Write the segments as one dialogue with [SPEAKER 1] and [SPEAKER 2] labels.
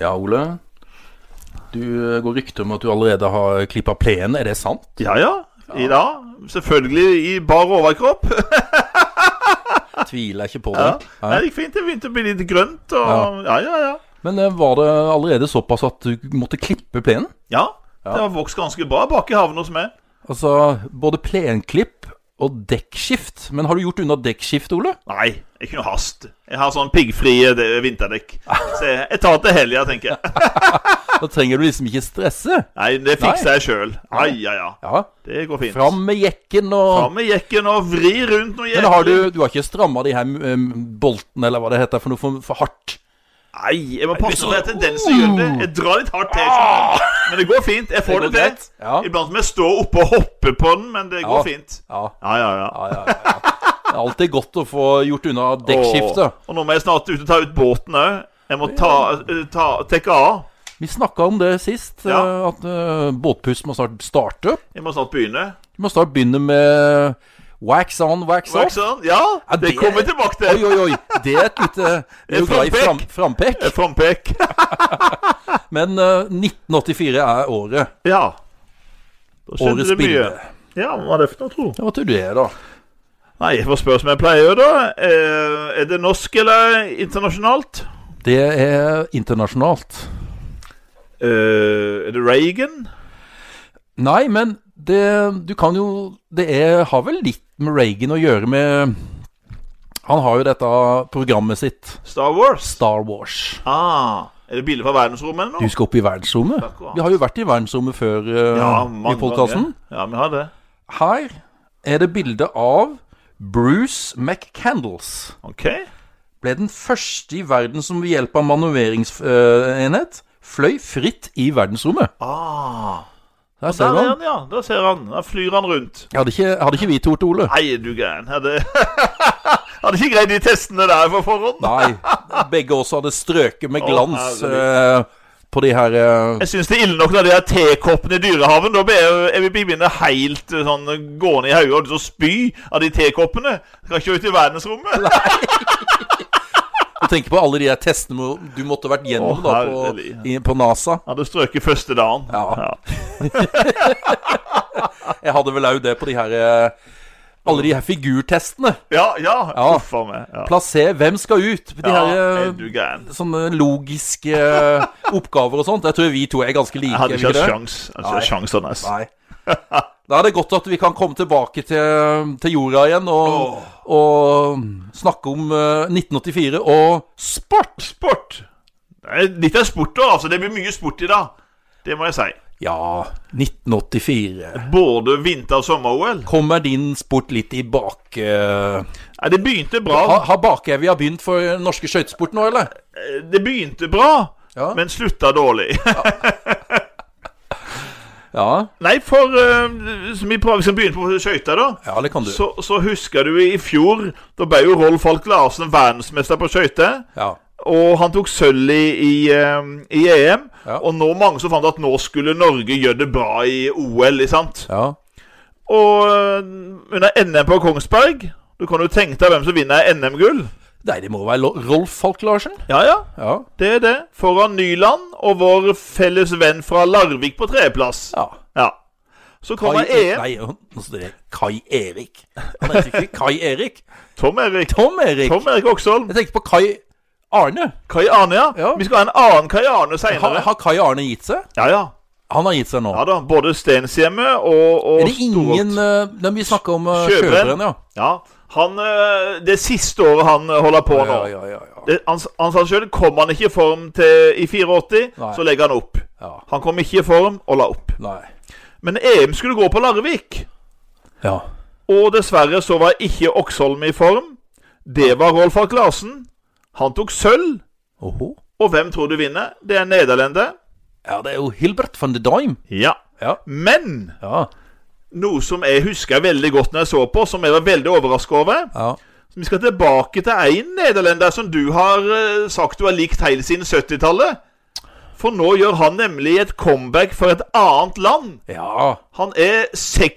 [SPEAKER 1] Ja, Ole. Du eh, går rykter om at du allerede har klippa plenen. Er det sant?
[SPEAKER 2] Ja, ja. I dag. Selvfølgelig i bar overkropp.
[SPEAKER 1] Tviler ikke på det.
[SPEAKER 2] Ja. Nei, Det gikk fint. Det begynte å bli litt grønt. Og... Ja, ja, ja.
[SPEAKER 1] Men eh, var det allerede såpass at du måtte klippe plenen?
[SPEAKER 2] Ja, det har vokst ganske bra bak i havnen hos meg.
[SPEAKER 1] Altså både plenklipp og dekkskift. Men har du gjort unna dekkskift, Ole?
[SPEAKER 2] Nei, ikke noe hast. Jeg har sånn piggfrie eh, vinterdekk. Så jeg, jeg tar til helga, tenker jeg.
[SPEAKER 1] Da trenger du liksom ikke stresse.
[SPEAKER 2] Nei, det fikser jeg sjøl. Ai, ja, ja.
[SPEAKER 1] Ja,
[SPEAKER 2] Det går fint.
[SPEAKER 1] Fram med jekken og
[SPEAKER 2] Fram med jekken og vri rundt noe
[SPEAKER 1] Men har du, du har ikke stramma de her em, boltene, eller hva det heter, for noe for, for hardt?
[SPEAKER 2] Nei, jeg må passe på at jeg har tendens til å gjøre det. Jeg drar litt hardt til. skjønner du. Men det går fint. Jeg får
[SPEAKER 1] Ah! Det
[SPEAKER 2] det,
[SPEAKER 1] går
[SPEAKER 2] til.
[SPEAKER 1] greit. Ja.
[SPEAKER 2] Iblant må jeg stå oppe og hoppe på den, men det går fint.
[SPEAKER 1] Ja.
[SPEAKER 2] Ja, ja, ja.
[SPEAKER 1] ja, ja, ja. Det er alltid godt å få gjort unna
[SPEAKER 2] Og,
[SPEAKER 1] dekkskiftet.
[SPEAKER 2] og nå må jeg snart ut og ta ut båten òg. Jeg må ta, eh, ta tekke av.
[SPEAKER 1] Vi snakka om det sist,
[SPEAKER 2] Ja.
[SPEAKER 1] eh, at eh, båtpuss må snart starte.
[SPEAKER 2] Jeg må snart begynne.
[SPEAKER 1] Vi må snart begynne med wax on, wax
[SPEAKER 2] Takk
[SPEAKER 1] off.
[SPEAKER 2] sånn. Ja,
[SPEAKER 1] Ja,
[SPEAKER 2] det
[SPEAKER 1] det-
[SPEAKER 2] kommer jeg
[SPEAKER 1] Oi,
[SPEAKER 2] tilbake til.
[SPEAKER 1] oi, oi. Det er et lite Du er jo glad i fram, frampek.
[SPEAKER 2] Frampek.
[SPEAKER 1] Men eh, 1984 er året.
[SPEAKER 2] Ja. Da skjedde
[SPEAKER 1] Årets
[SPEAKER 2] det mye.
[SPEAKER 1] bilde.
[SPEAKER 2] Ja, hva er det for noe, tro?
[SPEAKER 1] Ja, hva tror du det, er da?
[SPEAKER 2] Nei, jeg får spørre som jeg pleier, da. Eh, Er det norsk eller internasjonalt?
[SPEAKER 1] Det er internasjonalt.
[SPEAKER 2] Eh, Er det Reagan?
[SPEAKER 1] Nei, men det Du kan jo Det er, har vel litt med Reagan å gjøre med Han har jo dette programmet sitt,
[SPEAKER 2] Star Wars?
[SPEAKER 1] Star Wars.
[SPEAKER 2] Ah, er det bilder fra verdensrommet eller
[SPEAKER 1] Du
[SPEAKER 2] noe?
[SPEAKER 1] skal opp i verdensrommet?
[SPEAKER 2] Akkurat.
[SPEAKER 1] Vi har jo vært i verdensrommet før eh, i podkasten.
[SPEAKER 2] ganger. Ja, vi har det.
[SPEAKER 1] Her er det bilde av Bruce McCandles.
[SPEAKER 2] OK.
[SPEAKER 1] Ble den første i verden som ved hjelp av manøvreringsenhet fløy fritt i verdensrommet.
[SPEAKER 2] Ah,
[SPEAKER 1] Der
[SPEAKER 2] der
[SPEAKER 1] ser du
[SPEAKER 2] er
[SPEAKER 1] han.
[SPEAKER 2] han, ja. Der ser han. Der flyr han rundt.
[SPEAKER 1] Hadde ikke, hadde ikke vi to til Ole.
[SPEAKER 2] Nei, er du gæren. Hadde Hadde ikke greid de testene der på forhånd.
[SPEAKER 1] Nei. Begge også hadde strøket med
[SPEAKER 2] Å,
[SPEAKER 1] glans eh, på de her eh,
[SPEAKER 2] Jeg syns det er ille nok når det er tekoppene i Dyrehaven. Da blir jeg- jeg vil begynne helt eh, sånn gående i hodet og så spy av de tekoppene. Skal ikke ut i verdensrommet.
[SPEAKER 1] Du tenker på alle de her testene mo- du måtte vært gjennom
[SPEAKER 2] Å,
[SPEAKER 1] da, på,
[SPEAKER 2] herlig.
[SPEAKER 1] i, på NASA.
[SPEAKER 2] Hadde strøket første dagen.
[SPEAKER 1] Ja. Jeg hadde vel òg det på de her eh, Alle de her figurtestene.
[SPEAKER 2] Ja, ja.
[SPEAKER 1] Ja.
[SPEAKER 2] Uff a meg. Ja.
[SPEAKER 1] Plasser hvem skal ut? De
[SPEAKER 2] Ja,
[SPEAKER 1] her
[SPEAKER 2] er
[SPEAKER 1] eh,
[SPEAKER 2] du gæren.
[SPEAKER 1] sånne logiske eh, oppgaver og sånt. Jeg tror vi to er ganske like.
[SPEAKER 2] Jeg hadde
[SPEAKER 1] er vi
[SPEAKER 2] ikke
[SPEAKER 1] ikke
[SPEAKER 2] hatt
[SPEAKER 1] det?
[SPEAKER 2] sjans. Jeg hadde ikke hatt sjans, Anders.
[SPEAKER 1] Nei. Da er det godt at vi kan komme tilbake til, til jorda igjen og, og snakke om eh, 1984 og sport.
[SPEAKER 2] Sport. Det er litt av sport da, altså. Det blir mye sport i dag. Det må jeg si.
[SPEAKER 1] Ja, 1984.
[SPEAKER 2] Både vinter- og sommer-OL.
[SPEAKER 1] Kommer din sport litt i bak... eh,
[SPEAKER 2] Nei, det begynte
[SPEAKER 1] Har,
[SPEAKER 2] bra.
[SPEAKER 1] har bakevja begynt for den norske skøytesport nå, eller?
[SPEAKER 2] Det begynte bra,
[SPEAKER 1] Ja.
[SPEAKER 2] men slutta dårlig.
[SPEAKER 1] Ja,
[SPEAKER 2] Nei, for eh, som vi prøver, skal begynne på skøyter, da.
[SPEAKER 1] ja det kan du.
[SPEAKER 2] Så, så husker du i fjor, da ble jo Rolf Falk Larsen verdensmester på skøyter.
[SPEAKER 1] Ja.
[SPEAKER 2] Og han tok sølv i, i, eh, i EM.
[SPEAKER 1] Ja.
[SPEAKER 2] Og nå mange som fant at nå skulle Norge gjøre det bra i OL, ikke sant?
[SPEAKER 1] ja.
[SPEAKER 2] Og eh, under NM på Kongsberg Du kan jo tenke deg hvem som vinner NM-gull.
[SPEAKER 1] Nei, det må være Lo- Rolf Falk Larsen.
[SPEAKER 2] Ja, ja,
[SPEAKER 1] Ja.
[SPEAKER 2] det er det. Foran Nyland og vår felles venn fra Larvik på tredjeplass.
[SPEAKER 1] ja.
[SPEAKER 2] Ja. Så kommer
[SPEAKER 1] E-
[SPEAKER 2] EM.
[SPEAKER 1] Nei, nå står det Kai Erik. Han heter ikke Kai Erik.
[SPEAKER 2] Tom Erik.
[SPEAKER 1] Tom Erik.
[SPEAKER 2] Tom Erik Oksholm.
[SPEAKER 1] Jeg tenkte på Kai Arne.
[SPEAKER 2] Kai Arne, ja.
[SPEAKER 1] Ja.
[SPEAKER 2] Vi skal ha en annen Kai Arne
[SPEAKER 1] Har,
[SPEAKER 2] seinere.
[SPEAKER 1] har Kai Arne gitt seg?
[SPEAKER 2] Ja, ja.
[SPEAKER 1] Han har gitt seg nå.
[SPEAKER 2] Ja da. Både Stenshjemmet og, og
[SPEAKER 1] Er det ingen
[SPEAKER 2] Storholt.
[SPEAKER 1] uh, Nei, vi snakker om uh,
[SPEAKER 2] Sjøbrenn.
[SPEAKER 1] Sjøbrenn, ja.
[SPEAKER 2] Ja. Han eh, Det siste året han eh, holder på nå.
[SPEAKER 1] Ja, ja, ja, ja.
[SPEAKER 2] Det, han, han sa sjøl kom han ikke i form til, i 84,
[SPEAKER 1] Nei.
[SPEAKER 2] så legger han opp.
[SPEAKER 1] ja.
[SPEAKER 2] Han kom ikke i form og la opp.
[SPEAKER 1] Nei.
[SPEAKER 2] Men EM skulle gå på Larvik.
[SPEAKER 1] Ja.
[SPEAKER 2] Og dessverre så var ikke Oksholm i form. Det var Rolf Ark Larsen. Han tok sølv.
[SPEAKER 1] Oho.
[SPEAKER 2] Og hvem tror du vinner? Det er nederlender.
[SPEAKER 1] Ja, det er jo Hilbert van de Dime.
[SPEAKER 2] Ja.
[SPEAKER 1] Ja.
[SPEAKER 2] Men
[SPEAKER 1] Ja.
[SPEAKER 2] noe som jeg husker veldig godt når jeg så på, som jeg var veldig overraska over
[SPEAKER 1] ja.
[SPEAKER 2] Vi skal tilbake til en nederlender som du har eh, sagt du har likt helt siden 70-tallet. For nå gjør han nemlig et comeback for et annet land.
[SPEAKER 1] Ja.
[SPEAKER 2] Han er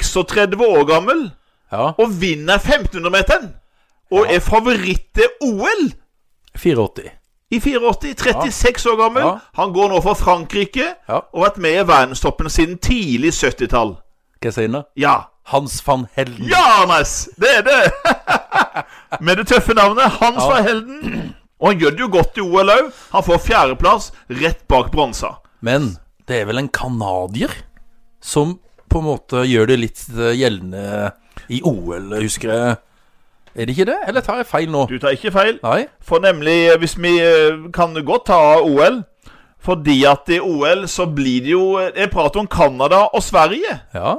[SPEAKER 2] 36 år gammel.
[SPEAKER 1] ja.
[SPEAKER 2] og vinner 1500-meteren. Og er favoritt til OL.
[SPEAKER 1] 84.
[SPEAKER 2] I 84, 36 år gammel.
[SPEAKER 1] Ja.
[SPEAKER 2] Han går nå for Frankrike
[SPEAKER 1] Ja.
[SPEAKER 2] og har vært med i verdenstoppen siden tidlig 70-tall.
[SPEAKER 1] Skal jeg si det?
[SPEAKER 2] Ja.
[SPEAKER 1] Hans van Helden.
[SPEAKER 2] Ja, Anders! Det er det! med det tøffe navnet Hans
[SPEAKER 1] Ja.
[SPEAKER 2] var helden. Og han gjør det jo godt i OL òg. Han får fjerdeplass rett bak bronsa.
[SPEAKER 1] Men det er vel en canadier som på en måte gjør det litt eh, gjeldende i OL, husker jeg. Er det ikke det? Eller tar jeg feil nå?
[SPEAKER 2] Du tar ikke feil.
[SPEAKER 1] Nei?
[SPEAKER 2] For nemlig, eh, hvis vi eh, kan godt ta av OL Fordi at i OL så blir det jo eh, Det er prat om Canada og Sverige.
[SPEAKER 1] Ja.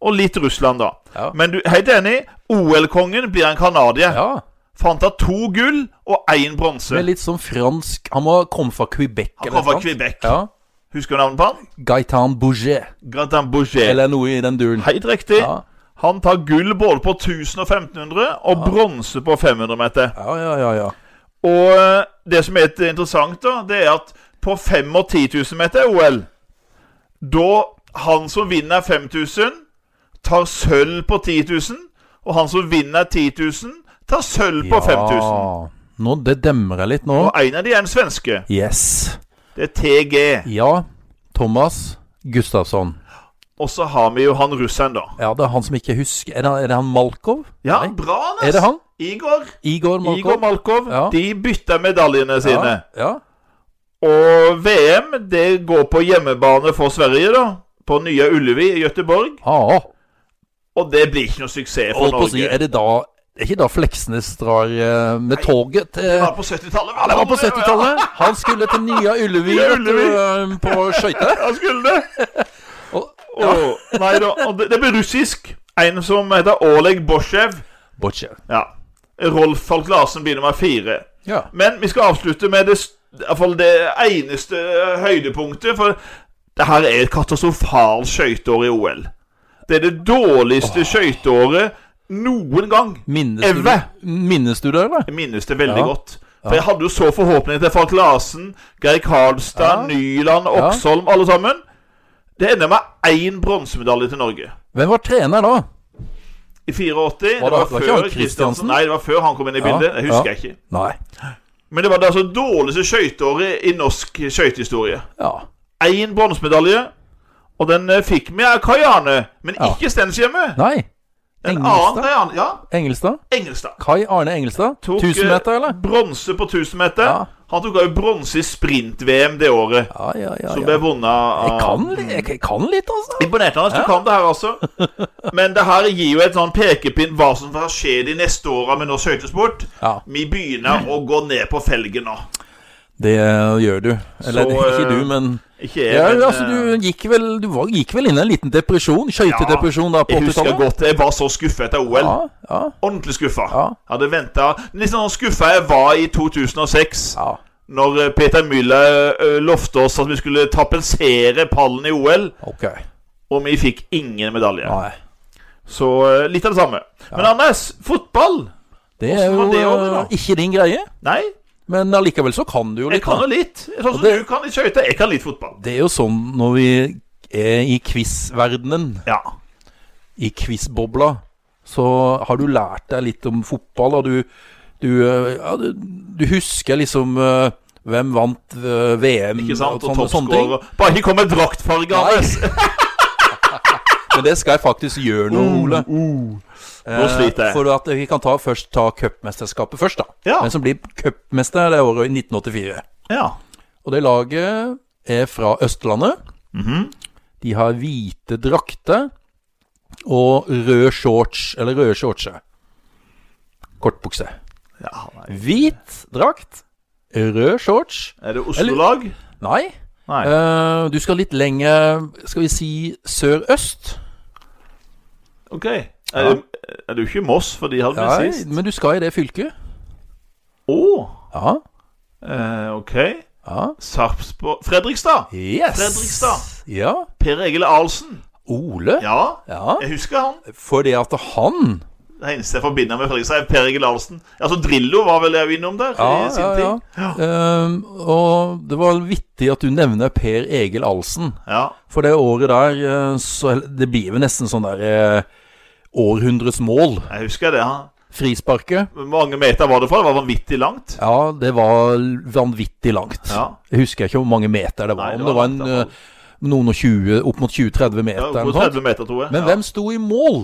[SPEAKER 2] Og litt Russland, da.
[SPEAKER 1] Ja.
[SPEAKER 2] Men du, helt enig, OL-kongen blir en canadier.
[SPEAKER 1] ja.
[SPEAKER 2] For han tar to gull og én bronse.
[SPEAKER 1] Med litt sånn fransk Han må komme fra Quebec.
[SPEAKER 2] Han
[SPEAKER 1] eller
[SPEAKER 2] kommer fra
[SPEAKER 1] noe sånt.
[SPEAKER 2] Quebec.
[SPEAKER 1] Ja.
[SPEAKER 2] Husker du navnet på han?
[SPEAKER 1] Gaetan Bouget.
[SPEAKER 2] Gratin Bouget.
[SPEAKER 1] Eller noe i den duren.
[SPEAKER 2] Helt riktig.
[SPEAKER 1] Ja.
[SPEAKER 2] Han tar gull både på 1000 og 1500, og bronse på 500 meter.
[SPEAKER 1] Ja, ja, ja, ja.
[SPEAKER 2] Og eh, det som er litt interessant, da, det er at på 5 og 10 000 meter OL Da han som vinner 5000, tar sølv på 10 000, og han som vinner 10 000, tar sølv på 5000.
[SPEAKER 1] Nå, det demrer jeg litt nå.
[SPEAKER 2] Og en av de er en svenske.
[SPEAKER 1] Yes.
[SPEAKER 2] Det er TG.
[SPEAKER 1] Ja, Thomas Gustafsson.
[SPEAKER 2] Og så har vi jo han russeren, da.
[SPEAKER 1] Ja, det er han som ikke husker Er det, er det han Malkov?
[SPEAKER 2] Ja,
[SPEAKER 1] Nei.
[SPEAKER 2] bra,
[SPEAKER 1] Er
[SPEAKER 2] Anders!
[SPEAKER 1] det han?
[SPEAKER 2] Igor.
[SPEAKER 1] Igor Malkov.
[SPEAKER 2] Igor Malkov.
[SPEAKER 1] Ja.
[SPEAKER 2] De bytter medaljene sine.
[SPEAKER 1] Ja,
[SPEAKER 2] Og VM, det går på hjemmebane for Sverige, da. På nye Ullevi i Gøteborg.
[SPEAKER 1] ja. Ah,
[SPEAKER 2] Og det blir ikke noe suksess for
[SPEAKER 1] holdt på å
[SPEAKER 2] Norge.
[SPEAKER 1] si, er det da er ikke da Fleksnes drar eh, med toget til
[SPEAKER 2] Det
[SPEAKER 1] Ja,
[SPEAKER 2] var på 70-tallet. vel?
[SPEAKER 1] det var på 70-tallet. Han skulle til Nya Ullevi
[SPEAKER 2] Nya
[SPEAKER 1] vet du, eh, på skøyter.
[SPEAKER 2] Ja, skulle det?
[SPEAKER 1] Og-
[SPEAKER 2] Og- nei da. Og det, det blir russisk. En som heter Oleg Bosjev.
[SPEAKER 1] Boccia.
[SPEAKER 2] Ja. Rolf Falk Larsen blir nummer fire.
[SPEAKER 1] Ja.
[SPEAKER 2] Men vi skal avslutte med det, st- i hvert fall det eneste eh, høydepunktet, for det her er et katastrofalt skøyteår i OL. Det er det dårligste skøyteåret noen gang.
[SPEAKER 1] Minnes du,
[SPEAKER 2] Evve.
[SPEAKER 1] minnes du det, eller?
[SPEAKER 2] Jeg minnes det veldig
[SPEAKER 1] Ja.
[SPEAKER 2] godt. For jeg hadde jo så forhåpninger til Falk Larsen, Geir Karlstad,
[SPEAKER 1] Ja.
[SPEAKER 2] Nyland,
[SPEAKER 1] Ja.
[SPEAKER 2] Oksholm, alle sammen. Det ender med én bronsemedalje til Norge.
[SPEAKER 1] Hvem var trener da?
[SPEAKER 2] I 84.
[SPEAKER 1] Var det-
[SPEAKER 2] Det var
[SPEAKER 1] var ikke han
[SPEAKER 2] før Kristiansen
[SPEAKER 1] Kristiansen?
[SPEAKER 2] Nei, det var før han kom inn i
[SPEAKER 1] Ja,
[SPEAKER 2] bildet. Det
[SPEAKER 1] ja.
[SPEAKER 2] husker jeg ikke.
[SPEAKER 1] Nei.
[SPEAKER 2] Men det var det altså dårligste skøyteåret i norsk skøytehistorie.
[SPEAKER 1] Ja.
[SPEAKER 2] Én bronsemedalje, og den eh, fikk vi av Kajane, men
[SPEAKER 1] Ja.
[SPEAKER 2] ikke Stenshjemmet.
[SPEAKER 1] Nei.
[SPEAKER 2] En annen
[SPEAKER 1] Engelstad.
[SPEAKER 2] Kajane. Ja,
[SPEAKER 1] Engelstad.
[SPEAKER 2] Engelstad.
[SPEAKER 1] Kai Arne Engelstad.
[SPEAKER 2] Tok,
[SPEAKER 1] 1000 meter,
[SPEAKER 2] eh,
[SPEAKER 1] eller?
[SPEAKER 2] Bronse på 1000 meter.
[SPEAKER 1] Ja.
[SPEAKER 2] Han tok også bronse i sprint-VM det året.
[SPEAKER 1] Ja, ja, ja.
[SPEAKER 2] Som ble
[SPEAKER 1] ja.
[SPEAKER 2] vunnet av
[SPEAKER 1] Jeg kan, li- jeg, jeg kan litt, altså.
[SPEAKER 2] Imponert, Anders. Du kan det her også. Men det her gir jo et sånn pekepinn hva som skal skje de neste åra med norsk skøytesport.
[SPEAKER 1] Ja.
[SPEAKER 2] Vi begynner å gå ned på felgen nå.
[SPEAKER 1] Det gjør du. Eller
[SPEAKER 2] Så, eh,
[SPEAKER 1] ikke du, men
[SPEAKER 2] Ikke jeg,
[SPEAKER 1] ja,
[SPEAKER 2] men,
[SPEAKER 1] altså,
[SPEAKER 2] eh,
[SPEAKER 1] Du gikk vel, du var, gikk vel inn i en liten depresjon? Skøytedepresjon da på
[SPEAKER 2] Jeg husker
[SPEAKER 1] 80-tallet?
[SPEAKER 2] godt jeg var så skuffa etter OL.
[SPEAKER 1] Ja, ja,
[SPEAKER 2] Ordentlig skuffa.
[SPEAKER 1] Ja.
[SPEAKER 2] Hadde venta Litt sånn skuffa jeg var i 2006.
[SPEAKER 1] ja.
[SPEAKER 2] Når eh, Peter Müller eh, lovte oss at vi skulle tapetsere pallen i OL,
[SPEAKER 1] Ok.
[SPEAKER 2] og vi fikk ingen medalje.
[SPEAKER 1] Nei.
[SPEAKER 2] Så eh, litt av det samme. Men Anders, fotball?
[SPEAKER 1] Det er
[SPEAKER 2] Hvordan var
[SPEAKER 1] jo
[SPEAKER 2] det over, da?
[SPEAKER 1] eh, ikke din greie,
[SPEAKER 2] Nei,
[SPEAKER 1] men allikevel så kan du jo
[SPEAKER 2] jeg
[SPEAKER 1] litt.
[SPEAKER 2] kan
[SPEAKER 1] da.
[SPEAKER 2] jo litt. Sånn som
[SPEAKER 1] det-
[SPEAKER 2] du kan litt skøyter. Jeg kan litt fotball.
[SPEAKER 1] Det er jo sånn når vi er i quiz-verdenen,
[SPEAKER 2] Ja.
[SPEAKER 1] i quiz-bobla, så har du lært deg litt om fotball, og du, du, eh, ja, du, du husker liksom eh, hvem vant eh, VM
[SPEAKER 2] Ikke sant? Og
[SPEAKER 1] sånne- sånne ting.
[SPEAKER 2] toppskårer. Bare ikke kom med draktfarge, Anders.
[SPEAKER 1] Men det skal jeg faktisk gjøre
[SPEAKER 2] Oh,
[SPEAKER 1] nå,
[SPEAKER 2] Mm.
[SPEAKER 1] Ole.
[SPEAKER 2] Nå sliter jeg.
[SPEAKER 1] Eh, for at vi kan ta, først ta cupmesterskapet først, da.
[SPEAKER 2] Ja.
[SPEAKER 1] Den som blir cupmester det året i 1984.
[SPEAKER 2] Ja.
[SPEAKER 1] Og det laget er fra Østlandet.
[SPEAKER 2] Mhm.
[SPEAKER 1] De har hvite drakter og rød shorts, eller røde shortser. Kortbukse.
[SPEAKER 2] ja nei.
[SPEAKER 1] Hvit drakt, rød shorts.
[SPEAKER 2] Er det Oslo-lag?
[SPEAKER 1] Nei,
[SPEAKER 2] Nei.
[SPEAKER 1] eh, du skal litt lenger, skal vi si sør-øst?
[SPEAKER 2] Ok. Er, det, er du ikke Moss, for de hadde
[SPEAKER 1] Nei,
[SPEAKER 2] blitt sist?
[SPEAKER 1] men du skal i det fylket.
[SPEAKER 2] Å!
[SPEAKER 1] Ja.
[SPEAKER 2] eh, ok.
[SPEAKER 1] Ja.
[SPEAKER 2] Sarpsborg Fredrikstad!
[SPEAKER 1] Yes.
[SPEAKER 2] Fredrikstad.
[SPEAKER 1] Ja.
[SPEAKER 2] Per Egil Ahlsen.
[SPEAKER 1] Ole. Ja.
[SPEAKER 2] Ja, jeg husker han.
[SPEAKER 1] Fordi at han
[SPEAKER 2] Det eneste jeg forbinder med Fredrikstad, er Per Egil Ahlsen. Altså, Drillo var vel jeg innom der? i sin tid.
[SPEAKER 1] Ehm, og det var vittig at du nevner Per Egil Ahlsen.
[SPEAKER 2] ja.
[SPEAKER 1] For det året der eh, så Det blir jo nesten sånn der eh, århundrets mål.
[SPEAKER 2] Jeg husker det. Han
[SPEAKER 1] frisparket.
[SPEAKER 2] Hvor mange meter var det fra? Det var vanvittig langt.
[SPEAKER 1] Ja, det var vanvittig langt.
[SPEAKER 2] Ja.
[SPEAKER 1] Jeg husker ikke hvor mange meter det var.
[SPEAKER 2] Nei,
[SPEAKER 1] Om det var en,
[SPEAKER 2] langt, i hvert fall.
[SPEAKER 1] eh, noen og 20, opp mot 20-30 meter.
[SPEAKER 2] Ja,
[SPEAKER 1] eller noe
[SPEAKER 2] Over
[SPEAKER 1] sånt.
[SPEAKER 2] 30 meter, tror jeg.
[SPEAKER 1] Men
[SPEAKER 2] ja.
[SPEAKER 1] hvem sto i mål?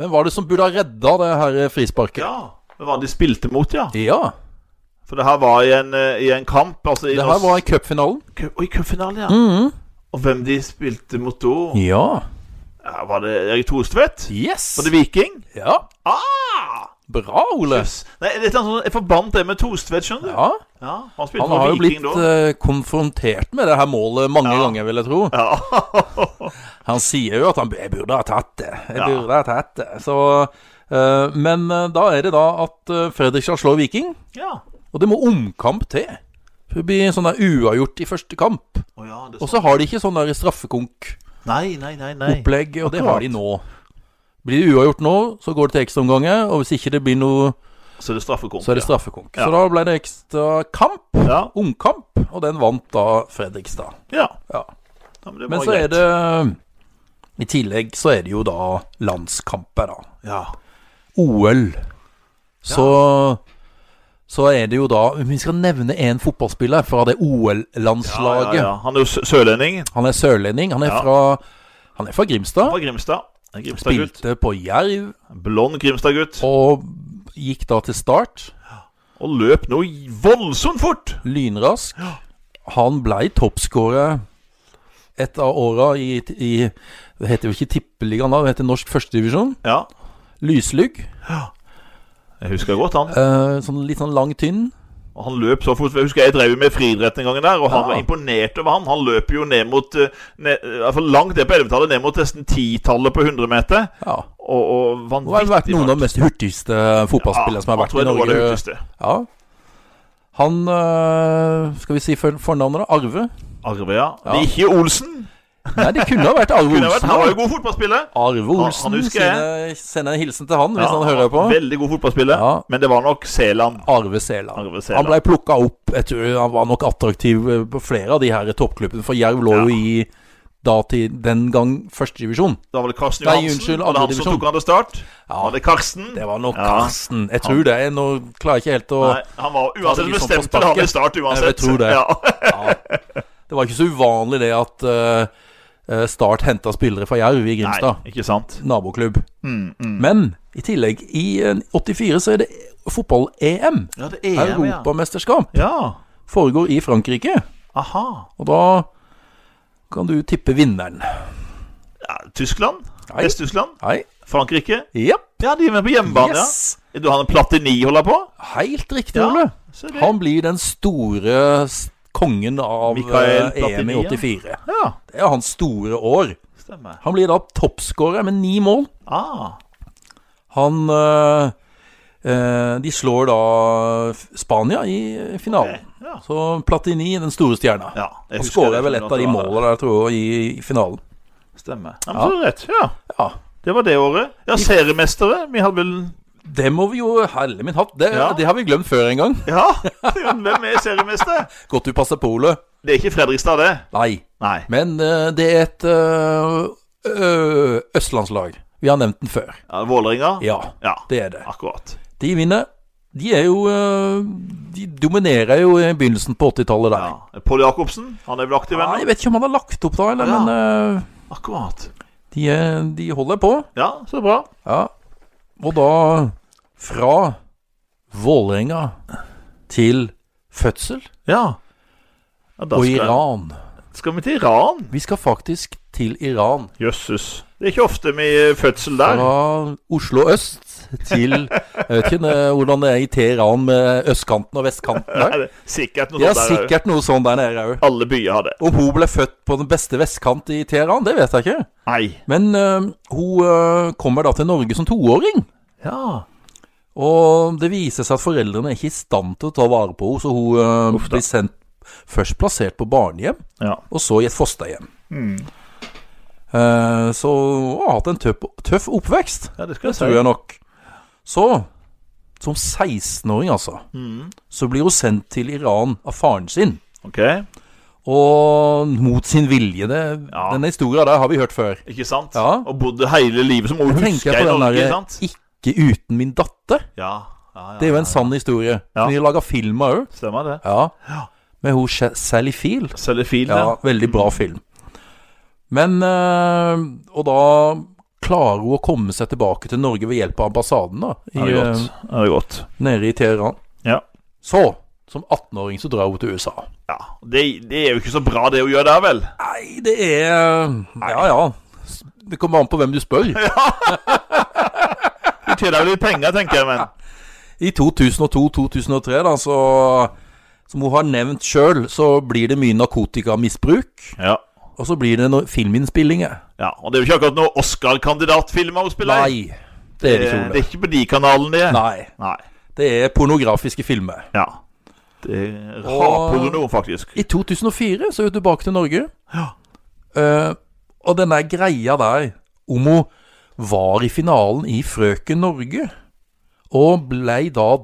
[SPEAKER 1] Hvem var det som burde ha redda det her eh, frisparket?
[SPEAKER 2] Ja, Hvem var det de spilte mot, ja?
[SPEAKER 1] Ja,
[SPEAKER 2] For det her var i en, eh, i en kamp. Altså, i
[SPEAKER 1] det her
[SPEAKER 2] norsk-
[SPEAKER 1] var i cupfinalen.
[SPEAKER 2] Cup- Oi, cupfinalen, ja.
[SPEAKER 1] Mhm.
[SPEAKER 2] Og hvem de spilte mot da?
[SPEAKER 1] Ja.
[SPEAKER 2] Ja, var det Erik Thorstvedt?
[SPEAKER 1] Yes!
[SPEAKER 2] Var det Viking?
[SPEAKER 1] Ja.
[SPEAKER 2] Ah!
[SPEAKER 1] Bra, Ole.
[SPEAKER 2] Yes. Nei, det er et eller annet sånn- jeg forbandt det med Thorstvedt, skjønner du.
[SPEAKER 1] Ja,
[SPEAKER 2] Ja, Han spilte
[SPEAKER 1] Han har
[SPEAKER 2] for
[SPEAKER 1] jo blitt
[SPEAKER 2] Viking da.
[SPEAKER 1] eh, konfrontert med det her målet mange
[SPEAKER 2] Ja.
[SPEAKER 1] ganger, vil jeg tro.
[SPEAKER 2] Ja.
[SPEAKER 1] Han sier jo at han jeg burde ha tatt det. Jeg
[SPEAKER 2] Ja.
[SPEAKER 1] burde ha tatt det. Så, eh, men eh, da er det da at eh, Fredrikstad slår Viking,
[SPEAKER 2] ja.
[SPEAKER 1] og det må omkamp til. For Det blir sånn der uavgjort i første kamp.
[SPEAKER 2] Å ja, det er
[SPEAKER 1] Og så
[SPEAKER 2] sånn.
[SPEAKER 1] har de ikke sånn der straffekonk-opplegg,
[SPEAKER 2] Nei, nei, nei. nei.
[SPEAKER 1] og det
[SPEAKER 2] akkurat.
[SPEAKER 1] har de nå. Blir det uavgjort nå, så går det til ekstraomganger, og hvis ikke det blir noe,
[SPEAKER 2] Så er det straffekonk.
[SPEAKER 1] så er det straffekonk.
[SPEAKER 2] Ja.
[SPEAKER 1] Så da ble det ekstra kamp,
[SPEAKER 2] Ja.
[SPEAKER 1] omkamp, og den vant da Fredrikstad.
[SPEAKER 2] ja.
[SPEAKER 1] Ja.
[SPEAKER 2] ja men det
[SPEAKER 1] Men
[SPEAKER 2] var
[SPEAKER 1] så er
[SPEAKER 2] greit.
[SPEAKER 1] det I tillegg så er det jo da landskamper, da.
[SPEAKER 2] Ja.
[SPEAKER 1] OL. Så Så er det jo da Vi skal nevne én fotballspiller fra det
[SPEAKER 2] Ja, ja,
[SPEAKER 1] OL-landslaget.
[SPEAKER 2] ja. Han er jo sø- sørlending.
[SPEAKER 1] Han er sørlending. Han er
[SPEAKER 2] Ja.
[SPEAKER 1] fra Han er fra
[SPEAKER 2] Han
[SPEAKER 1] Grimstad.
[SPEAKER 2] Fra Grimstad. En Grimstad-gutt.
[SPEAKER 1] Spilte på Jerv
[SPEAKER 2] Blond Grimstad-gutt.
[SPEAKER 1] og gikk da til start.
[SPEAKER 2] Og løp noe voldsomt fort!
[SPEAKER 1] Lynrask. Han blei toppskårer et av åra i, i Det heter jo ikke Tippeligaen da, det heter Norsk førstedivisjon.
[SPEAKER 2] Ja.
[SPEAKER 1] Lyslugg.
[SPEAKER 2] Jeg husker godt han.
[SPEAKER 1] Eh, sånn litt sånn lang, tynn.
[SPEAKER 2] Og Han løp så fort. Jeg husker jeg drev med friidrett en gang der, og han
[SPEAKER 1] Ja.
[SPEAKER 2] var imponert over han. Han løp jo ned mot eh, ned, i hvert fall langt ned på 11-tallet, ned mot nesten 10-tallet på 100-meter.
[SPEAKER 1] Ja.
[SPEAKER 2] Og, og
[SPEAKER 1] Han har vært
[SPEAKER 2] vanvittig
[SPEAKER 1] noen av de mest hurtigste fotballspillere som har vært i
[SPEAKER 2] Det
[SPEAKER 1] Norge.
[SPEAKER 2] hurtigste.
[SPEAKER 1] Ja. Han øh, Skal vi si for, fornavnet, da? Arve?
[SPEAKER 2] Arve, ja.
[SPEAKER 1] Ja.
[SPEAKER 2] Det er ikke Olsen.
[SPEAKER 1] Nei, det kunne ha vært Arve
[SPEAKER 2] Kunne vært,
[SPEAKER 1] Olsen.
[SPEAKER 2] han var jo
[SPEAKER 1] da.
[SPEAKER 2] god fotballspiller.
[SPEAKER 1] Arve
[SPEAKER 2] Han-
[SPEAKER 1] Olsen.
[SPEAKER 2] han husker
[SPEAKER 1] sine, send en hilsen til han hvis
[SPEAKER 2] Ja,
[SPEAKER 1] han hører på.
[SPEAKER 2] Veldig god fotballspiller.
[SPEAKER 1] Ja.
[SPEAKER 2] Men det var nok Seland.
[SPEAKER 1] Arve Sæland.
[SPEAKER 2] Arve
[SPEAKER 1] Han
[SPEAKER 2] Seland.
[SPEAKER 1] blei plukka opp. Jeg tror han var nok attraktiv øh, på flere av de her toppklubbene, for Jerv lå jo i da til den gang førstedivisjon.
[SPEAKER 2] Det var vel Karsten
[SPEAKER 1] Nei,
[SPEAKER 2] Johansen.
[SPEAKER 1] unnskyld,
[SPEAKER 2] var det han som
[SPEAKER 1] andredivisjon.
[SPEAKER 2] tok han til start?
[SPEAKER 1] Ja,
[SPEAKER 2] Var det Karsten?
[SPEAKER 1] det var nok
[SPEAKER 2] Ja.
[SPEAKER 1] Karsten. Jeg tror det. Nå klarer jeg ikke helt å
[SPEAKER 2] Nei, han var uansett
[SPEAKER 1] litt sånn på
[SPEAKER 2] bestemt til å ha
[SPEAKER 1] sparket.
[SPEAKER 2] med start uansett.
[SPEAKER 1] Jeg tror det.
[SPEAKER 2] Ja.
[SPEAKER 1] Ja. Det var ikke så uvanlig det at eh, eh, Start henta spillere fra Jerv i
[SPEAKER 2] Nei,
[SPEAKER 1] Grimstad.
[SPEAKER 2] ikke sant.
[SPEAKER 1] Naboklubb.
[SPEAKER 2] Mm, mm.
[SPEAKER 1] Men i tillegg, i eh, 84 så er det fotball-EM.
[SPEAKER 2] Ja, det er jeg, E ja.
[SPEAKER 1] Europamesterskap.
[SPEAKER 2] Ja.
[SPEAKER 1] Foregår i Frankrike.
[SPEAKER 2] Aha.
[SPEAKER 1] Og da kan du tippe vinneren.
[SPEAKER 2] Ja, Tyskland?
[SPEAKER 1] Nei.
[SPEAKER 2] Vest-Tyskland?
[SPEAKER 1] Hei.
[SPEAKER 2] Frankrike?
[SPEAKER 1] Ja.
[SPEAKER 2] Ja, de er med på hjemmebane,
[SPEAKER 1] Yes.
[SPEAKER 2] ja. Du har en Platini holder på?
[SPEAKER 1] Helt riktig,
[SPEAKER 2] Ja,
[SPEAKER 1] Ole.
[SPEAKER 2] Se det.
[SPEAKER 1] Han blir den store s- kongen av
[SPEAKER 2] Mikael
[SPEAKER 1] eh, EM i
[SPEAKER 2] Platini, ja.
[SPEAKER 1] 84.
[SPEAKER 2] Ja,
[SPEAKER 1] Det er hans store år.
[SPEAKER 2] stemmer.
[SPEAKER 1] Han blir da toppskårer med ni mål.
[SPEAKER 2] Ah,
[SPEAKER 1] Han øh, øh, De slår da Spania i finalen.
[SPEAKER 2] ja.
[SPEAKER 1] Så Platini, den store stjerna.
[SPEAKER 2] ja jeg
[SPEAKER 1] Han
[SPEAKER 2] husker
[SPEAKER 1] skårer
[SPEAKER 2] det,
[SPEAKER 1] vel
[SPEAKER 2] skjønner
[SPEAKER 1] et
[SPEAKER 2] at
[SPEAKER 1] av de
[SPEAKER 2] det var det.
[SPEAKER 1] målene der, tror jeg, i, i finalen.
[SPEAKER 2] Stemmer. Ja, men så er det rett. Ja,
[SPEAKER 1] Ja.
[SPEAKER 2] det var det året. Ja, seriemestere. Vi hadde vel
[SPEAKER 1] Det må vi jo Helle min hatt, det,
[SPEAKER 2] Ja.
[SPEAKER 1] det har vi glemt før en gang.
[SPEAKER 2] Ja, hvem er seriemester?
[SPEAKER 1] Godt du passer på, Ole.
[SPEAKER 2] Det er ikke Fredrikstad, det.
[SPEAKER 1] Nei.
[SPEAKER 2] Nei.
[SPEAKER 1] Men øh, det er et øh, øh, østlandslag. Vi har nevnt den før.
[SPEAKER 2] Ja, Vålerenga?
[SPEAKER 1] Ja,
[SPEAKER 2] Ja,
[SPEAKER 1] det er det.
[SPEAKER 2] akkurat.
[SPEAKER 1] De vinner. De er jo øh, De dominerer jo i begynnelsen på 80-tallet der.
[SPEAKER 2] Ja. Pål Jacobsen? Han er vel aktiv
[SPEAKER 1] Ja, jeg
[SPEAKER 2] ennå?
[SPEAKER 1] vet ikke om han har lagt opp da, eller,
[SPEAKER 2] Ja.
[SPEAKER 1] men øh,
[SPEAKER 2] Akkurat.
[SPEAKER 1] De, er- de holder på.
[SPEAKER 2] Ja, så bra.
[SPEAKER 1] Ja. Og da fra Vålerenga til fødsel
[SPEAKER 2] Ja. ja da
[SPEAKER 1] og
[SPEAKER 2] skal,
[SPEAKER 1] Iran.
[SPEAKER 2] skal vi til Iran?
[SPEAKER 1] Vi skal faktisk til Iran.
[SPEAKER 2] Jøsses. Det er ikke ofte med eh, fødsel der.
[SPEAKER 1] Fra Oslo øst til Jeg vet ikke eh, hvordan det er i Teheran med østkanten og vestkanten
[SPEAKER 2] Er
[SPEAKER 1] der.
[SPEAKER 2] det sikkert noe
[SPEAKER 1] De har
[SPEAKER 2] sånt der
[SPEAKER 1] sikkert noe sånn der nede òg.
[SPEAKER 2] òg. Alle byer har det.
[SPEAKER 1] Om hun ble født på den beste vestkant i Teheran, det vet jeg ikke.
[SPEAKER 2] Nei.
[SPEAKER 1] Men eh, hun eh, kommer da til Norge som toåring.
[SPEAKER 2] Ja.
[SPEAKER 1] Og det viser seg at foreldrene er ikke i stand til å ta vare på henne, så hun eh,
[SPEAKER 2] Uff da.
[SPEAKER 1] blir sendt, først plassert på barnehjem,
[SPEAKER 2] Ja.
[SPEAKER 1] og så i et fosterhjem.
[SPEAKER 2] Mm.
[SPEAKER 1] Eh, så hun har hatt en tøff, tøff oppvekst,
[SPEAKER 2] ja, det skal
[SPEAKER 1] det
[SPEAKER 2] jeg si.
[SPEAKER 1] tror jeg nok. Så, som 16-åring altså,
[SPEAKER 2] Mm.
[SPEAKER 1] så blir hun sendt til Iran av faren sin.
[SPEAKER 2] Ok.
[SPEAKER 1] Og mot sin vilje, det,
[SPEAKER 2] Ja.
[SPEAKER 1] denne historien der har vi hørt før.
[SPEAKER 2] Ikke sant?
[SPEAKER 1] Ja.
[SPEAKER 2] Og bodde hele livet som hun
[SPEAKER 1] Tenker
[SPEAKER 2] husker
[SPEAKER 1] jeg
[SPEAKER 2] i
[SPEAKER 1] på den
[SPEAKER 2] Norge,
[SPEAKER 1] der
[SPEAKER 2] ikke sant?
[SPEAKER 1] 'Ikke uten min datter'.
[SPEAKER 2] Ja, ja, ja
[SPEAKER 1] Det er jo en sann historie.
[SPEAKER 2] Ja.
[SPEAKER 1] Som de har laga film av òg.
[SPEAKER 2] Stemmer det.
[SPEAKER 1] Ja. Med hun Sha- Sally Field.
[SPEAKER 2] Selger fil,
[SPEAKER 1] Ja,
[SPEAKER 2] ja. Mm.
[SPEAKER 1] veldig bra film. Men eh, Og da klarer hun å komme seg tilbake til Norge ved hjelp av ambassaden, da. I,
[SPEAKER 2] Er det godt? Er det godt?
[SPEAKER 1] eh, nede i Teheran.
[SPEAKER 2] Ja.
[SPEAKER 1] Så, som 18-åring, så drar hun til USA.
[SPEAKER 2] ja. Det, det er jo ikke så bra, det hun gjør der, vel?
[SPEAKER 1] Nei, det er Ja, ja. Det kommer an på hvem du spør.
[SPEAKER 2] Hun tjener jo litt penger, tenker jeg, men
[SPEAKER 1] I 2002-2003, da, så Som hun har nevnt sjøl, så blir det mye narkotikamisbruk.
[SPEAKER 2] Ja.
[SPEAKER 1] Og så blir det no filminnspillinger.
[SPEAKER 2] ja. Og det er jo ikke akkurat noen Oscar-kandidatfilmer hun spiller i. Eh,
[SPEAKER 1] Nei, det er det ikke.
[SPEAKER 2] det
[SPEAKER 1] Ole.
[SPEAKER 2] er ikke på de kanalene, det.
[SPEAKER 1] Nei.
[SPEAKER 2] Nei.
[SPEAKER 1] Det er pornografiske filmer.
[SPEAKER 2] Ja. Det er Raporno, faktisk.
[SPEAKER 1] I 2004 så er hun tilbake til Norge.
[SPEAKER 2] Ja.
[SPEAKER 1] Eh, og den der greia der om hun var i finalen i Frøken Norge, og blei da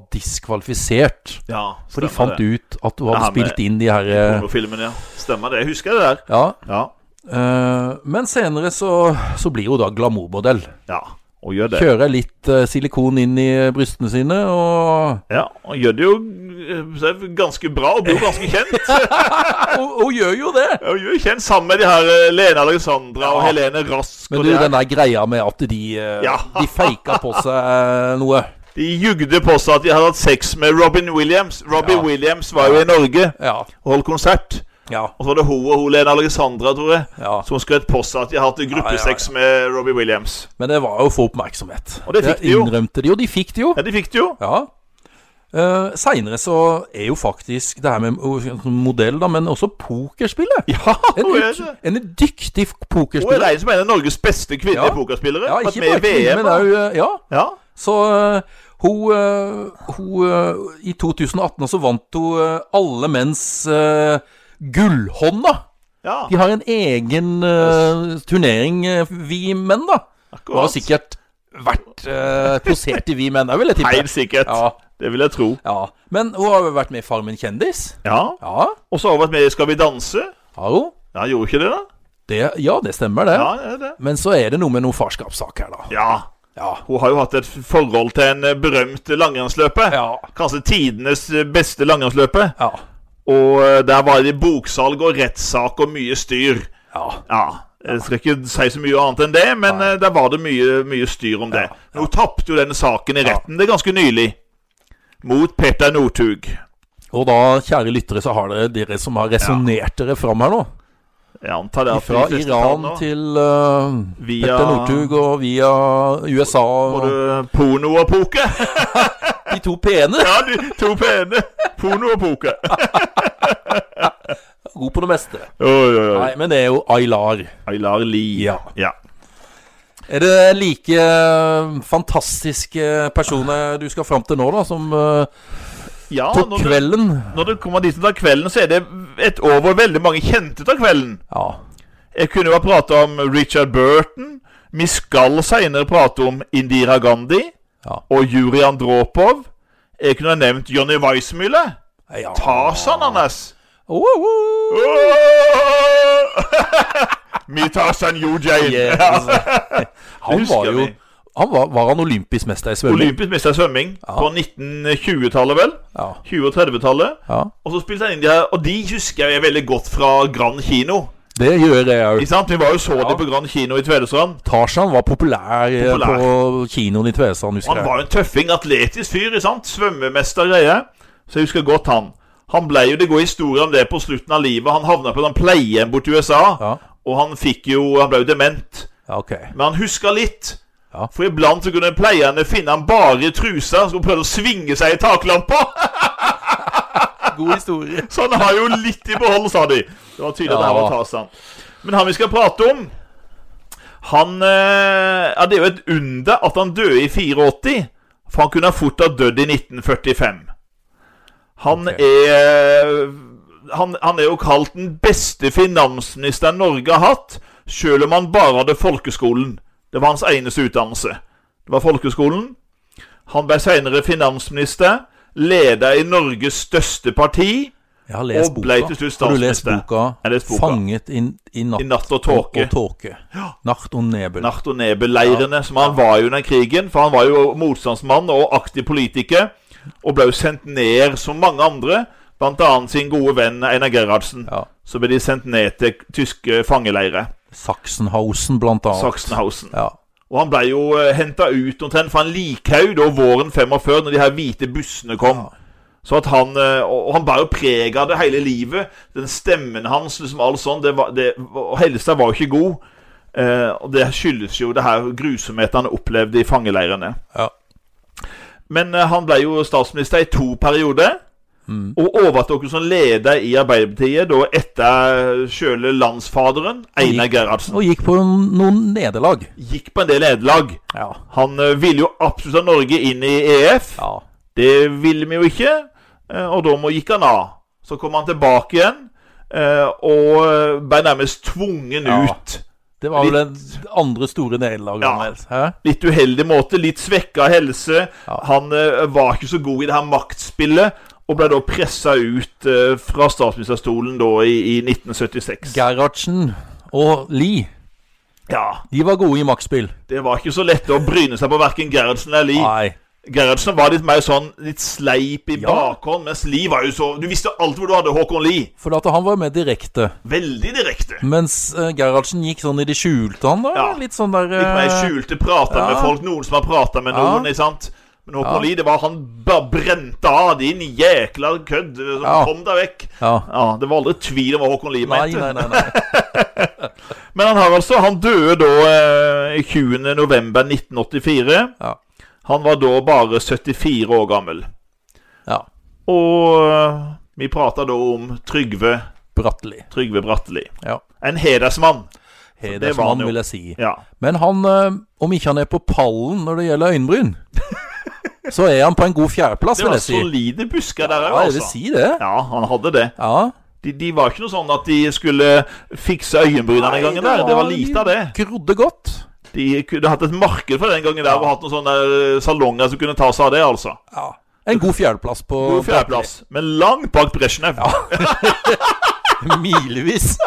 [SPEAKER 1] diskvalifisert.
[SPEAKER 2] Ja,
[SPEAKER 1] For de fant ut at hun hadde
[SPEAKER 2] Ja, men-
[SPEAKER 1] spilt inn de her eh,
[SPEAKER 2] Pornofilmen, ja. Stemmer det. Jeg husker det der.
[SPEAKER 1] Ja.
[SPEAKER 2] Ja.
[SPEAKER 1] eh, men senere så, så blir hun da glamourmodell.
[SPEAKER 2] ja. Og gjør det.
[SPEAKER 1] Kjører litt eh, silikon inn i brystene sine og
[SPEAKER 2] Ja, og gjør det jo eh, så er det ganske bra, og blir jo ganske kjent.
[SPEAKER 1] Hun hun gjør jo det!
[SPEAKER 2] Jeg er jo kjent sammen med de her eh, Lene Alexandra og
[SPEAKER 1] Ja.
[SPEAKER 2] Helene Rask.
[SPEAKER 1] Men
[SPEAKER 2] og
[SPEAKER 1] du,
[SPEAKER 2] de, her.
[SPEAKER 1] den der greia med at de, eh,
[SPEAKER 2] Ja.
[SPEAKER 1] de faka på seg eh, noe
[SPEAKER 2] de jugde på seg at de hadde hatt sex med Robin Williams.
[SPEAKER 1] Ja.
[SPEAKER 2] Robin Williams var jo i Norge
[SPEAKER 1] Ja.
[SPEAKER 2] og holdt konsert.
[SPEAKER 1] Ja.
[SPEAKER 2] Og så var det hun og hun Lene Alexandra, tror jeg,
[SPEAKER 1] ja.
[SPEAKER 2] som skrøt på seg at de hadde hatt gruppesex med Robbie Williams.
[SPEAKER 1] Men det var jo å få oppmerksomhet.
[SPEAKER 2] Og det fikk de jo.
[SPEAKER 1] innrømte de jo. De fikk det jo.
[SPEAKER 2] Ja, de fikk det jo.
[SPEAKER 1] Ja. Uh, Seinere så er jo faktisk det her med uh, modell, da, men også pokerspillet.
[SPEAKER 2] Ja,
[SPEAKER 1] En,
[SPEAKER 2] hun er
[SPEAKER 1] ut-
[SPEAKER 2] det.
[SPEAKER 1] en dyktig
[SPEAKER 2] Hun er
[SPEAKER 1] pokerspiller.
[SPEAKER 2] en som er en av Norges beste
[SPEAKER 1] Ja.
[SPEAKER 2] kvinnelige pokerspillere.
[SPEAKER 1] Ja,
[SPEAKER 2] vært
[SPEAKER 1] ikke
[SPEAKER 2] med
[SPEAKER 1] bare
[SPEAKER 2] i
[SPEAKER 1] kvinner,
[SPEAKER 2] VM.
[SPEAKER 1] men òg uh, Ja.
[SPEAKER 2] Ja.
[SPEAKER 1] Så uh, hun, uh, hun uh, I 2018 så vant hun uh, alle menns uh, gullhånda.
[SPEAKER 2] ja,
[SPEAKER 1] De har en egen uh, turnering, uh, vi menn, da. Hun har
[SPEAKER 2] akkurat.
[SPEAKER 1] sikkert vært uh, posert i vi menn òg, vil jeg tippe.
[SPEAKER 2] Helt sikkert.
[SPEAKER 1] Ja.
[SPEAKER 2] Det vil jeg tro.
[SPEAKER 1] Ja, Men hun har jo vært med i Farmen kjendis.
[SPEAKER 2] Ja.
[SPEAKER 1] Ja,
[SPEAKER 2] Og så har hun vært med i Skal vi danse.
[SPEAKER 1] har hun?
[SPEAKER 2] Ja, gjorde hun ikke det, da?
[SPEAKER 1] Det, ja, det stemmer, det.
[SPEAKER 2] Ja, det er det.
[SPEAKER 1] Men så er det noe med noen farskapssak her, da.
[SPEAKER 2] Ja.
[SPEAKER 1] Ja.
[SPEAKER 2] Hun har jo hatt et forhold til en eh, berømt langrennsløper.
[SPEAKER 1] Ja.
[SPEAKER 2] Kanskje tidenes eh, beste langrennsløper.
[SPEAKER 1] Ja.
[SPEAKER 2] Og eh, der var det boksalg og rettssak og mye styr.
[SPEAKER 1] ja.
[SPEAKER 2] Ja, jeg skal ikke si så mye annet enn det, men eh, der var det mye, mye styr om det. Men hun tapte jo denne saken i retten, det er ganske nylig. Mot Petter Northug.
[SPEAKER 1] Og da, kjære lyttere, så har dere dere som har resonnert dere fram her nå.
[SPEAKER 2] Jeg antar det at
[SPEAKER 1] Fra
[SPEAKER 2] de fleste
[SPEAKER 1] Iran
[SPEAKER 2] kan nå,
[SPEAKER 1] til eh,
[SPEAKER 2] Via-
[SPEAKER 1] Petter Northug og via USA og
[SPEAKER 2] Både porno og poker.
[SPEAKER 1] de to p-ene.
[SPEAKER 2] Ja, de to pene. Porno og poker.
[SPEAKER 1] God på det meste.
[SPEAKER 2] Oi, oi, oi.
[SPEAKER 1] Nei, men det er jo Aylar.
[SPEAKER 2] Aylar Lie.
[SPEAKER 1] Ja.
[SPEAKER 2] ja.
[SPEAKER 1] Er det like eh, fantastiske personer du skal fram til nå, da, som eh,
[SPEAKER 2] Ja,
[SPEAKER 1] tok
[SPEAKER 2] når du,
[SPEAKER 1] kvelden?
[SPEAKER 2] når du kommer dit av kvelden, så er det et år hvor veldig mange kjente ut av kvelden.
[SPEAKER 1] Ja.
[SPEAKER 2] Jeg kunne jo ha prata om Richard Burton. Vi skal seinere prate om Indira Gandhi
[SPEAKER 1] Ja.
[SPEAKER 2] og Juri Andropov. Jeg kunne ha nevnt Johnny Weissmühle.
[SPEAKER 1] ja.
[SPEAKER 2] Tarzan hans.
[SPEAKER 1] Oh, oh, oh.
[SPEAKER 2] Vi Tarzan Yujain.
[SPEAKER 1] Yeah. Han
[SPEAKER 2] husker
[SPEAKER 1] var jo
[SPEAKER 2] vi.
[SPEAKER 1] han var, var han olympisk mester i svømming?
[SPEAKER 2] Olympisk mester i svømming på 1920-tallet, vel?
[SPEAKER 1] Ja.
[SPEAKER 2] 20- og 30-tallet.
[SPEAKER 1] ja.
[SPEAKER 2] Og så spilte han inn de her, og de husker jeg veldig godt fra Grand Kino.
[SPEAKER 1] Det gjør jeg òg.
[SPEAKER 2] Ikke sant? Vi var jo så det på Grand Kino i Tvedestrand.
[SPEAKER 1] Tarzan var populær, eh,
[SPEAKER 2] Populær.
[SPEAKER 1] på kinoen i Tvedestrand, husker
[SPEAKER 2] Han
[SPEAKER 1] jeg.
[SPEAKER 2] var jo en tøffing, atletisk fyr. Ikke sant? Svømmemester og greier. Så jeg husker godt han. Han ble jo, Det går historie om det på slutten av livet. Han havna på en pleiehjem borti USA.
[SPEAKER 1] Ja.
[SPEAKER 2] Og han fikk jo, han ble jo dement.
[SPEAKER 1] Ja, ok.
[SPEAKER 2] Men han huska litt.
[SPEAKER 1] Ja.
[SPEAKER 2] For iblant så kunne pleierne finne han bare i trusa og prøvde å svinge seg i taklampa.
[SPEAKER 1] God historie.
[SPEAKER 2] Så han har jo litt i behold, sa de. Det var tydelig
[SPEAKER 1] Ja.
[SPEAKER 2] at det her var Tarzan. Men han vi skal prate om Han eh, Ja, det er jo et under at han døde i 84. For han kunne fort ha dødd i 1945. Han
[SPEAKER 1] Ok.
[SPEAKER 2] er han, han er jo kalt den beste finansministeren Norge har hatt, sjøl om han bare hadde folkeskolen. Det var hans eneste utdannelse. Det var folkeskolen. Han ble seinere finansminister, leder i Norges største parti,
[SPEAKER 1] Jeg har lest
[SPEAKER 2] Og
[SPEAKER 1] boka.
[SPEAKER 2] ble til slutt
[SPEAKER 1] Har du lest
[SPEAKER 2] statsminister.
[SPEAKER 1] boka?
[SPEAKER 2] Jeg har lest boka.
[SPEAKER 1] 'Fanget i, i natt,
[SPEAKER 2] I natt og tåke.
[SPEAKER 1] og tåke'. Nacht og nebel.
[SPEAKER 2] Nartonebe-leirene, som han var jo under krigen. For han var jo motstandsmann og aktiv politiker, og ble jo sendt ned som mange andre. Blant annet sin gode venn Einar Gerhardsen.
[SPEAKER 1] Ja.
[SPEAKER 2] Så ble de sendt ned til tyske fangeleirer.
[SPEAKER 1] Sachsenhausen, blant annet.
[SPEAKER 2] Sachsenhausen.
[SPEAKER 1] Ja.
[SPEAKER 2] Og han ble jo henta ut omtrent fra en likhaug da våren 45, når de her hvite bussene kom. Så at han, eh, og og han bar jo preg av det hele livet. Den stemmen hans liksom alt sånn, det var, det, og helsa var jo ikke god. Eh, og det skyldes jo det her grusomheten han opplevde i fangeleirene.
[SPEAKER 1] Ja.
[SPEAKER 2] Men eh, han ble jo statsminister i to perioder.
[SPEAKER 1] Mm.
[SPEAKER 2] Og overtok jo som leder i Arbeiderpartiet da etter sjøle landsfaderen Einar Gerhardsen.
[SPEAKER 1] Og gikk på noen nederlag.
[SPEAKER 2] Gikk på en del nederlag.
[SPEAKER 1] Ja.
[SPEAKER 2] Han eh, ville jo absolutt ha Norge inn i EF.
[SPEAKER 1] ja.
[SPEAKER 2] Det ville vi jo ikke, eh, og da må gikk han av. Så kom han tilbake igjen, eh, og ble nærmest tvungen
[SPEAKER 1] Ja.
[SPEAKER 2] ut.
[SPEAKER 1] Det var vel det andre store nederlaget.
[SPEAKER 2] Ja.
[SPEAKER 1] hans, Hæ?
[SPEAKER 2] Litt uheldig måte, litt svekka helse.
[SPEAKER 1] Ja.
[SPEAKER 2] Han eh, var ikke så god i det her maktspillet, og ble da pressa ut eh, fra statsministerstolen da i, i 1976.
[SPEAKER 1] Gerhardsen og Lie,
[SPEAKER 2] Ja,
[SPEAKER 1] de var gode i maktspill.
[SPEAKER 2] Det var ikke så lett å bryne seg på verken Gerhardsen eller Lie.
[SPEAKER 1] Nei.
[SPEAKER 2] Gerhardsen var litt mer sånn litt sleip i
[SPEAKER 1] Ja.
[SPEAKER 2] bakhånd, mens Lie var jo så Du visste alltid hvor du hadde Håkon Lie.
[SPEAKER 1] For at han var mer direkte.
[SPEAKER 2] Veldig direkte.
[SPEAKER 1] Mens eh, Gerhardsen gikk sånn i det skjulte, han da.
[SPEAKER 2] Ja.
[SPEAKER 1] Litt sånn der
[SPEAKER 2] Litt mer
[SPEAKER 1] eh,
[SPEAKER 2] skjulte, prata
[SPEAKER 1] Ja.
[SPEAKER 2] med folk, noen som har prata med
[SPEAKER 1] Ja.
[SPEAKER 2] noen. ikke sant? Men Håkon
[SPEAKER 1] Ja.
[SPEAKER 2] Lie, det var han bare brente av, din jækla kødd. eh, som
[SPEAKER 1] Ja.
[SPEAKER 2] Kom deg vekk.
[SPEAKER 1] Ja.
[SPEAKER 2] Ja, Det var aldri tvil om hva Håkon Lie
[SPEAKER 1] Nei,
[SPEAKER 2] mente.
[SPEAKER 1] nei, nei. nei.
[SPEAKER 2] Men han har altså, han døde da eh, 20. november 1984.
[SPEAKER 1] Ja.
[SPEAKER 2] Han var da bare 74 år gammel.
[SPEAKER 1] ja.
[SPEAKER 2] Og eh, vi prata da om Trygve,
[SPEAKER 1] Bratteli.
[SPEAKER 2] Trygve Bratteli.
[SPEAKER 1] Ja.
[SPEAKER 2] En hedersmann. det var
[SPEAKER 1] Hedersmann,
[SPEAKER 2] han jo.
[SPEAKER 1] vil jeg si.
[SPEAKER 2] Ja.
[SPEAKER 1] Men han, eh, om ikke han er på pallen når det gjelder øyenbryn, så er han på en god fjerdeplass,
[SPEAKER 2] Det
[SPEAKER 1] vil
[SPEAKER 2] var
[SPEAKER 1] jeg si.
[SPEAKER 2] solide busker der òg,
[SPEAKER 1] Ja, jeg vil
[SPEAKER 2] altså.
[SPEAKER 1] si det.
[SPEAKER 2] Ja, han hadde det.
[SPEAKER 1] Ja.
[SPEAKER 2] De, de var ikke noe sånn at de skulle fikse øyenbrynene den gangen. der Det var lite av det.
[SPEAKER 1] Grodde godt.
[SPEAKER 2] De kunne hatt et marked for det den gangen der og hatt noen sånne eh, salonger som kunne ta seg av det. altså
[SPEAKER 1] Ja. En god fjerdeplass på
[SPEAKER 2] God fjerdeplass, men langt bak Brezjnev.
[SPEAKER 1] Milevis.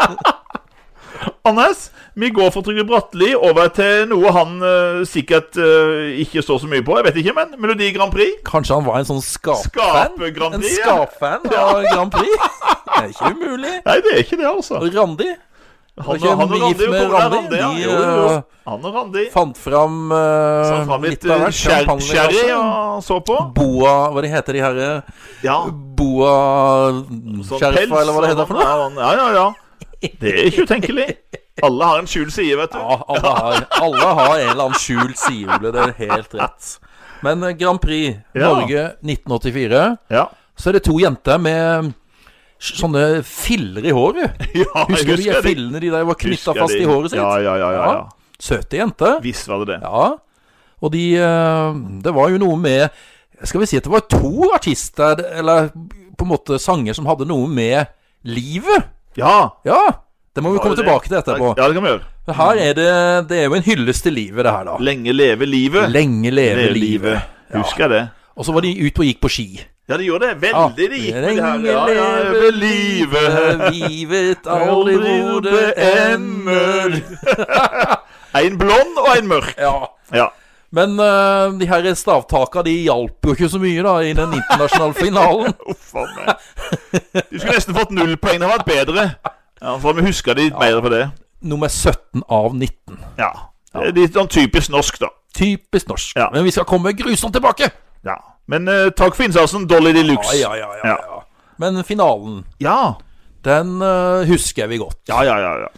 [SPEAKER 2] Anders, vi går fra Trygve Bratteli over til noe han eh, sikkert eh, ikke står så mye på. Jeg vet ikke, men Melodi Grand Prix.
[SPEAKER 1] Kanskje han var en sånn skapfan?
[SPEAKER 2] Skape Grand
[SPEAKER 1] En
[SPEAKER 2] Prix. ja.
[SPEAKER 1] skapfan av Grand Prix? Det er ikke umulig.
[SPEAKER 2] Nei, det er ikke det, altså.
[SPEAKER 1] Og Randi
[SPEAKER 2] Han,
[SPEAKER 1] ikke en
[SPEAKER 2] han og
[SPEAKER 1] beef
[SPEAKER 2] Randi, jo,
[SPEAKER 1] med
[SPEAKER 2] Tore,
[SPEAKER 1] Randi?
[SPEAKER 2] Randi, ja.
[SPEAKER 1] De,
[SPEAKER 2] jo, jo,
[SPEAKER 1] eh,
[SPEAKER 2] jo. Han og Randi.
[SPEAKER 1] fant fram, eh,
[SPEAKER 2] Så han fant litt
[SPEAKER 1] litt av
[SPEAKER 2] eh,
[SPEAKER 1] hvert.
[SPEAKER 2] sher-
[SPEAKER 1] Champagne,
[SPEAKER 2] sherry
[SPEAKER 1] altså.
[SPEAKER 2] og så på.
[SPEAKER 1] Boa Hva de heter de herre
[SPEAKER 2] Ja,
[SPEAKER 1] Boa
[SPEAKER 2] Sånn
[SPEAKER 1] Sheriff,
[SPEAKER 2] pels,
[SPEAKER 1] eller hva det heter for noe?
[SPEAKER 2] sånn, Ja, ja, ja. ja. Det er ikke utenkelig. Alle har en skjult side, vet du.
[SPEAKER 1] Ja, alle har, alle har en eller annen skjult side, Ole. Det er helt rett. Men eh, Grand Prix
[SPEAKER 2] Ja.
[SPEAKER 1] Norge 1984,
[SPEAKER 2] Ja.
[SPEAKER 1] så er det to jenter med s- sånne filler i håret.
[SPEAKER 2] ja jeg
[SPEAKER 1] Husker du de
[SPEAKER 2] det.
[SPEAKER 1] fillene de der var knytta
[SPEAKER 2] Husker
[SPEAKER 1] fast
[SPEAKER 2] det.
[SPEAKER 1] i håret sitt?
[SPEAKER 2] Ja, ja, ja. ja, ja.
[SPEAKER 1] Søte jenter.
[SPEAKER 2] Visst var det det.
[SPEAKER 1] Ja. Og de eh, Det var jo noe med Skal vi si at det var to artister, eller på en måte sanger, som hadde noe med livet?
[SPEAKER 2] Ja.
[SPEAKER 1] Ja. Det må vi komme tilbake til etterpå.
[SPEAKER 2] Ja, det kan vi gjøre.
[SPEAKER 1] Men Her er det Det er jo en hyllest til livet, det her, da.
[SPEAKER 2] Lenge leve livet.
[SPEAKER 1] Lenge leve livet.
[SPEAKER 2] Husker jeg det.
[SPEAKER 1] Og så var de ute og gikk på ski.
[SPEAKER 2] Ja, de gjorde det. Veldig de gikk med det her. Ja, ja, leve livet.
[SPEAKER 1] vi vet aldri hvor det ender.
[SPEAKER 2] en blond og en mørk.
[SPEAKER 1] Ja.
[SPEAKER 2] Ja.
[SPEAKER 1] Men eh, de her stavtaka de hjalp jo ikke så mye da i den internasjonale finalen.
[SPEAKER 2] Uff a meg. Du skulle nesten fått null poeng. Det hadde vært bedre. Ja, for vi husker de litt mer for det.
[SPEAKER 1] Nummer 17 av 19.
[SPEAKER 2] Ja. Det er litt sånn typisk norsk, da.
[SPEAKER 1] Typisk norsk.
[SPEAKER 2] Ja.
[SPEAKER 1] Men vi skal komme grusomt tilbake!
[SPEAKER 2] Ja. Men eh, takk for innsatsen, Dolly de
[SPEAKER 1] Ja,
[SPEAKER 2] Luxe.
[SPEAKER 1] ja, ja, ja, ja. Men finalen,
[SPEAKER 2] ja.
[SPEAKER 1] den eh, husker vi godt.
[SPEAKER 2] ja, ja, ja, ja.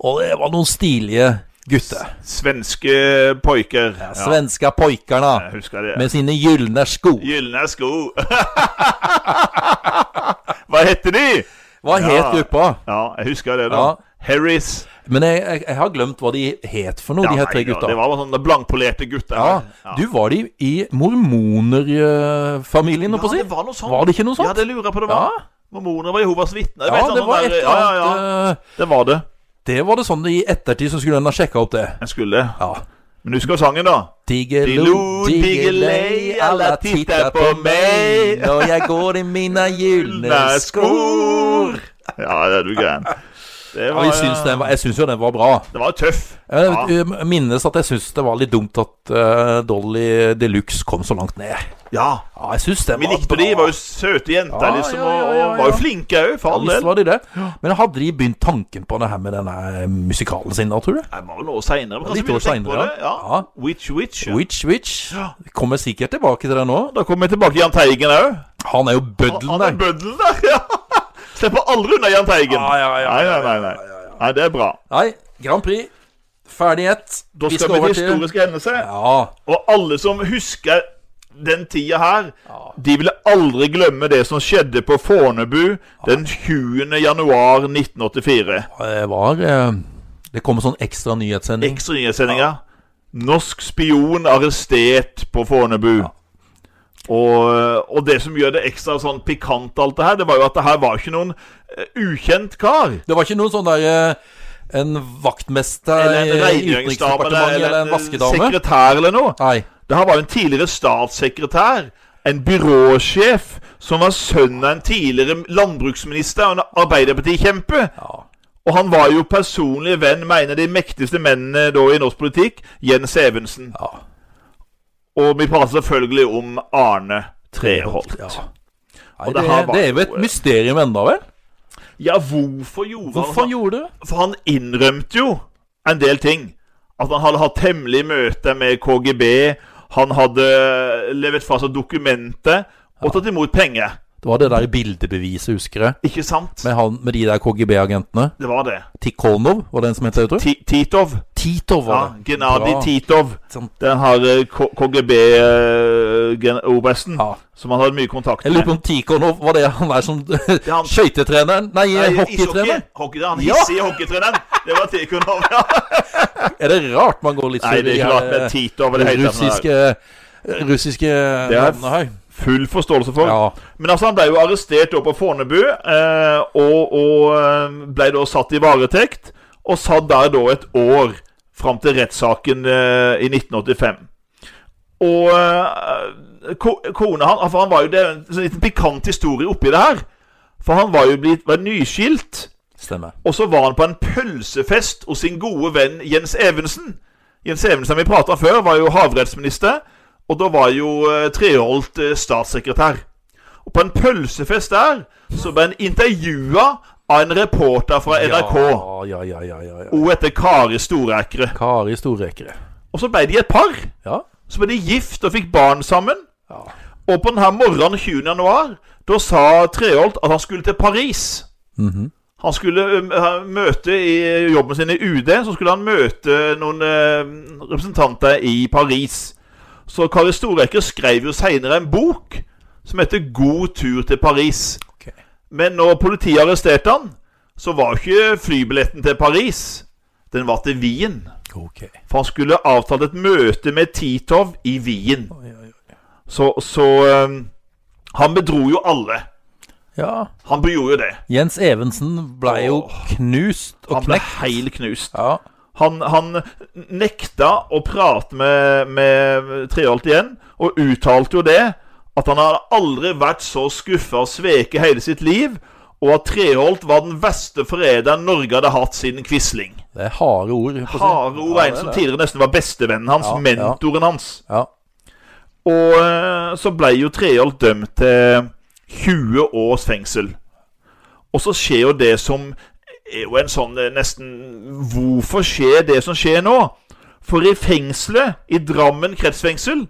[SPEAKER 1] Og det var noen stilige gutter.
[SPEAKER 2] Svenske poiker. Ja,
[SPEAKER 1] Svenska pojkarna
[SPEAKER 2] Jeg husker det.
[SPEAKER 1] med sine gylne sko.
[SPEAKER 2] Gylne sko. Hva heter de?
[SPEAKER 1] Hva het
[SPEAKER 2] Ja.
[SPEAKER 1] gruppa?
[SPEAKER 2] Ja, jeg husker det, da.
[SPEAKER 1] Ja.
[SPEAKER 2] Harris.
[SPEAKER 1] Men jeg, jeg, jeg har glemt hva de het for noe, de her
[SPEAKER 2] nei
[SPEAKER 1] tre
[SPEAKER 2] da,
[SPEAKER 1] gutta.
[SPEAKER 2] Det var bare sånne blankpolerte gutter.
[SPEAKER 1] Ja,
[SPEAKER 2] her. Ja.
[SPEAKER 1] du var de i eh, mormonerfamilien, holdt på å si?
[SPEAKER 2] det var noe sånt.
[SPEAKER 1] Var det ikke noe
[SPEAKER 2] Ja,
[SPEAKER 1] sånt?
[SPEAKER 2] det lurer jeg på det
[SPEAKER 1] Ja.
[SPEAKER 2] var. Mormoner var Jehovas vitner. jeg
[SPEAKER 1] Ja,
[SPEAKER 2] vet, sånn
[SPEAKER 1] det var
[SPEAKER 2] der-
[SPEAKER 1] et eller
[SPEAKER 2] ja, ja, ja.
[SPEAKER 1] annet eh,
[SPEAKER 2] Det var det.
[SPEAKER 1] Det var det sånn i ettertid så skulle en ha sjekka opp det.
[SPEAKER 2] Jeg skulle.
[SPEAKER 1] Ja.
[SPEAKER 2] Men husker sangen, da?
[SPEAKER 1] Diggelo, diggelei, alla tittar på meg når jeg går i mine gylne skor.
[SPEAKER 2] Ja, det er du gæren. Det
[SPEAKER 1] Ja,
[SPEAKER 2] var, eh,
[SPEAKER 1] jeg syns den var- jeg syns jo den var bra.
[SPEAKER 2] det var tøff.
[SPEAKER 1] Jeg
[SPEAKER 2] Ja.
[SPEAKER 1] jeg minnes at jeg syns det var litt dumt at eh, Dolly Deluxe kom så langt ned.
[SPEAKER 2] Ja.
[SPEAKER 1] Ja, jeg syns den
[SPEAKER 2] Vi
[SPEAKER 1] var
[SPEAKER 2] likte
[SPEAKER 1] bra.
[SPEAKER 2] de, var jo søte jenter,
[SPEAKER 1] Ja,
[SPEAKER 2] liksom,
[SPEAKER 1] ja, ja,
[SPEAKER 2] og-
[SPEAKER 1] ja,
[SPEAKER 2] og
[SPEAKER 1] ja.
[SPEAKER 2] var jo flinke òg, for all
[SPEAKER 1] Ja, visst
[SPEAKER 2] del.
[SPEAKER 1] var de det. Men hadde de begynt tanken på det her med denne eh, musikalen sin da, tror du?
[SPEAKER 2] Det var jo noe seinere.
[SPEAKER 1] Litt år senere,
[SPEAKER 2] ja.
[SPEAKER 1] ja. Ja.
[SPEAKER 2] Witch Witch. ja.
[SPEAKER 1] Witch, witch.
[SPEAKER 2] Ja.
[SPEAKER 1] Vi kommer sikkert tilbake til det nå.
[SPEAKER 2] Da kommer vi tilbake til Jahn Teigen òg.
[SPEAKER 1] Han er jo
[SPEAKER 2] Han
[SPEAKER 1] bøddelen
[SPEAKER 2] er
[SPEAKER 1] der.
[SPEAKER 2] bøddelen der, ja. Slipper aldri unna Jahn Teigen.
[SPEAKER 1] Ja, ja, ja,
[SPEAKER 2] nei, nei, nei, nei. nei, det er bra.
[SPEAKER 1] Nei, Grand Prix. Ferdig ett.
[SPEAKER 2] Da skal vi til historiske hendelser.
[SPEAKER 1] Ja.
[SPEAKER 2] Og alle som husker den tida her, de ville aldri glemme det som skjedde på Fornebu den 20. januar 1984.
[SPEAKER 1] Det var eh, Det kom en sånn ekstra nyhetssending.
[SPEAKER 2] Ekstra nyhetssendinga. Norsk spion arrestert på Fornebu. Og, og det som gjør det ekstra sånn pikant, alt det her, det var jo at det her var ikke noen eh, ukjent kar.
[SPEAKER 1] Det var ikke noen sånn der eh, En vaktmester
[SPEAKER 2] Eller en
[SPEAKER 1] i
[SPEAKER 2] rengjøringsdame
[SPEAKER 1] Eh, Utenriksdepartementet
[SPEAKER 2] eller,
[SPEAKER 1] eller, en vaskedame.
[SPEAKER 2] sekretær eller noe.
[SPEAKER 1] Nei.
[SPEAKER 2] Det her var jo en tidligere statssekretær, en byråsjef, som var sønn av en tidligere landbruksminister og en Arbeiderparti-kjempe.
[SPEAKER 1] Ja.
[SPEAKER 2] Og han var jo personlig venn med en av de mektigste mennene da i norsk politikk, Jens Evensen.
[SPEAKER 1] ja.
[SPEAKER 2] Og vi prater selvfølgelig om Arne Treholt.
[SPEAKER 1] Ja.
[SPEAKER 2] Ja,
[SPEAKER 1] Nei,
[SPEAKER 2] Og
[SPEAKER 1] det,
[SPEAKER 2] det her var
[SPEAKER 1] det er jo
[SPEAKER 2] jo,
[SPEAKER 1] et
[SPEAKER 2] eh,
[SPEAKER 1] mysterium enda, vel?
[SPEAKER 2] hvorfor gjorde
[SPEAKER 1] Hvorfor
[SPEAKER 2] han det?
[SPEAKER 1] gjorde du det?
[SPEAKER 2] For han innrømte jo en del ting. At han hadde hatt hemmelige møter med KGB, han hadde levert fra seg dokumenter og tatt imot penger.
[SPEAKER 1] Det var det der bildebeviset, husker jeg.
[SPEAKER 2] Ikke sant?
[SPEAKER 1] Med, han, med de der KGB-agentene.
[SPEAKER 2] Det var det.
[SPEAKER 1] Tikhonov, var det en som het det, tror du?
[SPEAKER 2] Ti Titov.
[SPEAKER 1] Titov,
[SPEAKER 2] Ja,
[SPEAKER 1] var det.
[SPEAKER 2] Gennadij
[SPEAKER 1] Bra.
[SPEAKER 2] Titov.
[SPEAKER 1] Sant.
[SPEAKER 2] Den eh, har KGB-obersten,
[SPEAKER 1] Ja.
[SPEAKER 2] eh, som han hadde mye kontakt
[SPEAKER 1] Jeg lurer
[SPEAKER 2] med.
[SPEAKER 1] på om Tikhonov var det han der som
[SPEAKER 2] han-
[SPEAKER 1] Skøytetreneren? Nei,
[SPEAKER 2] Nei,
[SPEAKER 1] hockeytreneren?
[SPEAKER 2] ishockey. Hockey, han
[SPEAKER 1] Ja.
[SPEAKER 2] hissige hockeytreneren. Det var Tikhonov, ja.
[SPEAKER 1] Er det rart man går litt
[SPEAKER 2] Nei, det er
[SPEAKER 1] her, eh,
[SPEAKER 2] klart med Titov. Det, hele tatt.
[SPEAKER 1] russiske Russiske
[SPEAKER 2] Det er-
[SPEAKER 1] navnene her?
[SPEAKER 2] Full forståelse for.
[SPEAKER 1] Ja.
[SPEAKER 2] Men altså, han ble jo arrestert da på Fornebu, eh, og, og eh, ble da satt i varetekt. Og satt der da et år, fram til rettssaken eh, i 1985. Og eh, ko kona han, for han var jo det er jo en sånn liten pikant historie oppi det her. For han var jo blitt var nyskilt,
[SPEAKER 1] Stemmer.
[SPEAKER 2] og så var han på en pølsefest hos sin gode venn Jens Evensen. Jens Evensen, som vi prata før, var jo havrettsminister, og da var jo eh, Treholt eh, statssekretær. Og på en pølsefest der så ble han intervjua av en reporter fra NRK.
[SPEAKER 1] Ja, ja, ja, ja, ja, ja.
[SPEAKER 2] Hun heter Kari Storekre.
[SPEAKER 1] Kari Storekere.
[SPEAKER 2] Og så ble de et par.
[SPEAKER 1] Ja.
[SPEAKER 2] Så ble de gift og fikk barn sammen.
[SPEAKER 1] ja.
[SPEAKER 2] Og på denne morgenen 20. januar, da sa Treholt at han skulle til Paris.
[SPEAKER 1] Mhm.
[SPEAKER 2] Han skulle ø, møte i jobben sin i UD, så skulle han møte noen ø, representanter i Paris. Så Kari Storeker skrev jo seinere en bok som heter 'God tur til Paris'.
[SPEAKER 1] Ok.
[SPEAKER 2] Men når politiet arresterte han, så var jo ikke flybilletten til Paris. Den var til Wien.
[SPEAKER 1] Ok.
[SPEAKER 2] For han skulle avtalt et møte med Titov i Wien.
[SPEAKER 1] Oi, oi, oi.
[SPEAKER 2] Så, så ø, Han bedro jo alle.
[SPEAKER 1] Ja.
[SPEAKER 2] Han gjorde jo det.
[SPEAKER 1] Jens Evensen ble jo knust og
[SPEAKER 2] Han ble
[SPEAKER 1] knekt.
[SPEAKER 2] helt knust.
[SPEAKER 1] Ja.
[SPEAKER 2] Han, han nekta å prate med, med Treholt igjen, og uttalte jo det. At han hadde aldri vært så skuffa og sveket hele sitt liv, og at Treholt var den verste forræderen Norge hadde hatt siden Quisling.
[SPEAKER 1] Det er harde ord. på å si.
[SPEAKER 2] Hare Ove,
[SPEAKER 1] Ja, det
[SPEAKER 2] en
[SPEAKER 1] er
[SPEAKER 2] som
[SPEAKER 1] det.
[SPEAKER 2] tidligere nesten var bestevennen hans,
[SPEAKER 1] Ja, ja.
[SPEAKER 2] mentoren hans.
[SPEAKER 1] Ja.
[SPEAKER 2] Og eh, så ble jo Treholt dømt til 20 års fengsel. Og så skjer jo det som er jo en sånn eh, nesten Hvorfor skjer det som skjer nå? For i fengselet, i Drammen kretsfengsel,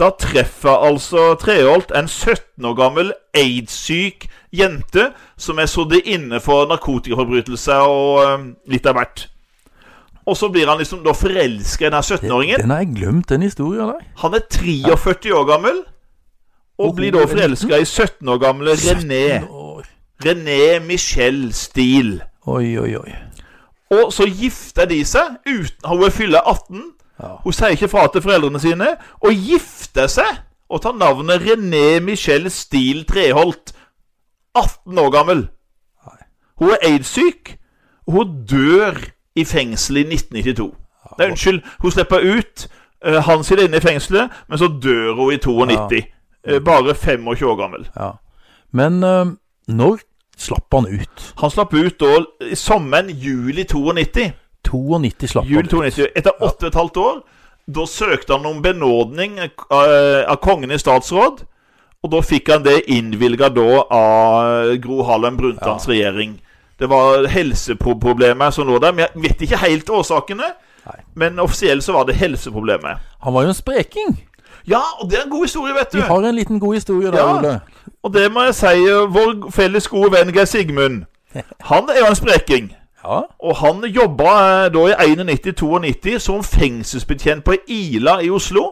[SPEAKER 2] da treffer altså Treholt en 17 år gammel aids-syk jente som er sittet inne for narkotikaforbrytelser og eh, litt av hvert. Og så blir han liksom da forelska i den 17-åringen.
[SPEAKER 1] Den har jeg glemt, den historien der.
[SPEAKER 2] Han er 43 år gammel og
[SPEAKER 1] Og
[SPEAKER 2] blir
[SPEAKER 1] hun
[SPEAKER 2] da
[SPEAKER 1] er
[SPEAKER 2] forelska i 17 år gamle René.
[SPEAKER 1] År.
[SPEAKER 2] René Michelle Steele.
[SPEAKER 1] Oi, oi, oi.
[SPEAKER 2] Og så gifter de seg uten Hun er fyller 18.
[SPEAKER 1] Ja.
[SPEAKER 2] Hun sier ikke fra til foreldrene sine, og gifter seg og tar navnet René Michelle Steele Treholt. 18 år gammel. Hun er aids-syk. og Hun dør i fengsel i 1992. Nei, unnskyld. Hun slipper ut, Eh, Han sitter inne i fengselet, men så dør hun i 92. eh, Bare 25 år gammel.
[SPEAKER 1] Ja. Men eh, når slapp han ut?
[SPEAKER 2] Han slapp ut da i sommeren juli 92.
[SPEAKER 1] 92 slapp
[SPEAKER 2] Juli
[SPEAKER 1] han ut.
[SPEAKER 2] 92. Etter åtte og et halvt år. Da søkte han om benådning eh, av kongen i statsråd. Og da fikk han det innvilga da av Gro Harlem Brundtlands regjering. Det var helseproblemer som lå der. Men jeg vet ikke helt årsakene.
[SPEAKER 1] Nei.
[SPEAKER 2] Men offisielt så var det helseproblemet.
[SPEAKER 1] Han var jo en spreking.
[SPEAKER 2] Ja, og det er en god historie, vet du.
[SPEAKER 1] Vi har en liten god historie der,
[SPEAKER 2] Ja.
[SPEAKER 1] Ole.
[SPEAKER 2] Og det må jeg si, eh, vår felles gode venn Geir Sigmund. Han er jo en spreking.
[SPEAKER 1] Ja.
[SPEAKER 2] Og han jobba eh, da i 91-92 som fengselsbetjent på Ila i Oslo.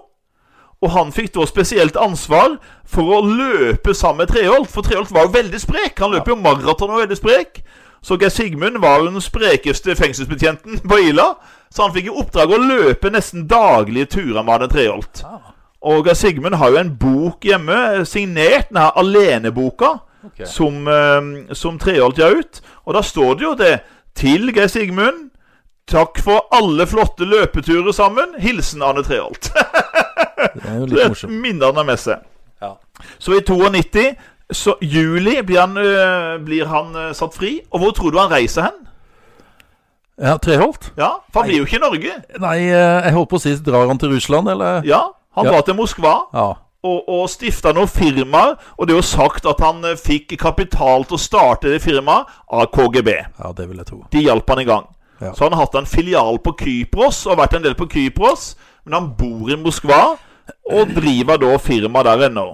[SPEAKER 2] Og han fikk da spesielt ansvar for å løpe sammen med Treholt, for Treholt var jo veldig sprek. Han løp jo maraton og var veldig sprek. Så Geir Sigmund var jo den sprekeste fengselsbetjenten på Ila. Så han fikk i oppdrag å løpe nesten daglige turer med Arne Treholt. Og Geir Sigmund har jo en bok hjemme, eh, signert denne aleneboka,
[SPEAKER 1] Ok.
[SPEAKER 2] som, eh, som Treholt ga ut. Og da står det jo det. Til Geir Sigmund. Takk for alle flotte løpeturer sammen. Hilsen Arne Treholt.
[SPEAKER 1] Det er jo litt
[SPEAKER 2] Det
[SPEAKER 1] morsomt.
[SPEAKER 2] minner han med seg.
[SPEAKER 1] Ja.
[SPEAKER 2] Så i 92, så juli, blir han, eh, blir han eh, satt fri. Og hvor tror du han reiser hen?
[SPEAKER 1] ja, Treholt?
[SPEAKER 2] Ja, For han blir jo ikke i Norge.
[SPEAKER 1] Nei, eh, jeg holdt på å si drar han til Russland, eller?
[SPEAKER 2] Ja, Han
[SPEAKER 1] Ja.
[SPEAKER 2] drar til Moskva.
[SPEAKER 1] Ja.
[SPEAKER 2] og, og stifta noen firmaer. Og det er jo sagt at han eh, fikk kapital til å starte det firmaet av KGB.
[SPEAKER 1] Ja, det vil jeg tro.
[SPEAKER 2] De hjalp han i gang.
[SPEAKER 1] Ja.
[SPEAKER 2] Så han har hatt en filial på Kypros, og vært en del på Kypros. Men han bor i Moskva, og driver da firma der ennå.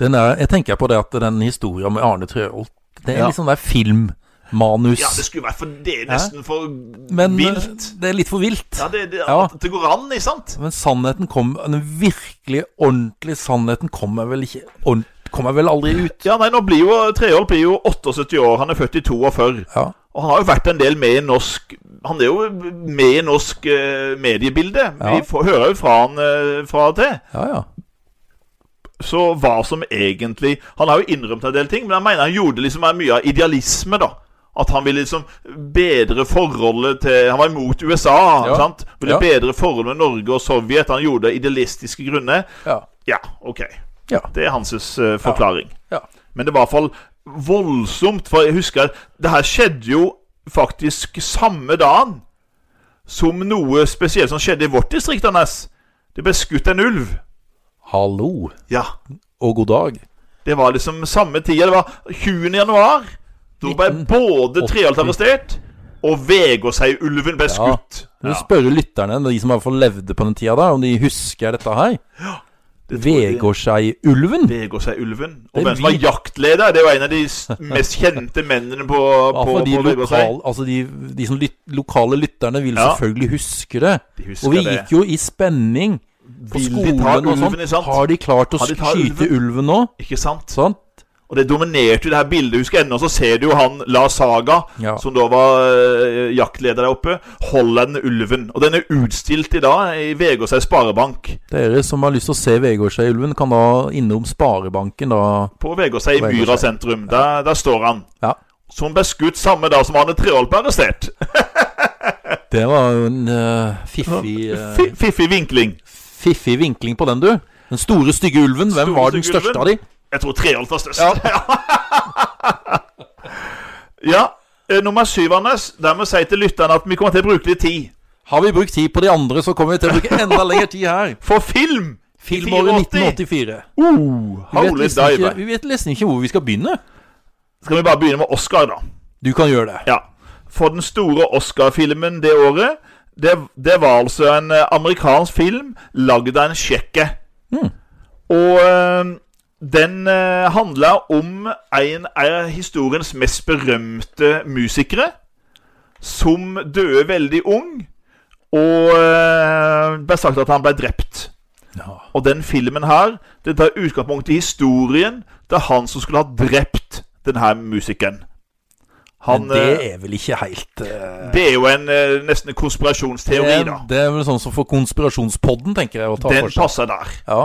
[SPEAKER 1] Den er, jeg tenker på det at den historien med Arne Treholt Det er
[SPEAKER 2] Ja.
[SPEAKER 1] litt sånn der filmmanus.
[SPEAKER 2] Ja, det skulle vært for det er nesten for
[SPEAKER 1] men eh,
[SPEAKER 2] vilt.
[SPEAKER 1] det er litt for vilt.
[SPEAKER 2] Ja, det, det,
[SPEAKER 1] Ja.
[SPEAKER 2] At det går an, ikke sant?
[SPEAKER 1] Men sannheten kom Den virkelig ordentlige sannheten kommer vel ikke ordent- Kommer vel aldri ut.
[SPEAKER 2] Ja, nei, nå blir jo Treholt blir jo 78 år. Han er født i 42.
[SPEAKER 1] Ja.
[SPEAKER 2] Og han har jo vært en del med i norsk Han er jo med i norsk eh, mediebilde.
[SPEAKER 1] Ja.
[SPEAKER 2] Vi får, hører jo fra han eh, fra og til.
[SPEAKER 1] Ja, ja.
[SPEAKER 2] Så hva som egentlig Han har jo innrømt en del ting, men jeg mener han gjorde liksom mye av idealisme, da. At han ville liksom bedre forholdet til Han var imot USA,
[SPEAKER 1] Ja.
[SPEAKER 2] sant? Ville
[SPEAKER 1] Ja.
[SPEAKER 2] bedre forholdet med Norge og Sovjet. Han gjorde det av idealistiske grunner.
[SPEAKER 1] Ja.
[SPEAKER 2] Ja, OK.
[SPEAKER 1] Ja.
[SPEAKER 2] Det er hans eh, forklaring.
[SPEAKER 1] Ja.
[SPEAKER 2] Men det var i hvert fall voldsomt, for jeg husker at det her skjedde jo faktisk samme dagen som noe spesielt som skjedde i vårt distrikt, Anders. Det ble skutt en ulv.
[SPEAKER 1] Hallo
[SPEAKER 2] Ja.
[SPEAKER 1] og god dag.
[SPEAKER 2] Det var liksom samme tida. Det var 20. januar. Da ble både Treholt arrestert, og Vegårshei-ulven ble skutt.
[SPEAKER 1] Du spørre lytterne, de som i hvert fall levde på den tida der, om de husker dette her. Vegårshei-ulven?
[SPEAKER 2] Vegårshei-ulven.
[SPEAKER 1] Det
[SPEAKER 2] Og hvem som
[SPEAKER 1] blir-
[SPEAKER 2] var jaktleder, det var en av de s- mest kjente mennene på,
[SPEAKER 1] Ja,
[SPEAKER 2] på,
[SPEAKER 1] for de,
[SPEAKER 2] på Vegårshei.
[SPEAKER 1] lokal, altså de, de som lyt, lokale lytterne vil
[SPEAKER 2] Ja.
[SPEAKER 1] selvfølgelig huske det.
[SPEAKER 2] De husker
[SPEAKER 1] Og vi
[SPEAKER 2] det.
[SPEAKER 1] gikk jo i spenning på
[SPEAKER 2] Vil de
[SPEAKER 1] skolen
[SPEAKER 2] ta
[SPEAKER 1] og
[SPEAKER 2] ulven,
[SPEAKER 1] sånn.
[SPEAKER 2] ikke sant?
[SPEAKER 1] Har de klart å
[SPEAKER 2] Har de tatt
[SPEAKER 1] skyte ulven nå? Sånn.
[SPEAKER 2] Ikke sant?
[SPEAKER 1] Sant?
[SPEAKER 2] Og det dominerte jo det her bildet. Husker jeg ennå, så ser du jo han Lars Saga,
[SPEAKER 1] Ja.
[SPEAKER 2] som da var eh, jaktleder der oppe, holder den ulven. Og den er utstilt i dag i Vegårshei Sparebank.
[SPEAKER 1] Dere som har lyst til å se Vegårshei-ulven, kan da innom Sparebanken da
[SPEAKER 2] På Vegårshei i
[SPEAKER 1] Vegårshei.
[SPEAKER 2] Myra sentrum. Der, der står han.
[SPEAKER 1] Ja.
[SPEAKER 2] Som ble skutt samme dag som Arne Treholt ble arrestert.
[SPEAKER 1] Det var jo en eh, fiffig, eh,
[SPEAKER 2] Fi- Fiffig vinkling.
[SPEAKER 1] fiffig vinkling på den, du. Den store, stygge ulven. Hvem
[SPEAKER 2] Store,
[SPEAKER 1] var den
[SPEAKER 2] stygge
[SPEAKER 1] største
[SPEAKER 2] ulven?
[SPEAKER 1] av de?
[SPEAKER 2] Jeg tror Treholt var størst. Ja. ja. eh, Nummer syv, Anders. Der må jeg si til lytterne at vi kommer til å bruke litt tid.
[SPEAKER 1] Har vi brukt tid på de andre, så kommer vi til å bruke enda lengre tid her.
[SPEAKER 2] For film!
[SPEAKER 1] Filmåret 1984.
[SPEAKER 2] Uh,
[SPEAKER 1] Vi vet,
[SPEAKER 2] holy
[SPEAKER 1] nesten ikke,
[SPEAKER 2] diver.
[SPEAKER 1] vi vet nesten ikke hvor vi skal begynne.
[SPEAKER 2] Skal vi bare begynne med Oscar, da?
[SPEAKER 1] Du kan gjøre det.
[SPEAKER 2] Ja. For den store Oscar-filmen det året, det, det var altså en eh, amerikansk film lagd av en tsjekke. Og eh, den eh, handla om en av historiens mest berømte musikere, som døde veldig ung, og eh, ble sagt at han ble drept.
[SPEAKER 1] Ja.
[SPEAKER 2] Og den filmen her, det tar utgangspunkt i historien til han som skulle ha drept denne musikeren. Han,
[SPEAKER 1] Men det
[SPEAKER 2] eh,
[SPEAKER 1] er vel ikke helt eh,
[SPEAKER 2] det er jo en eh, nesten en konspirasjonsteori,
[SPEAKER 1] det,
[SPEAKER 2] da.
[SPEAKER 1] det er vel sånn som for konspirasjonspodden, tenker jeg, å ta
[SPEAKER 2] Den
[SPEAKER 1] for seg.
[SPEAKER 2] passer der.
[SPEAKER 1] Ja,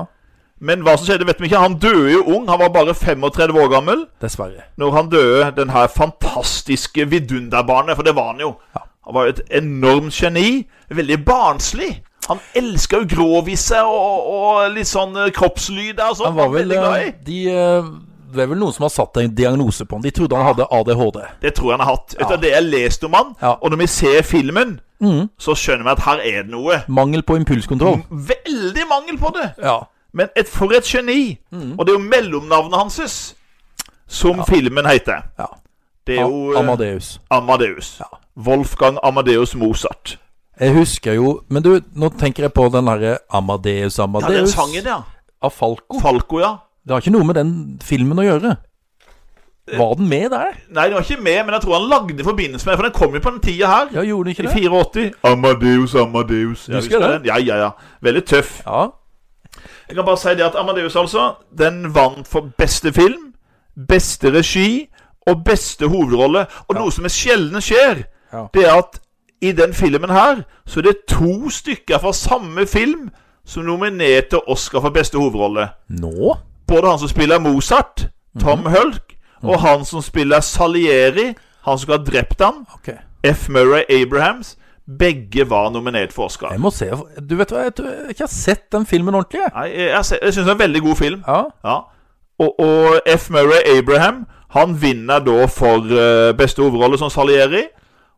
[SPEAKER 2] Men hva som skjedde, vet vi ikke. Han døde jo ung. Han var bare 35 år gammel
[SPEAKER 1] dessverre.
[SPEAKER 2] når han døde den her fantastiske vidunderbarnet, for det var han jo. Han var jo et enormt geni. Veldig barnslig. Han elska jo gråvisse og, og litt sånn eh, kroppslyder og sånn.
[SPEAKER 1] Han var vel
[SPEAKER 2] veldig glad i.
[SPEAKER 1] eh, De eh, Det er vel noen som har satt en diagnose på han. De trodde han hadde ADHD.
[SPEAKER 2] Det tror jeg han har hatt. Etter det jeg leste om han,
[SPEAKER 1] Ja. Mm.
[SPEAKER 2] og når vi ser filmen, så skjønner vi at her er det noe.
[SPEAKER 1] Mangel på impulskontroll.
[SPEAKER 2] Veldig mangel på det!
[SPEAKER 1] Ja.
[SPEAKER 2] Men et, for et geni!
[SPEAKER 1] Mm.
[SPEAKER 2] Og det er jo mellomnavnet hans som filmen heter.
[SPEAKER 1] ja.
[SPEAKER 2] Det er jo eh,
[SPEAKER 1] Amadeus.
[SPEAKER 2] Amadeus. Wolfgang Amadeus Mozart.
[SPEAKER 1] Jeg husker jo Men du, nå tenker jeg på den derre Amadeus,
[SPEAKER 2] Ja, den
[SPEAKER 1] Amadeus
[SPEAKER 2] sangen, ja.
[SPEAKER 1] av Falco.
[SPEAKER 2] Falco, ja.
[SPEAKER 1] Det har ikke noe med den filmen å gjøre.
[SPEAKER 2] Eh,
[SPEAKER 1] Var den med der?
[SPEAKER 2] Nei, den var ikke med, men jeg tror han lagde i forbindelse med For den kom jo på den tida her.
[SPEAKER 1] Ja, gjorde den
[SPEAKER 2] I
[SPEAKER 1] ikke det?
[SPEAKER 2] 84. Amadeus, Amadeus. Ja,
[SPEAKER 1] Husker du det?
[SPEAKER 2] den? Ja, ja, ja. Veldig tøff.
[SPEAKER 1] Ja.
[SPEAKER 2] Jeg kan bare si det at Amadeus altså Den vant for beste film, beste regi og beste hovedrolle. Og noe som er sjelden skjer,
[SPEAKER 1] Ja.
[SPEAKER 2] det er at i den filmen her så er det to stykker fra samme film som er nominert til Oscar for beste hovedrolle.
[SPEAKER 1] Nå?
[SPEAKER 2] Både han som spiller Mozart, Tom Hulk, og han som spiller Salieri, han som har drept ham,
[SPEAKER 1] Ok.
[SPEAKER 2] F. Murray Abrahams, begge var nominert for Oscar.
[SPEAKER 1] Jeg må se Du vet hva, jeg tror jeg ikke har sett den filmen ordentlig. jeg.
[SPEAKER 2] Nei, jeg, jeg, sy- jeg syns det er en veldig god film.
[SPEAKER 1] Ja.
[SPEAKER 2] Ja. Og, og F. Murray Abraham Han vinner da for eh, beste hovedrolle som Salieri.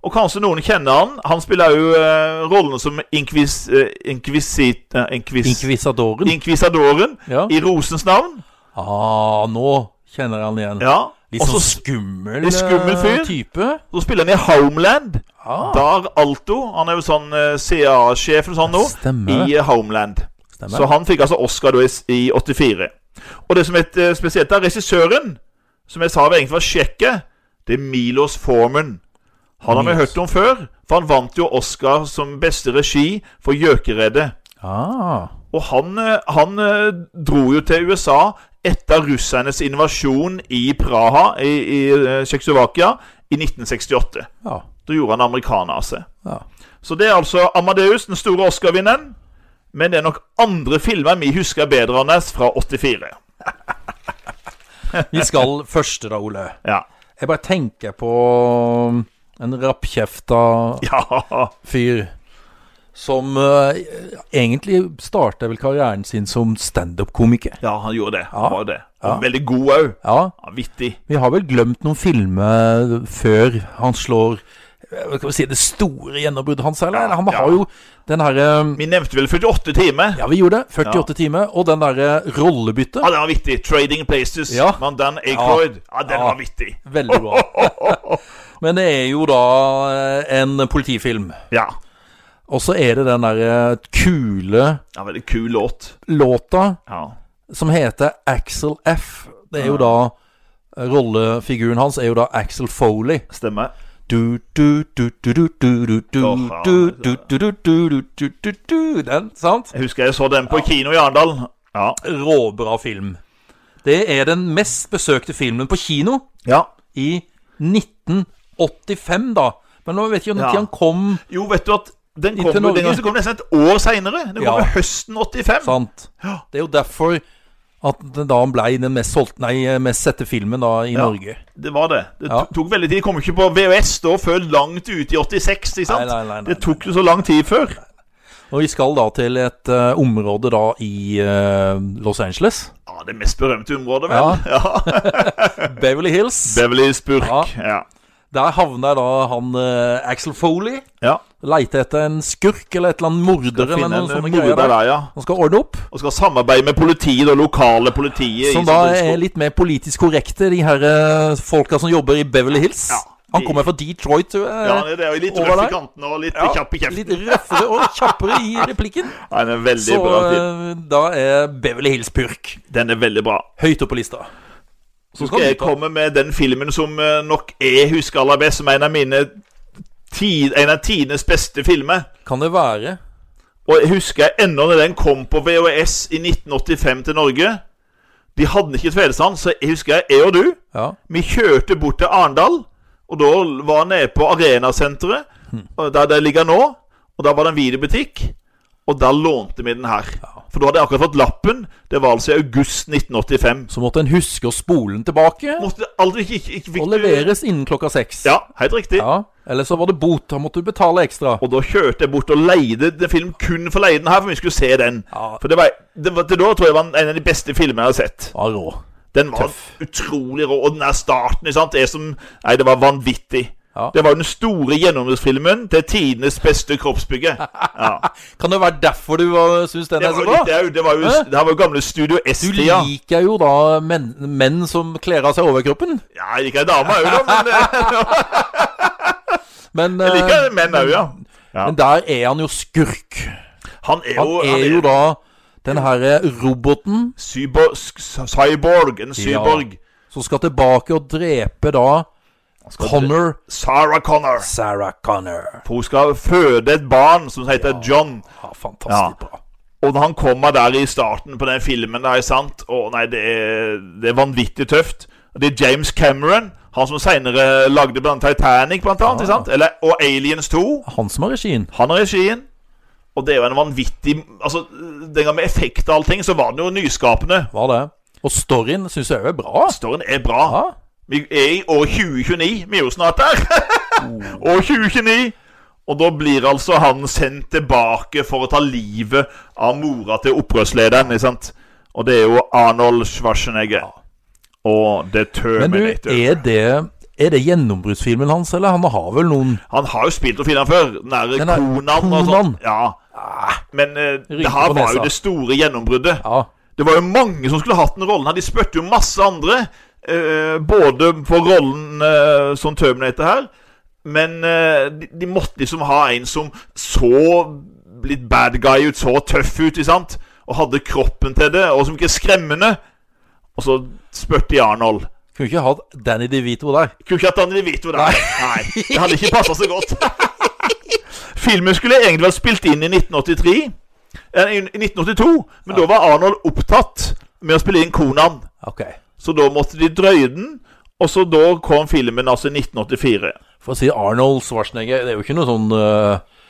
[SPEAKER 2] Og kanskje noen kjenner han. Han spiller jo eh, rollen som inkvis... eh, inkvisit... eh, inkvis,
[SPEAKER 1] Inkvisadoren.
[SPEAKER 2] inkvisadoren
[SPEAKER 1] Ja.
[SPEAKER 2] i Rosens navn.
[SPEAKER 1] Ah, nå kjenner jeg han igjen.
[SPEAKER 2] Ja.
[SPEAKER 1] Litt
[SPEAKER 2] Og
[SPEAKER 1] sånn
[SPEAKER 2] så
[SPEAKER 1] skummel,
[SPEAKER 2] litt skummel
[SPEAKER 1] eh,
[SPEAKER 2] fyr.
[SPEAKER 1] type.
[SPEAKER 2] så spiller han i Homeland.
[SPEAKER 1] Ah.
[SPEAKER 2] Dar Alto. Han er jo sånn eh, CA-sjef eller sånn nå. I
[SPEAKER 1] Stemmer det.
[SPEAKER 2] eh, Homeland.
[SPEAKER 1] Stemmer.
[SPEAKER 2] Så
[SPEAKER 1] det.
[SPEAKER 2] han fikk altså Oscar da i, i 84. Og det som er et, eh, spesielt der, regissøren, som jeg sa var egentlig var sjekket, det er Milos Forman. Han har vi
[SPEAKER 1] Milos.
[SPEAKER 2] hørt om før, for han vant jo Oscar som beste regi for Gjøkeredet.
[SPEAKER 1] Ah.
[SPEAKER 2] Og han, eh, han eh, dro jo til USA etter russernes invasjon i Praha i, i eh, Tsjekkoslovakia i 1968.
[SPEAKER 1] Ja.
[SPEAKER 2] Da gjorde han amerikaner av seg.
[SPEAKER 1] Ja.
[SPEAKER 2] Så det er altså Amadeus, den store Oscar-vinneren. Men det er nok andre filmer vi husker bedre enn hans fra 84.
[SPEAKER 1] Vi skal første, da, Ole.
[SPEAKER 2] Ja.
[SPEAKER 1] Jeg bare tenker på um, en rappkjefta
[SPEAKER 2] ja.
[SPEAKER 1] fyr som eh, egentlig starta vel karrieren sin som standup-komiker.
[SPEAKER 2] Ja, han gjorde det.
[SPEAKER 1] Ja.
[SPEAKER 2] Han var det.
[SPEAKER 1] Ja.
[SPEAKER 2] Og Veldig god òg.
[SPEAKER 1] Ja,
[SPEAKER 2] Ja, vittig.
[SPEAKER 1] vi har vel glemt noen filmer før han slår eh, hva skal vi si, det store gjennombruddet hans. Eller?
[SPEAKER 2] Ja,
[SPEAKER 1] han
[SPEAKER 2] ja.
[SPEAKER 1] har jo den herre
[SPEAKER 2] Vi nevnte vel 48 timer. Ja.
[SPEAKER 1] Ja, vi gjorde det. 48 timer. Og den derre rollebyttet.
[SPEAKER 2] det var vittig. 'Trading Places'.
[SPEAKER 1] Ja.
[SPEAKER 2] Men Dan Aykroyd. Ja, den
[SPEAKER 1] Ja.
[SPEAKER 2] var vittig.
[SPEAKER 1] Veldig bra. Men det er jo da eh, en politifilm.
[SPEAKER 2] Ja.
[SPEAKER 1] Og så er det den derre kule
[SPEAKER 2] ja veldig kul låt.
[SPEAKER 1] låta
[SPEAKER 2] Ja.
[SPEAKER 1] som heter Axel F. Det er jo
[SPEAKER 2] Ja.
[SPEAKER 1] da eh, Rollefiguren hans er jo da Axel Foley.
[SPEAKER 2] Stemmer.
[SPEAKER 1] Du, du, du, du, du, du, du, du,
[SPEAKER 2] Åh, altså. ja,
[SPEAKER 1] du,
[SPEAKER 2] det
[SPEAKER 1] du, du, du, du, du, du, du, du. Den, sant?
[SPEAKER 2] Jeg husker jeg så den på kino i Arendal. Ja.
[SPEAKER 1] Råbra film. Det er den mest besøkte filmen på kino
[SPEAKER 2] ja.
[SPEAKER 1] i 1985, da. Men nå vet jeg ikke når
[SPEAKER 2] Ja.
[SPEAKER 1] han kom,
[SPEAKER 2] Jo, vet du at den kom,
[SPEAKER 1] Inntil
[SPEAKER 2] jo-
[SPEAKER 1] Norge.
[SPEAKER 2] den gangen så kom den nesten et år seinere. Den kom
[SPEAKER 1] Ja. Sånn
[SPEAKER 2] jo høsten 85.
[SPEAKER 1] sant?
[SPEAKER 2] Ja.
[SPEAKER 1] Det er jo derfor at den da ble den mest solgte, nei, mest sette filmen da i
[SPEAKER 2] Ja.
[SPEAKER 1] Norge.
[SPEAKER 2] Det var det. Det
[SPEAKER 1] Ja.
[SPEAKER 2] to- tok veldig tid. Det kom jo ikke på VHS da før langt ut i 86, ikke
[SPEAKER 1] Nei,
[SPEAKER 2] sant?
[SPEAKER 1] nei, nei, nei,
[SPEAKER 2] det tok jo så lang tid før.
[SPEAKER 1] Og vi skal da til et eh, område da i eh, Los Angeles.
[SPEAKER 2] Ja, Det mest berømte området, vel?
[SPEAKER 1] Ja.
[SPEAKER 2] Ja.
[SPEAKER 1] Beverly Hills.
[SPEAKER 2] Beverly Spurk.
[SPEAKER 1] Ja.
[SPEAKER 2] Ja. Ja.
[SPEAKER 1] Der havner da han eh, Axel Foley.
[SPEAKER 2] ja.
[SPEAKER 1] Leter etter en skurk eller et eller annet morder eller
[SPEAKER 2] Finne
[SPEAKER 1] noen
[SPEAKER 2] en eh,
[SPEAKER 1] sånne greier.
[SPEAKER 2] morder der,
[SPEAKER 1] Der.
[SPEAKER 2] ja.
[SPEAKER 1] Han skal ordne opp.
[SPEAKER 2] Og skal samarbeide med politiet, det lokale politiet.
[SPEAKER 1] Som
[SPEAKER 2] i
[SPEAKER 1] da
[SPEAKER 2] Oslo.
[SPEAKER 1] er litt mer politisk korrekte, de her eh, folka som jobber i Beverly Hills.
[SPEAKER 2] Ja.
[SPEAKER 1] Han kommer fra Detroit. Uh,
[SPEAKER 2] ja, han er det, og Litt
[SPEAKER 1] over
[SPEAKER 2] røff
[SPEAKER 1] der.
[SPEAKER 2] i kantene og litt
[SPEAKER 1] Ja,
[SPEAKER 2] kjapp i kjeften.
[SPEAKER 1] Litt røffere og kjappere i replikken.
[SPEAKER 2] Ja, den er veldig
[SPEAKER 1] Så
[SPEAKER 2] bra. film.
[SPEAKER 1] eh, da er Beverly Hills purk
[SPEAKER 2] Den er veldig bra.
[SPEAKER 1] høyt oppe på lista. kan
[SPEAKER 2] Så skal
[SPEAKER 1] du
[SPEAKER 2] jeg
[SPEAKER 1] ta-
[SPEAKER 2] komme med den filmen som eh, nok jeg husker aller best, som en av mine ti- En av tidenes beste filmer.
[SPEAKER 1] Kan det være
[SPEAKER 2] Og jeg husker ennå når den kom på VHS i 1985 til Norge. De hadde ikke Tvedestrand, så jeg husker jeg, jeg og du,
[SPEAKER 1] Ja.
[SPEAKER 2] vi kjørte bort til Arendal. Og da var jeg nede på Arenasenteret, og der det ligger nå. Og der var det en videobutikk, og der lånte vi den her. For da hadde jeg akkurat fått lappen. Det var altså i august 1985.
[SPEAKER 1] Så måtte en huske å spole den tilbake
[SPEAKER 2] Måtte aldri ikke, ikke, ikke fikk
[SPEAKER 1] og
[SPEAKER 2] du-
[SPEAKER 1] leveres innen klokka seks.
[SPEAKER 2] Ja, helt riktig.
[SPEAKER 1] Ja. Eller så var det bot. Da måtte du betale ekstra.
[SPEAKER 2] Og da kjørte jeg bort og leide den film kun for å leie den her, for vi skulle se den.
[SPEAKER 1] Ja.
[SPEAKER 2] For det var, det var, til da tror jeg var en av de beste filmene jeg har sett.
[SPEAKER 1] Ja, rå.
[SPEAKER 2] Den var
[SPEAKER 1] Tøff.
[SPEAKER 2] utrolig rå. Og den der starten, ikke sant, er som Nei, det var vanvittig.
[SPEAKER 1] Ja.
[SPEAKER 2] Det var den store gjennombruddsfilmen til tidenes beste kroppsbygge. Ja.
[SPEAKER 1] Kan det være derfor du var- syns den
[SPEAKER 2] Det
[SPEAKER 1] er
[SPEAKER 2] var
[SPEAKER 1] så
[SPEAKER 2] jo litt, eh, det,
[SPEAKER 1] bra?
[SPEAKER 2] er jo- det var jo
[SPEAKER 1] Hæ?
[SPEAKER 2] det her var jo gamle Studio
[SPEAKER 1] Du
[SPEAKER 2] S-tida.
[SPEAKER 1] liker jo da menn, menn som kler av seg overkroppen.
[SPEAKER 2] Ja, jeg liker ei dame òg, da, men eh,
[SPEAKER 1] Men,
[SPEAKER 2] jeg liker
[SPEAKER 1] eh,
[SPEAKER 2] menn òg, ja. ja.
[SPEAKER 1] men der er han jo skurk.
[SPEAKER 2] Han er
[SPEAKER 1] Han
[SPEAKER 2] jo,
[SPEAKER 1] er jo da den herre roboten
[SPEAKER 2] cyborg, cyborg, en cyborg.
[SPEAKER 1] som skal tilbake og drepe da Connor
[SPEAKER 2] Sarah Connor.
[SPEAKER 1] Sarah Connor.
[SPEAKER 2] For hun skal føde et barn som heter John.
[SPEAKER 1] Ja, fantastisk bra.
[SPEAKER 2] Og når han kommer der i starten på den filmen der, sant? Å nei, det er, det er vanvittig tøft. Og Det er James Cameron, han som senere lagde blant annet Titanic, blant annet, ikke sant? Eller, og Aliens 2.
[SPEAKER 1] Han som har regien.
[SPEAKER 2] Han har regien. Og det er jo en vanvittig Altså, Den gang med effekt og allting, så var den jo nyskapende.
[SPEAKER 1] Hva er det? Og storyen syns jeg er bra.
[SPEAKER 2] Storyen er bra.
[SPEAKER 1] Ja.
[SPEAKER 2] Vi er i år 2029. Vi er jo snart der.
[SPEAKER 1] Oh.
[SPEAKER 2] år 2029. Og da blir altså han sendt tilbake for å ta livet av mora til opprørslederen. Ikke sant? Og det er jo Arnold Schwarzenegger. Og The
[SPEAKER 1] Men du,
[SPEAKER 2] Terminator.
[SPEAKER 1] er det, er det gjennombruddsfilmen hans, eller? Han har vel noen
[SPEAKER 2] Han har jo spilt og filmer før. Den derre
[SPEAKER 1] Den der
[SPEAKER 2] Conan og sånn.
[SPEAKER 1] Conan.
[SPEAKER 2] Ja. Men eh, det
[SPEAKER 1] Rynker
[SPEAKER 2] her
[SPEAKER 1] på
[SPEAKER 2] var
[SPEAKER 1] nesa.
[SPEAKER 2] jo det store gjennombruddet.
[SPEAKER 1] Ja.
[SPEAKER 2] Det var jo mange som skulle hatt den rollen her. De spurte jo masse andre. eh, både for rollen eh, som Terminator her, men eh, de, de måtte liksom ha en som så litt bad guy ut, så tøff ut, ikke sant? Og hadde kroppen til det, og som ikke er skremmende. Og så spurte de Arnold.
[SPEAKER 1] Kunne ikke hatt Danny DeVito der.
[SPEAKER 2] Kunne ikke hatt Danny DeVito der. Nei. Det hadde ikke passa så godt. Filmen skulle egentlig vært spilt inn i 1983 eh, I 1982, men da var Arnold opptatt med å spille inn Conan.
[SPEAKER 1] Ok.
[SPEAKER 2] Så da måtte de drøye den, og så da kom filmen altså i 1984.
[SPEAKER 1] For å si Arnold Schwarzenegger, det er jo ikke noen sånn eh,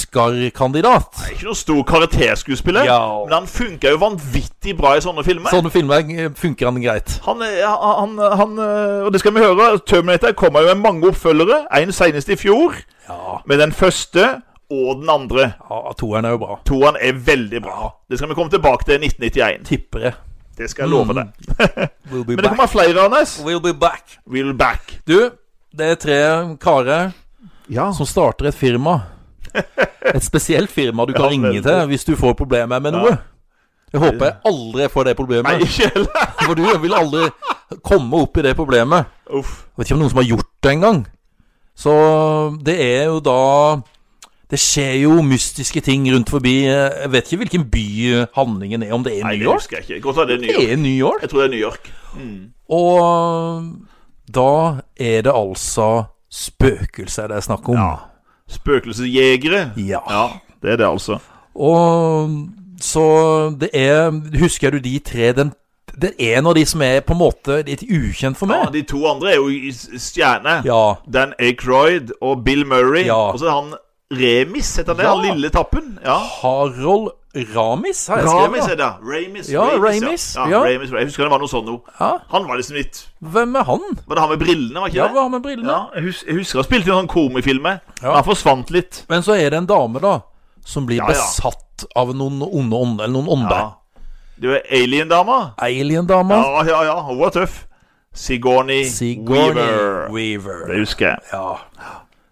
[SPEAKER 1] Oscar-kandidat.
[SPEAKER 2] Ikke noen stor karakterskuespiller,
[SPEAKER 1] Ja.
[SPEAKER 2] men han funka jo vanvittig bra i sånne filmer.
[SPEAKER 1] Sånne filmer eh, funker han greit.
[SPEAKER 2] Han, eh, han, han eh, Og det skal vi høre. Terminator kommer jo med mange oppfølgere. En senest i fjor,
[SPEAKER 1] Ja,
[SPEAKER 2] med den første og den andre.
[SPEAKER 1] ja toeren er jo bra.
[SPEAKER 2] Toeren er veldig bra. Det skal vi komme tilbake til i 1991.
[SPEAKER 1] Tipper jeg. Mm.
[SPEAKER 2] Det skal jeg love deg.
[SPEAKER 1] We'll be
[SPEAKER 2] Men det
[SPEAKER 1] back.
[SPEAKER 2] kommer flere, Anders.
[SPEAKER 1] We'll be back.
[SPEAKER 2] We'll back.
[SPEAKER 1] Du, det er tre karer
[SPEAKER 2] Ja.
[SPEAKER 1] som starter et firma. Et spesielt firma du kan
[SPEAKER 2] Ja,
[SPEAKER 1] ringe
[SPEAKER 2] veldig.
[SPEAKER 1] til hvis du får problemer med noe. Jeg håper jeg aldri får det
[SPEAKER 2] Nei,
[SPEAKER 1] problemet,
[SPEAKER 2] ikke heller.
[SPEAKER 1] for du vil aldri komme opp i det problemet.
[SPEAKER 2] Uff.
[SPEAKER 1] Jeg vet ikke om noen som har gjort det engang. Så det er jo da Det skjer jo mystiske ting rundt forbi. Jeg vet ikke hvilken by handlingen er, om det er
[SPEAKER 2] Nei,
[SPEAKER 1] New
[SPEAKER 2] det
[SPEAKER 1] York?
[SPEAKER 2] husker jeg ikke. Godt at det er New
[SPEAKER 1] Det
[SPEAKER 2] York.
[SPEAKER 1] er New York.
[SPEAKER 2] Jeg tror det er New York.
[SPEAKER 1] Og um, da er det altså spøkelser det er snakk om.
[SPEAKER 2] Spøkelsesjegere.
[SPEAKER 1] Ja.
[SPEAKER 2] Ja, det er det, altså.
[SPEAKER 1] Og så det er Husker du de tre? Den, den er en av de som er på en måte litt ukjent for
[SPEAKER 2] Ja,
[SPEAKER 1] meg.
[SPEAKER 2] de to andre er jo i s- stjerne.
[SPEAKER 1] Ja.
[SPEAKER 2] Dan Aykroyd og Bill Murray.
[SPEAKER 1] Ja.
[SPEAKER 2] Og så er han Remis, heter han det?
[SPEAKER 1] Ja.
[SPEAKER 2] Han lille tappen? Ja.
[SPEAKER 1] Harold Ramis har jeg
[SPEAKER 2] Ramis
[SPEAKER 1] skrevet.
[SPEAKER 2] er det. Ramis.
[SPEAKER 1] Ja,
[SPEAKER 2] Ramis,
[SPEAKER 1] Ramis,
[SPEAKER 2] Ja.
[SPEAKER 1] ja.
[SPEAKER 2] Ramis, Jeg husker det var noe sånn noe.
[SPEAKER 1] Ja.
[SPEAKER 2] Han var liksom litt
[SPEAKER 1] Hvem er han?
[SPEAKER 2] Var det han med brillene, var ikke
[SPEAKER 1] Ja,
[SPEAKER 2] det?
[SPEAKER 1] hva med brillene?
[SPEAKER 2] Ja, jeg, hus jeg husker han spilte i en sånn komifilm.
[SPEAKER 1] Ja.
[SPEAKER 2] Han forsvant litt.
[SPEAKER 1] Men så er det en dame, da, som blir
[SPEAKER 2] Ja, ja.
[SPEAKER 1] besatt av noen onde ånder. Eller noen ånder.
[SPEAKER 2] Ja. Det var alien-dama.
[SPEAKER 1] Alien-dama.
[SPEAKER 2] Ja, ja, ja. Hun var tøff. Sigourney,
[SPEAKER 1] Sigourney
[SPEAKER 2] Weaver.
[SPEAKER 1] Weaver.
[SPEAKER 2] Det husker jeg.
[SPEAKER 1] Ja.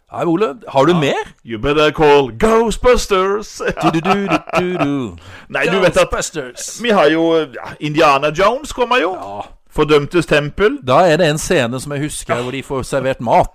[SPEAKER 1] Nei, Ole, har du mer?
[SPEAKER 2] You better call Ghostbusters. Ja.
[SPEAKER 1] Du-du-du-du-du.
[SPEAKER 2] Nei, du vet at
[SPEAKER 1] Ghostbusters.
[SPEAKER 2] vi har jo ja, Indiana Jones kommer jo.
[SPEAKER 1] Ja.
[SPEAKER 2] Fordømtes tempel.
[SPEAKER 1] Da er det en scene som jeg husker, hvor de får servert mat.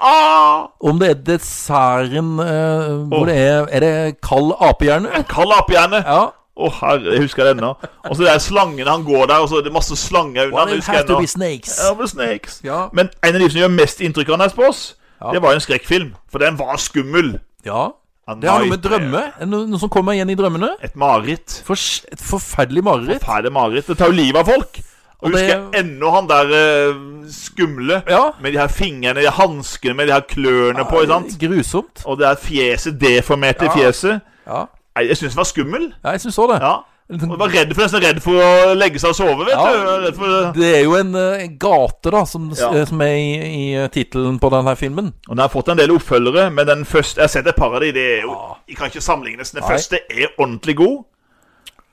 [SPEAKER 2] Ah!
[SPEAKER 1] Om det er desserten eh, hvor
[SPEAKER 2] Åh.
[SPEAKER 1] det er Er det kald apehjerne?
[SPEAKER 2] Kall opp gjerne. Å,
[SPEAKER 1] Ja.
[SPEAKER 2] herre, jeg husker den ennå. Og så der slangen han går der, og så er det masse slanger under.
[SPEAKER 1] Well,
[SPEAKER 2] han,
[SPEAKER 1] it
[SPEAKER 2] jeg husker
[SPEAKER 1] has to be
[SPEAKER 2] ennå.
[SPEAKER 1] snakes.
[SPEAKER 2] Ja, med snakes.
[SPEAKER 1] Ja.
[SPEAKER 2] Men en av de som gjør mest inntrykk av på oss,
[SPEAKER 1] Ja.
[SPEAKER 2] det var jo en skrekkfilm. For den var skummel.
[SPEAKER 1] Ja.
[SPEAKER 2] A
[SPEAKER 1] Det har noe med
[SPEAKER 2] nightmare.
[SPEAKER 1] drømme Er det Noe noe som kommer igjen i drømmene?
[SPEAKER 2] Et mareritt.
[SPEAKER 1] For, et forferdelig mareritt.
[SPEAKER 2] Fæle mareritt. Det tar jo livet av folk. Og,
[SPEAKER 1] Og
[SPEAKER 2] husker
[SPEAKER 1] det-
[SPEAKER 2] jeg ennå han der eh, skumle
[SPEAKER 1] Ja.
[SPEAKER 2] med de her fingrene, de hanskene med de her klørne på. ikke sant?
[SPEAKER 1] Grusomt.
[SPEAKER 2] Og det her fjeset, deformerte
[SPEAKER 1] Ja.
[SPEAKER 2] fjeset.
[SPEAKER 1] Ja,
[SPEAKER 2] Nei, Jeg syns den var skummel.
[SPEAKER 1] ja jeg syns òg det.
[SPEAKER 2] Ja. Og var redd for, nesten redd for å legge seg og sove, vet
[SPEAKER 1] Ja.
[SPEAKER 2] du. Redd for...
[SPEAKER 1] Det er jo en eh, gate, da, som, s-
[SPEAKER 2] Ja.
[SPEAKER 1] eh, som er i, i tittelen på denne filmen.
[SPEAKER 2] Og den har fått en del oppfølgere, men den første Jeg har sett et par av de, det er jo
[SPEAKER 1] Ja.
[SPEAKER 2] De kan ikke sammenlignes. Den
[SPEAKER 1] Ah. Nei.
[SPEAKER 2] første er ordentlig god.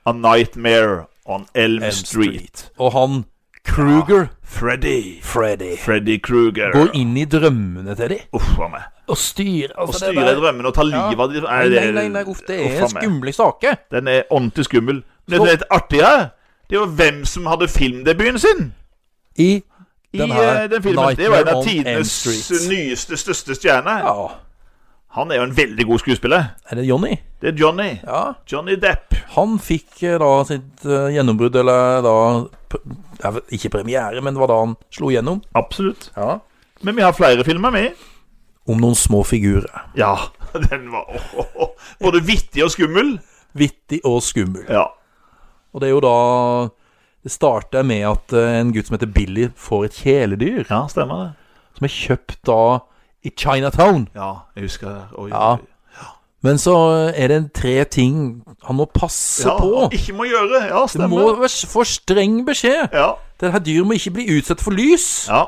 [SPEAKER 2] A Nightmare on Elm,
[SPEAKER 1] Elm
[SPEAKER 2] Street.
[SPEAKER 1] Og han Kruger,
[SPEAKER 2] Freddy.
[SPEAKER 1] Freddy,
[SPEAKER 2] Freddy Kruger.
[SPEAKER 1] går inn i drømmene til dem
[SPEAKER 2] Uff a meg.
[SPEAKER 1] og styrer
[SPEAKER 2] Å
[SPEAKER 1] altså, det
[SPEAKER 2] styre
[SPEAKER 1] der-
[SPEAKER 2] drømmene og ta livet av de
[SPEAKER 1] Nei,
[SPEAKER 2] det-
[SPEAKER 1] nei, nei, nei, uff, det er
[SPEAKER 2] uff a meg.
[SPEAKER 1] skumle saker.
[SPEAKER 2] Den er ordentlig skummel. Men
[SPEAKER 1] Så-
[SPEAKER 2] det litt artige her, det er jo hvem som hadde filmdebuten sin.
[SPEAKER 1] I
[SPEAKER 2] I
[SPEAKER 1] Den
[SPEAKER 2] den,
[SPEAKER 1] her,
[SPEAKER 2] den filmen. Det var en
[SPEAKER 1] Nightmare
[SPEAKER 2] av
[SPEAKER 1] on Elm
[SPEAKER 2] tidenes
[SPEAKER 1] Street.
[SPEAKER 2] nyeste, største stjerne.
[SPEAKER 1] Ja,
[SPEAKER 2] Han er jo en veldig god skuespiller.
[SPEAKER 1] er det Johnny?
[SPEAKER 2] Det er Johnny.
[SPEAKER 1] Ja.
[SPEAKER 2] Johnny Depp.
[SPEAKER 1] Han fikk eh, da sitt eh, gjennombrudd, eller da p- ja, vel, Ikke premiere, men det var da han slo gjennom.
[SPEAKER 2] Absolutt. Men vi har flere filmer, vi.
[SPEAKER 1] Om noen små figurer.
[SPEAKER 2] Ja, den var åh, åh, åh. både vittig og skummel.
[SPEAKER 1] Vittig og skummel.
[SPEAKER 2] Ja.
[SPEAKER 1] Og det er jo da Det starter med at eh, en gutt som heter Billy, får et kjæledyr.
[SPEAKER 2] ja, stemmer det.
[SPEAKER 1] Som er kjøpt da i Chinatown.
[SPEAKER 2] Ja, jeg husker det. Oi,
[SPEAKER 1] Ja,
[SPEAKER 2] oi.
[SPEAKER 1] Men så eh, er det tre ting han må passe
[SPEAKER 2] ja,
[SPEAKER 1] på.
[SPEAKER 2] og Ikke må gjøre. Ja,
[SPEAKER 1] Det
[SPEAKER 2] stemmer.
[SPEAKER 1] må være s- for streng beskjed.
[SPEAKER 2] Ja.
[SPEAKER 1] Det her dyret må ikke bli utsatt for lys.
[SPEAKER 2] Ja.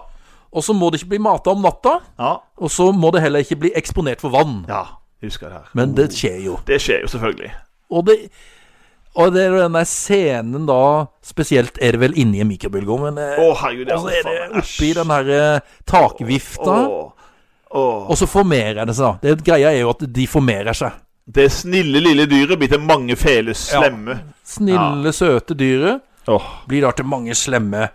[SPEAKER 1] Og så må det ikke bli mata om natta.
[SPEAKER 2] Ja.
[SPEAKER 1] Og så må det heller ikke bli eksponert for vann.
[SPEAKER 2] ja. Jeg husker det her.
[SPEAKER 1] Men det skjer jo.
[SPEAKER 2] Det skjer jo selvfølgelig.
[SPEAKER 1] Og det og det er jo den der scenen da Spesielt er det vel inni en mikrobølgeovn, men eh,
[SPEAKER 2] Å, herregud.
[SPEAKER 1] Og så er det
[SPEAKER 2] faen,
[SPEAKER 1] oppi
[SPEAKER 2] æsj.
[SPEAKER 1] den her eh, takvifta,
[SPEAKER 2] Åh, åh.
[SPEAKER 1] og så formerer det seg. da. Det Greia er jo at de formerer seg.
[SPEAKER 2] Det snille, lille dyret blir til mange fele slemme.
[SPEAKER 1] Snille, søte dyret
[SPEAKER 2] Åh,
[SPEAKER 1] blir da til mange slemme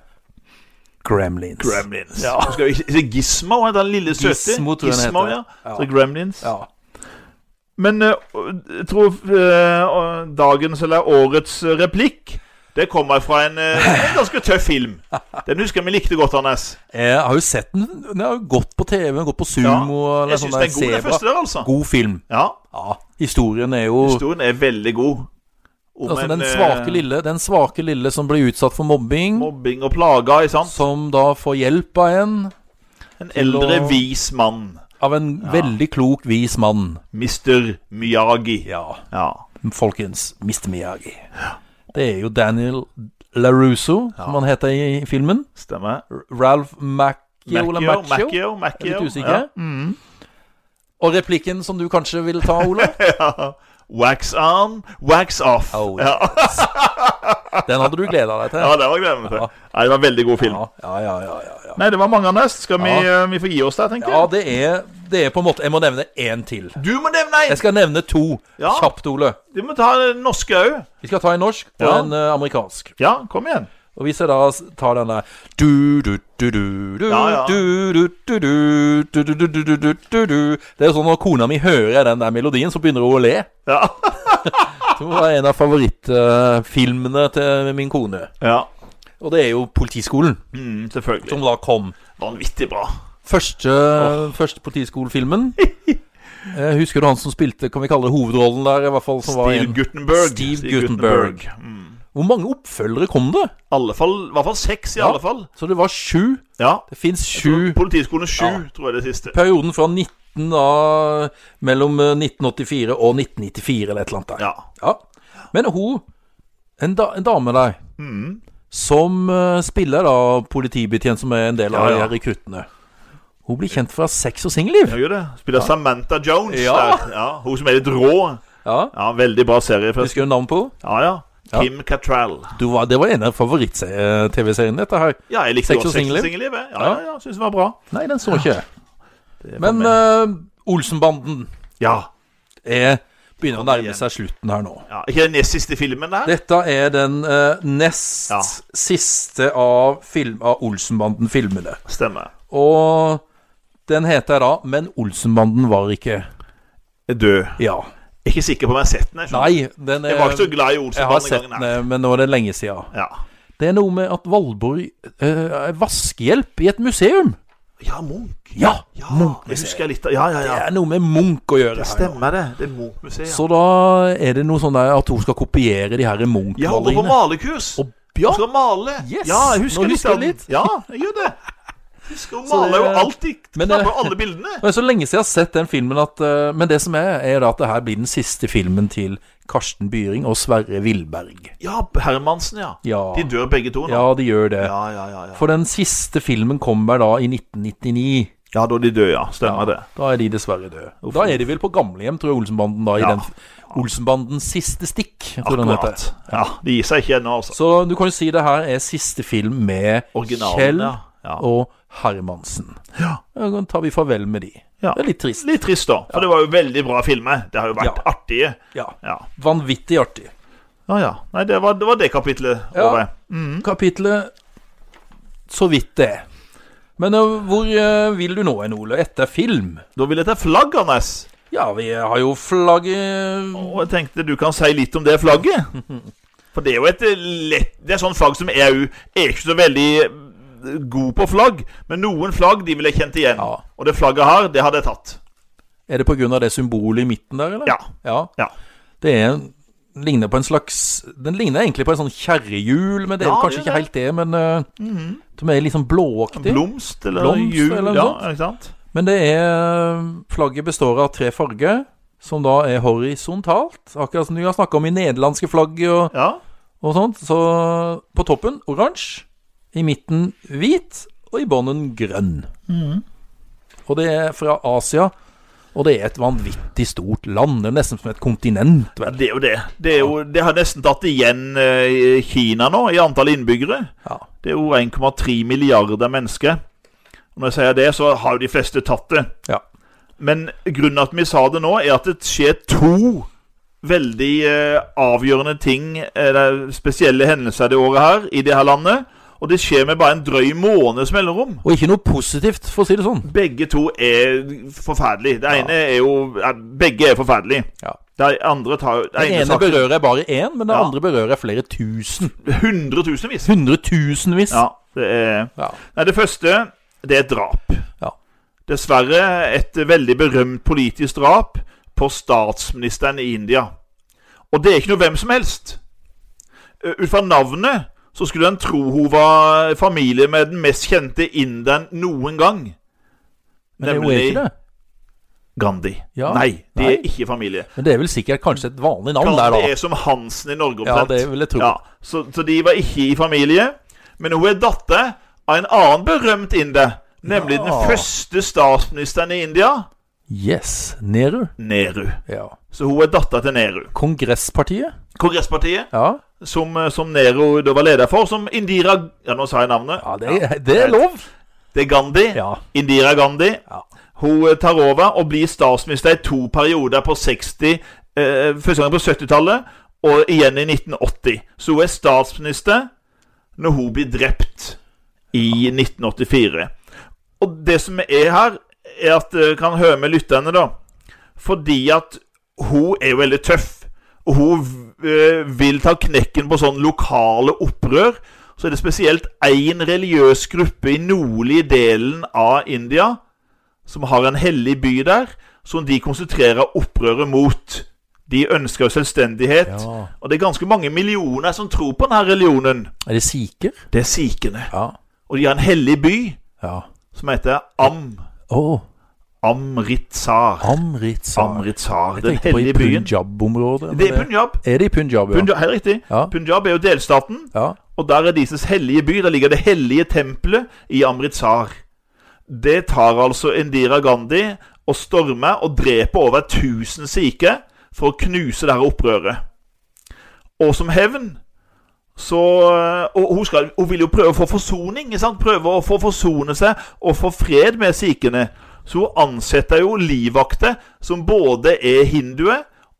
[SPEAKER 1] gremlins.
[SPEAKER 2] gremlins. Ja. Skal vi, er det Gizmo er den lille søte?
[SPEAKER 1] Gizmo, tror jeg den
[SPEAKER 2] Gizmo,
[SPEAKER 1] heter.
[SPEAKER 2] ja.
[SPEAKER 1] Ja.
[SPEAKER 2] Så gremlins.
[SPEAKER 1] Ja.
[SPEAKER 2] Men eh, jeg tror eh, dagens eller årets eh, replikk det kommer fra en, eh, en ganske tøff film. Den husker jeg vi likte godt, Anders.
[SPEAKER 1] Jeg har jo sett den. Den har jo gått på TV, gått på sumo eller
[SPEAKER 2] jeg
[SPEAKER 1] sånn
[SPEAKER 2] syns den
[SPEAKER 1] der
[SPEAKER 2] er god, den
[SPEAKER 1] zebra.
[SPEAKER 2] første der, altså.
[SPEAKER 1] God film.
[SPEAKER 2] Ja,
[SPEAKER 1] Ja. Historien er jo
[SPEAKER 2] Historien er veldig god. Om
[SPEAKER 1] Altså den
[SPEAKER 2] eh,
[SPEAKER 1] svake lille Den svake lille som blir utsatt for mobbing,
[SPEAKER 2] mobbing og plager, ikke sant?
[SPEAKER 1] som da får hjelp av en
[SPEAKER 2] En
[SPEAKER 1] Til å-
[SPEAKER 2] eldre, vis mann.
[SPEAKER 1] Av en veldig klok, vis mann.
[SPEAKER 2] Mr. Miyagi.
[SPEAKER 1] Ja.
[SPEAKER 2] Ja.
[SPEAKER 1] Folkens, Mr. Miyagi. Det er jo Daniel LaRusso, som han heter i filmen.
[SPEAKER 2] Stemmer.
[SPEAKER 1] Ralph Macchio eller
[SPEAKER 2] Macchio,
[SPEAKER 1] Macchio.
[SPEAKER 2] Macchio,
[SPEAKER 1] Jeg
[SPEAKER 2] Macchio.
[SPEAKER 1] er litt usikker. Og replikken som du kanskje vil ta, Ola,
[SPEAKER 2] Ja. Wax on, wax off.
[SPEAKER 1] Oh,
[SPEAKER 2] ja.
[SPEAKER 1] den hadde du gleda deg
[SPEAKER 2] ja,
[SPEAKER 1] til.
[SPEAKER 2] det var jeg glemt.
[SPEAKER 1] Ja.
[SPEAKER 2] Nei, det var en veldig god film.
[SPEAKER 1] Ja, ja, ja, ja, ja, ja.
[SPEAKER 2] Nei, det var mange, Anders. Skal vi,
[SPEAKER 1] Ja.
[SPEAKER 2] eh, vi få gi oss der, tenker
[SPEAKER 1] ja
[SPEAKER 2] jeg?
[SPEAKER 1] det, er, det er på en måte Jeg må nevne én til.
[SPEAKER 2] Du må nevne
[SPEAKER 1] Jeg
[SPEAKER 2] en!
[SPEAKER 1] skal nevne to
[SPEAKER 2] Ja.
[SPEAKER 1] kjapt, Ole.
[SPEAKER 2] Du må ta den norske òg.
[SPEAKER 1] Vi skal ta en norsk og
[SPEAKER 2] Ja.
[SPEAKER 1] en eh, amerikansk.
[SPEAKER 2] Ja, kom igjen.
[SPEAKER 1] Og hvis jeg da s- tar den der du, du, du, du, du,
[SPEAKER 2] Ja, ja.
[SPEAKER 1] du, du, du, du, du, du, du, du, du, du, du, du. Det er jo sånn når kona mi hører den der melodien, så begynner hun å le.
[SPEAKER 2] Ja.
[SPEAKER 1] Det var en av favorittfilmene til min kone.
[SPEAKER 2] ja.
[SPEAKER 1] Og det er jo Politiskolen,
[SPEAKER 2] Mm, selvfølgelig.
[SPEAKER 1] som da kom.
[SPEAKER 2] Vanvittig bra.
[SPEAKER 1] Første, første politiskolefilmen. Eh, Husker du han som spilte, kan vi kalle det hovedrollen der? i hvert fall som var
[SPEAKER 2] Steve
[SPEAKER 1] en.
[SPEAKER 2] Guttenberg.
[SPEAKER 1] Steve Guttenberg.
[SPEAKER 2] Mm. I
[SPEAKER 1] Hvor mange oppfølgere kom det?
[SPEAKER 2] alle fall, i hvert fall seks, i
[SPEAKER 1] Ja.
[SPEAKER 2] alle fall.
[SPEAKER 1] Så det var sju.
[SPEAKER 2] Ja.
[SPEAKER 1] Det fins sju
[SPEAKER 2] Politiskolen sju,
[SPEAKER 1] Ja.
[SPEAKER 2] tror jeg det siste.
[SPEAKER 1] perioden fra 19 da, mellom eh, 1984 og 1994 eller et eller annet der.
[SPEAKER 2] Ja.
[SPEAKER 1] Ja. Men hun, en, da, en dame der,
[SPEAKER 2] Mm.
[SPEAKER 1] som eh, spiller da politibetjent som er en del av
[SPEAKER 2] Ja,
[SPEAKER 1] de
[SPEAKER 2] ja.
[SPEAKER 1] her rekruttene, hun blir kjent fra sex og singelliv.
[SPEAKER 2] Jeg gjør det. Spiller Samantha Jones
[SPEAKER 1] Ja.
[SPEAKER 2] der. Ja, hun som er litt rå.
[SPEAKER 1] Ja.
[SPEAKER 2] Ja, Veldig bra serie.
[SPEAKER 1] Husker
[SPEAKER 2] forresten.
[SPEAKER 1] du navnet på henne?
[SPEAKER 2] Ja, ja.
[SPEAKER 1] Ja.
[SPEAKER 2] Kim Cattrall.
[SPEAKER 1] Du var- Det var en av favoritt-TV-seriene, dette her.
[SPEAKER 2] Ja, jeg likte
[SPEAKER 1] Sex og
[SPEAKER 2] godt Sex og
[SPEAKER 1] singelliv.
[SPEAKER 2] singelliv. jeg. Ja, ja, ja, Syns det var bra.
[SPEAKER 1] Nei, den så ikke jeg.
[SPEAKER 2] Det var
[SPEAKER 1] Men
[SPEAKER 2] med.
[SPEAKER 1] eh, Olsenbanden
[SPEAKER 2] ja.
[SPEAKER 1] er, begynner å nærme
[SPEAKER 2] igjen.
[SPEAKER 1] seg slutten her nå.
[SPEAKER 2] ja. Ikke den nest siste filmen der?
[SPEAKER 1] Dette er den eh, nest
[SPEAKER 2] Ja.
[SPEAKER 1] siste av, film, av Olsenbanden-filmene.
[SPEAKER 2] Stemmer.
[SPEAKER 1] Og den heter da 'Men Olsenbanden var ikke'.
[SPEAKER 2] Er død.
[SPEAKER 1] Ja.
[SPEAKER 2] Jeg er ikke sikker på om jeg har sett den. Jeg, skjønner.
[SPEAKER 1] Nei, den er
[SPEAKER 2] jeg var ikke så glad i
[SPEAKER 1] Jeg har
[SPEAKER 2] Olsenbanen den
[SPEAKER 1] sett eh.
[SPEAKER 2] gangen. Nei.
[SPEAKER 1] den, men nå er det lenge siden.
[SPEAKER 2] Ja.
[SPEAKER 1] Det er noe med at Valborg eh, er vaskehjelp i et museum.
[SPEAKER 2] ja, Munch.
[SPEAKER 1] Ja!
[SPEAKER 2] Ja, jeg
[SPEAKER 1] Munch-museet.
[SPEAKER 2] husker litt av Ja, ja,
[SPEAKER 1] Det
[SPEAKER 2] ja.
[SPEAKER 1] er noe med Munch å gjøre.
[SPEAKER 2] Det
[SPEAKER 1] her nå.
[SPEAKER 2] stemmer, det. Det er Munch-museet. ja.
[SPEAKER 1] Så da er det noe sånn der at hun skal kopiere de her
[SPEAKER 2] Ja, hun går på
[SPEAKER 1] Munch-maleriene.
[SPEAKER 2] malekurs.
[SPEAKER 1] Og
[SPEAKER 2] Hun
[SPEAKER 1] ja,
[SPEAKER 2] skal male.
[SPEAKER 1] Yes.
[SPEAKER 2] Ja, jeg husker
[SPEAKER 1] Nå
[SPEAKER 2] litt
[SPEAKER 1] husker
[SPEAKER 2] av
[SPEAKER 1] jeg
[SPEAKER 2] den.
[SPEAKER 1] litt.
[SPEAKER 2] Ja, jeg gjør det. Husker hun
[SPEAKER 1] Så det-
[SPEAKER 2] maler jo alltid
[SPEAKER 1] Men eh, det-
[SPEAKER 2] Snapper jo alle bildene.
[SPEAKER 1] Det er så lenge siden jeg har sett den filmen at eh, Men det som er, er da at det her blir den siste filmen til Karsten Byring og Sverre Wilberg.
[SPEAKER 2] Ja, Hermansen, ja.
[SPEAKER 1] Ja,
[SPEAKER 2] De dør begge to nå.
[SPEAKER 1] ja de gjør det.
[SPEAKER 2] Ja, ja, ja. Ja,
[SPEAKER 1] For den siste filmen kommer da i 1999.
[SPEAKER 2] ja da de dør, ja. Stemmer det.
[SPEAKER 1] Da er de dessverre døde. Da er de vel på gamlehjem, tror jeg, Olsenbanden. da i
[SPEAKER 2] Ja.
[SPEAKER 1] den Olsenbandens siste stikk. Tror jeg den
[SPEAKER 2] Akkurat.
[SPEAKER 1] heter.
[SPEAKER 2] Ja, De gir seg ikke ennå, altså.
[SPEAKER 1] Så du kan jo si det her er siste film med
[SPEAKER 2] Originalen,
[SPEAKER 1] Kjell
[SPEAKER 2] ja. Ja.
[SPEAKER 1] og Hermansen.
[SPEAKER 2] Ja.
[SPEAKER 1] Da tar vi farvel med de.
[SPEAKER 2] Ja.
[SPEAKER 1] Det er litt trist.
[SPEAKER 2] Litt trist, da. For det var jo veldig bra filmer. Det har jo vært
[SPEAKER 1] Ja.
[SPEAKER 2] artige.
[SPEAKER 1] Ja.
[SPEAKER 2] Ja.
[SPEAKER 1] Vanvittig artig.
[SPEAKER 2] ja, ja. Nei, det var det, var det kapitlet.
[SPEAKER 1] Ja.
[SPEAKER 2] over.
[SPEAKER 1] Kapitlet så vidt det. er. Men ø, hvor ø, vil du nå hen, Ole? Etter film?
[SPEAKER 2] Da vil jeg ta flagg, Anders.
[SPEAKER 1] Ja, vi har jo flagget
[SPEAKER 2] Og jeg tenkte du kan si litt om det flagget. For det er jo et lett Det er sånn flagg som EU er ikke så veldig eh, god på flagg, men noen flagg de ville jeg kjent igjen.
[SPEAKER 1] Ja.
[SPEAKER 2] Og det flagget her, det hadde jeg tatt.
[SPEAKER 1] Er det pga. det symbolet i midten der, eller?
[SPEAKER 2] Ja.
[SPEAKER 1] ja.
[SPEAKER 2] Ja.
[SPEAKER 1] Det er en ligner på en slags Den ligner egentlig på en sånn kjerrehjul, men det er
[SPEAKER 2] Ja,
[SPEAKER 1] jo kanskje
[SPEAKER 2] det er
[SPEAKER 1] ikke helt det. Men eh, Som er litt sånn blåaktig.
[SPEAKER 2] Blomst eller
[SPEAKER 1] Blomst
[SPEAKER 2] jul.
[SPEAKER 1] eller noe
[SPEAKER 2] ja,
[SPEAKER 1] sånt.
[SPEAKER 2] ikke sant?
[SPEAKER 1] Men det er eh, Flagget består av tre farger, som da er horisontalt. Akkurat som vi har snakka om i nederlandske flagget og,
[SPEAKER 2] Ja.
[SPEAKER 1] og sånt. Så på toppen oransje, i midten hvit, og i bunnen grønn. Og det er fra Asia. Og det er et vanvittig stort land. Det er nesten som et kontinent.
[SPEAKER 2] Ja,
[SPEAKER 1] Vel?
[SPEAKER 2] Det er jo det. Det, er jo, det har nesten tatt igjen eh, Kina nå, i antall innbyggere.
[SPEAKER 1] Ja.
[SPEAKER 2] Det er jo 1,3 milliarder mennesker. Og når jeg sier det, så har jo de fleste tatt det.
[SPEAKER 1] Ja.
[SPEAKER 2] Men grunnen til at vi sa det nå, er at det skjer to veldig eh, avgjørende ting, eller spesielle hendelser det året her, i det her landet. Og det skjer med bare en drøy måneds mellomrom.
[SPEAKER 1] Og ikke noe positivt, for å si det sånn.
[SPEAKER 2] Begge to er forferdelige. Det ene er jo ja, Begge er forferdelige.
[SPEAKER 1] Ja.
[SPEAKER 2] Det andre tar jo
[SPEAKER 1] Den ene
[SPEAKER 2] saken-
[SPEAKER 1] berører bare én, men den
[SPEAKER 2] Ja.
[SPEAKER 1] andre berører flere tusen.
[SPEAKER 2] Hundretusenvis.
[SPEAKER 1] Hundretusenvis.
[SPEAKER 2] Ja, det er
[SPEAKER 1] Ja.
[SPEAKER 2] Nei, det første, det er et drap.
[SPEAKER 1] Ja.
[SPEAKER 2] Dessverre et veldig berømt politisk drap på statsministeren i India. Og det er ikke noe hvem som helst. Eh, Ut fra navnet så skulle en tro hun var familie med den mest kjente inderen noen gang.
[SPEAKER 1] Men det er jo ikke det.
[SPEAKER 2] Gandhi.
[SPEAKER 1] Ja.
[SPEAKER 2] Nei, de
[SPEAKER 1] Nei.
[SPEAKER 2] er ikke familie.
[SPEAKER 1] Men det er vel sikkert kanskje et vanlig navn der,
[SPEAKER 2] Gandhi
[SPEAKER 1] da.
[SPEAKER 2] er som Hansen i Norge
[SPEAKER 1] Ja,
[SPEAKER 2] omtrent.
[SPEAKER 1] det vil jeg tro.
[SPEAKER 2] Ja, så, så de var ikke i familie. Men hun er datter av en annen berømt inder. Nemlig
[SPEAKER 1] Ja.
[SPEAKER 2] den første statsministeren i India,
[SPEAKER 1] Yes. Nehru.
[SPEAKER 2] Nehru.
[SPEAKER 1] Ja.
[SPEAKER 2] Så hun er datter til Nehru.
[SPEAKER 1] Kongresspartiet.
[SPEAKER 2] Kongresspartiet,
[SPEAKER 1] Ja.
[SPEAKER 2] som, eh, som Nehru da var leder for, som Indira Ja, nå sa jeg navnet.
[SPEAKER 1] ja det, er, det er lov.
[SPEAKER 2] Det er Gandhi.
[SPEAKER 1] Ja.
[SPEAKER 2] Indira Gandhi.
[SPEAKER 1] Ja.
[SPEAKER 2] Hun eh, tar over og blir statsminister i to perioder på 60 eh, Første gang på 70-tallet, og igjen i 1980. Så hun er statsminister når hun blir drept i 1984. Og det som er her, er at eh, Kan høre med lytterne, da. Fordi at hun er jo veldig tøff. Og hun eh, vil ta knekken på sånn lokale opprør. Så er det spesielt én religiøs gruppe i nordlige delen av India som har en hellig by der, som de konsentrerer opprøret mot. De ønsker jo selvstendighet.
[SPEAKER 1] Ja.
[SPEAKER 2] Og det er ganske mange millioner som tror på denne religionen.
[SPEAKER 1] Er det sikher?
[SPEAKER 2] Det er sikhene.
[SPEAKER 1] Ja.
[SPEAKER 2] Og de har en hellig by
[SPEAKER 1] ja.
[SPEAKER 2] som heter Am.
[SPEAKER 1] Å,
[SPEAKER 2] Amritsar.
[SPEAKER 1] Amritsar.
[SPEAKER 2] Amritsar.
[SPEAKER 1] Jeg
[SPEAKER 2] Den
[SPEAKER 1] tenkte på i
[SPEAKER 2] hellige byen.
[SPEAKER 1] Punjab-området. men
[SPEAKER 2] Det er Punjab.
[SPEAKER 1] Er det i Punjab, ja?
[SPEAKER 2] Punjab helt riktig.
[SPEAKER 1] Ja.
[SPEAKER 2] Punjab er jo delstaten,
[SPEAKER 1] ja.
[SPEAKER 2] og der er deres hellige by. Der ligger det hellige tempelet i Amritsar. Det tar altså Indira Gandhi og stormer og dreper over 1000 sikhe for å knuse dette opprøret. Og som hevn så Og hun, skal, hun vil jo prøve å få forsoning. Ikke sant? Prøve å få forsone seg og få fred med sikhene. Så hun ansetter jo livvakter som både er hindue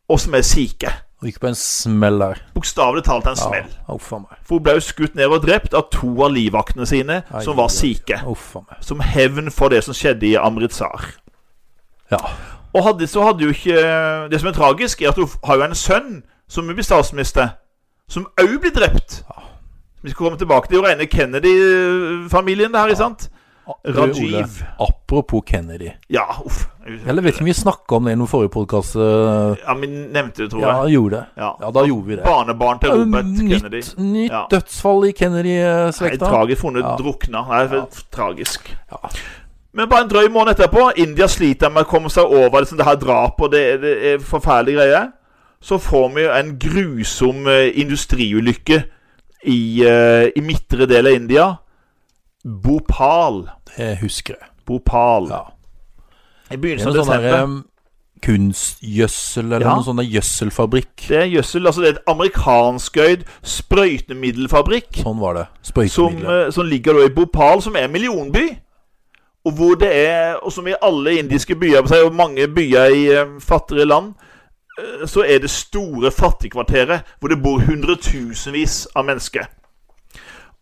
[SPEAKER 2] og som er sikhe.
[SPEAKER 1] Ryker på en smell der.
[SPEAKER 2] Bokstavelig talt en
[SPEAKER 1] Ja.
[SPEAKER 2] smell.
[SPEAKER 1] Uff a meg.
[SPEAKER 2] For hun ble jo skutt ned og drept av to av livvaktene sine,
[SPEAKER 1] Ai,
[SPEAKER 2] som var
[SPEAKER 1] ai,
[SPEAKER 2] sikhe.
[SPEAKER 1] Uff a meg.
[SPEAKER 2] Som hevn for det som skjedde i Amritsar.
[SPEAKER 1] Ja.
[SPEAKER 2] Og hadde, så hadde jo ikke Det som er tragisk, er at hun har jo en sønn som blir statsminister, som
[SPEAKER 1] Ah. Ah.
[SPEAKER 2] òg blir drept. Vi skal komme tilbake til jo rene Kennedy-familien, det her, ikke sant?
[SPEAKER 1] Du,
[SPEAKER 2] Rajiv.
[SPEAKER 1] Ole, apropos Kennedy.
[SPEAKER 2] Ja, uff.
[SPEAKER 1] Eller vet ikke om vi snakka om det i noen forrige podkast. eh,
[SPEAKER 2] Ja, vi nevnte det, tror
[SPEAKER 1] Ja,
[SPEAKER 2] jeg.
[SPEAKER 1] gjorde det.
[SPEAKER 2] Ja.
[SPEAKER 1] Ja, da gjorde vi det.
[SPEAKER 2] Barnebarn til Robert Kennedy.
[SPEAKER 1] Nytt, nytt
[SPEAKER 2] Ja.
[SPEAKER 1] dødsfall i
[SPEAKER 2] Nei,
[SPEAKER 1] Kennedy-slekta.
[SPEAKER 2] tragisk funnet
[SPEAKER 1] Ja.
[SPEAKER 2] drukna. Nei, for- Tragisk.
[SPEAKER 1] Ja.
[SPEAKER 2] Men bare en drøy måned etterpå India sliter med å komme seg over liksom, det her drapet, og det, er- det er forferdelige greier. Så får vi jo en grusom eh, industriulykke i, eh, i midtre del av India. Bhopal.
[SPEAKER 1] Jeg husker det.
[SPEAKER 2] Bhopal.
[SPEAKER 1] Ja.
[SPEAKER 2] I
[SPEAKER 1] Det
[SPEAKER 2] begynnelsen
[SPEAKER 1] er
[SPEAKER 2] av
[SPEAKER 1] en sånn der
[SPEAKER 2] desember.
[SPEAKER 1] em, kunstgjødsel eller
[SPEAKER 2] Ja.
[SPEAKER 1] noen sånn der gjødselfabrikk.
[SPEAKER 2] Det er gjødsel. Altså, det er et amerikanskøyd sprøytemiddelfabrikk.
[SPEAKER 1] Sånn var det.
[SPEAKER 2] som,
[SPEAKER 1] Sprøytemidler.
[SPEAKER 2] eh, som ligger da i Bhopal, som er en millionby. Og hvor det er, og som i alle indiske byer på seg, og mange byer i eh, fattigere land, eh, så er det store fattigkvarteret hvor det bor hundretusenvis av mennesker.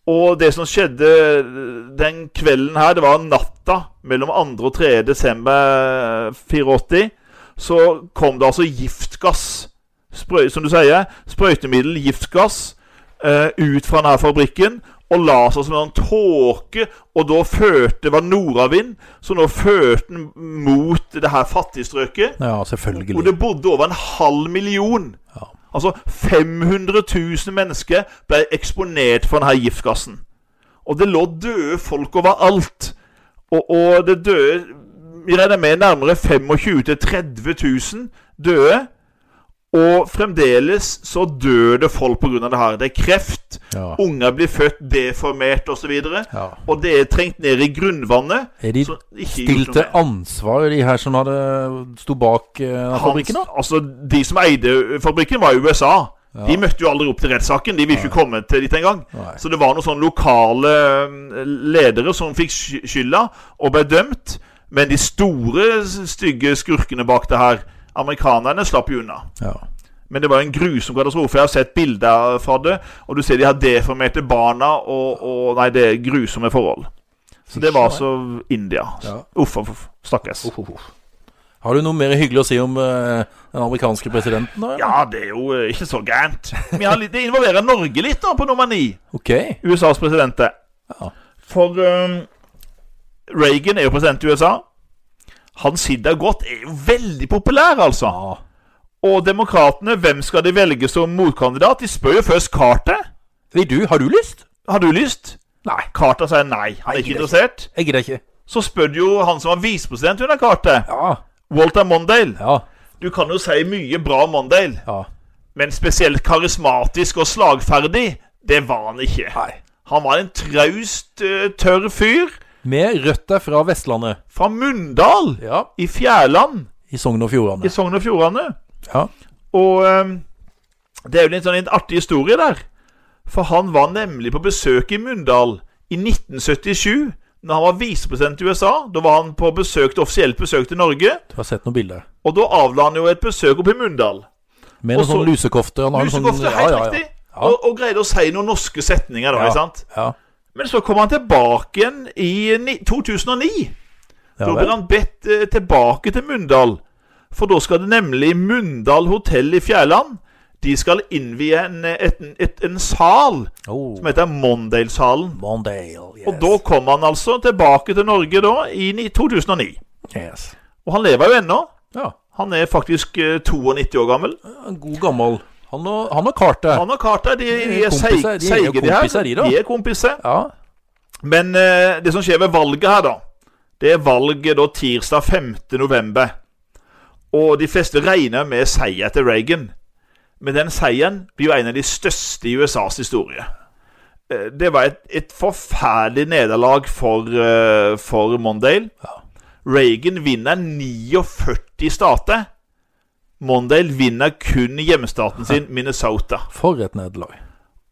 [SPEAKER 2] Og det som skjedde eh, den kvelden her, det var natta mellom 2. og 3. desember eh, 84, så kom det altså giftgass. Sprøy, som du sier, sprøytemiddel, giftgass, eh, ut fra denne fabrikken og la seg som en tåke, og da førte det var nordavind, så nå førte den mot det her fattigstrøket,
[SPEAKER 1] Ja,
[SPEAKER 2] hvor
[SPEAKER 1] selvfølgelig.
[SPEAKER 2] eh, det bodde over en halv million.
[SPEAKER 1] Ja.
[SPEAKER 2] Altså 500 000 mennesker ble eksponert for denne giftgassen. Og det lå døde folk overalt. Og, og det døde Vi regner med nærmere 25 000-30 000 døde. Og fremdeles så dør det folk pga. det her. Det er kreft,
[SPEAKER 1] Ja.
[SPEAKER 2] unger blir født deformert osv. Og, så videre.
[SPEAKER 1] Ja.
[SPEAKER 2] og det er trengt ned i grunnvannet.
[SPEAKER 1] Er de
[SPEAKER 2] så ikke gjort noe
[SPEAKER 1] stilt til
[SPEAKER 2] med.
[SPEAKER 1] ansvar, de her som hadde sto bak eh, fabrikken? da?
[SPEAKER 2] Hans- Altså, De som eide fabrikken, var i USA.
[SPEAKER 1] Ja.
[SPEAKER 2] De møtte jo aldri opp til rettssaken. De ville ikke komme til dit engang.
[SPEAKER 1] Nei.
[SPEAKER 2] Så det var noen sånne lokale eh, ledere som fikk sky- skylda og ble dømt. Men de store, stygge skurkene bak det her, amerikanerne, slapp jo unna.
[SPEAKER 1] Ja.
[SPEAKER 2] Men det var en grusom katastrofe. Jeg har sett bilder fra det. Og du ser de har deformerte barna, og, og Nei, det er grusomme forhold. Så det var altså India.
[SPEAKER 1] Ja. Oh,
[SPEAKER 2] Uff, uff, uff. Stakkars.
[SPEAKER 1] Har du noe mer hyggelig å si om eh, den amerikanske presidenten? da?
[SPEAKER 2] Ja, det er jo eh, ikke så gærent. Men jeg har litt- Det involverer Norge litt, da, på nummer ni.
[SPEAKER 1] Ok.
[SPEAKER 2] USAs president. det.
[SPEAKER 1] Ja.
[SPEAKER 2] For eh, Reagan er jo president i USA. Han sitter godt. Er jo veldig populær, altså.
[SPEAKER 1] Ja.
[SPEAKER 2] Og demokratene, hvem skal de velge som motkandidat? De spør jo først Carter.
[SPEAKER 1] Vil du, har du lyst?
[SPEAKER 2] Har du lyst? Nei. Carter sier nei.
[SPEAKER 1] Nei,
[SPEAKER 2] Han er ikke
[SPEAKER 1] gidder
[SPEAKER 2] interessert.
[SPEAKER 1] Jeg gidder ikke.
[SPEAKER 2] Så spør du jo han som var visepresident under Carter,
[SPEAKER 1] Ja.
[SPEAKER 2] Walter Mondale.
[SPEAKER 1] Ja.
[SPEAKER 2] Du kan jo si mye bra om Mondale,
[SPEAKER 1] ja.
[SPEAKER 2] men spesielt karismatisk og slagferdig, det var han ikke.
[SPEAKER 1] Nei.
[SPEAKER 2] Han var en traust, eh, tørr fyr
[SPEAKER 1] Med røtter fra Vestlandet.
[SPEAKER 2] fra Mundal
[SPEAKER 1] Ja.
[SPEAKER 2] i Fjærland
[SPEAKER 1] I Sogn og
[SPEAKER 2] i
[SPEAKER 1] Fjordane.
[SPEAKER 2] Sogn og Fjordane.
[SPEAKER 1] Ja.
[SPEAKER 2] Og ehm, det er jo litt sånn en artig historie der. For han var nemlig på besøk i Mundal i 1977. Når han var visepresident i USA, da var han på besøk, offisielt besøk til Norge.
[SPEAKER 1] Du har sett noen bilder.
[SPEAKER 2] Og da avla han jo et besøk oppe i Mundal.
[SPEAKER 1] Med
[SPEAKER 2] Og
[SPEAKER 1] noen sånn
[SPEAKER 2] så-
[SPEAKER 1] lusekofte. Han har en
[SPEAKER 2] Lusekofte,
[SPEAKER 1] sånn,
[SPEAKER 2] helt
[SPEAKER 1] ja, ja,
[SPEAKER 2] riktig.
[SPEAKER 1] Ja.
[SPEAKER 2] Og, og greide å si noen norske setninger da,
[SPEAKER 1] Ja.
[SPEAKER 2] ikke sant?
[SPEAKER 1] ja.
[SPEAKER 2] Men så kom han tilbake igjen i ni 2009.
[SPEAKER 1] Ja,
[SPEAKER 2] Da
[SPEAKER 1] vel.
[SPEAKER 2] blir han bedt eh, tilbake til Mundal. For da skal det nemlig Mundal hotell i Fjærland. De skal innvie en, eh, et, et, en sal
[SPEAKER 1] Oh.
[SPEAKER 2] som heter Mondale-salen.
[SPEAKER 1] Mondale. Yes.
[SPEAKER 2] Og da kom han altså tilbake til Norge da i ni- 2009.
[SPEAKER 1] yes.
[SPEAKER 2] Og han lever jo ennå.
[SPEAKER 1] Ja.
[SPEAKER 2] Han er faktisk eh, 92 år gammel.
[SPEAKER 1] En god gammel. Han og, han og Carter.
[SPEAKER 2] Han og Carter de, de
[SPEAKER 1] er
[SPEAKER 2] er seige,
[SPEAKER 1] kompiser, de er
[SPEAKER 2] de,
[SPEAKER 1] jo kompiser,
[SPEAKER 2] her.
[SPEAKER 1] de da.
[SPEAKER 2] De er kompiser.
[SPEAKER 1] Ja.
[SPEAKER 2] Men eh, det som skjer ved valget her, da Det er valget da tirsdag 5. november. Og de fleste regner med seier til Reagan. Men den seieren blir jo en av de største i USAs historie. Eh, Det var et, et forferdelig nederlag for, eh, for Mondale. Reagan vinner 49 stater. Mondale vinner kun hjemstaten sin, Minnesota.
[SPEAKER 1] For et nederlag.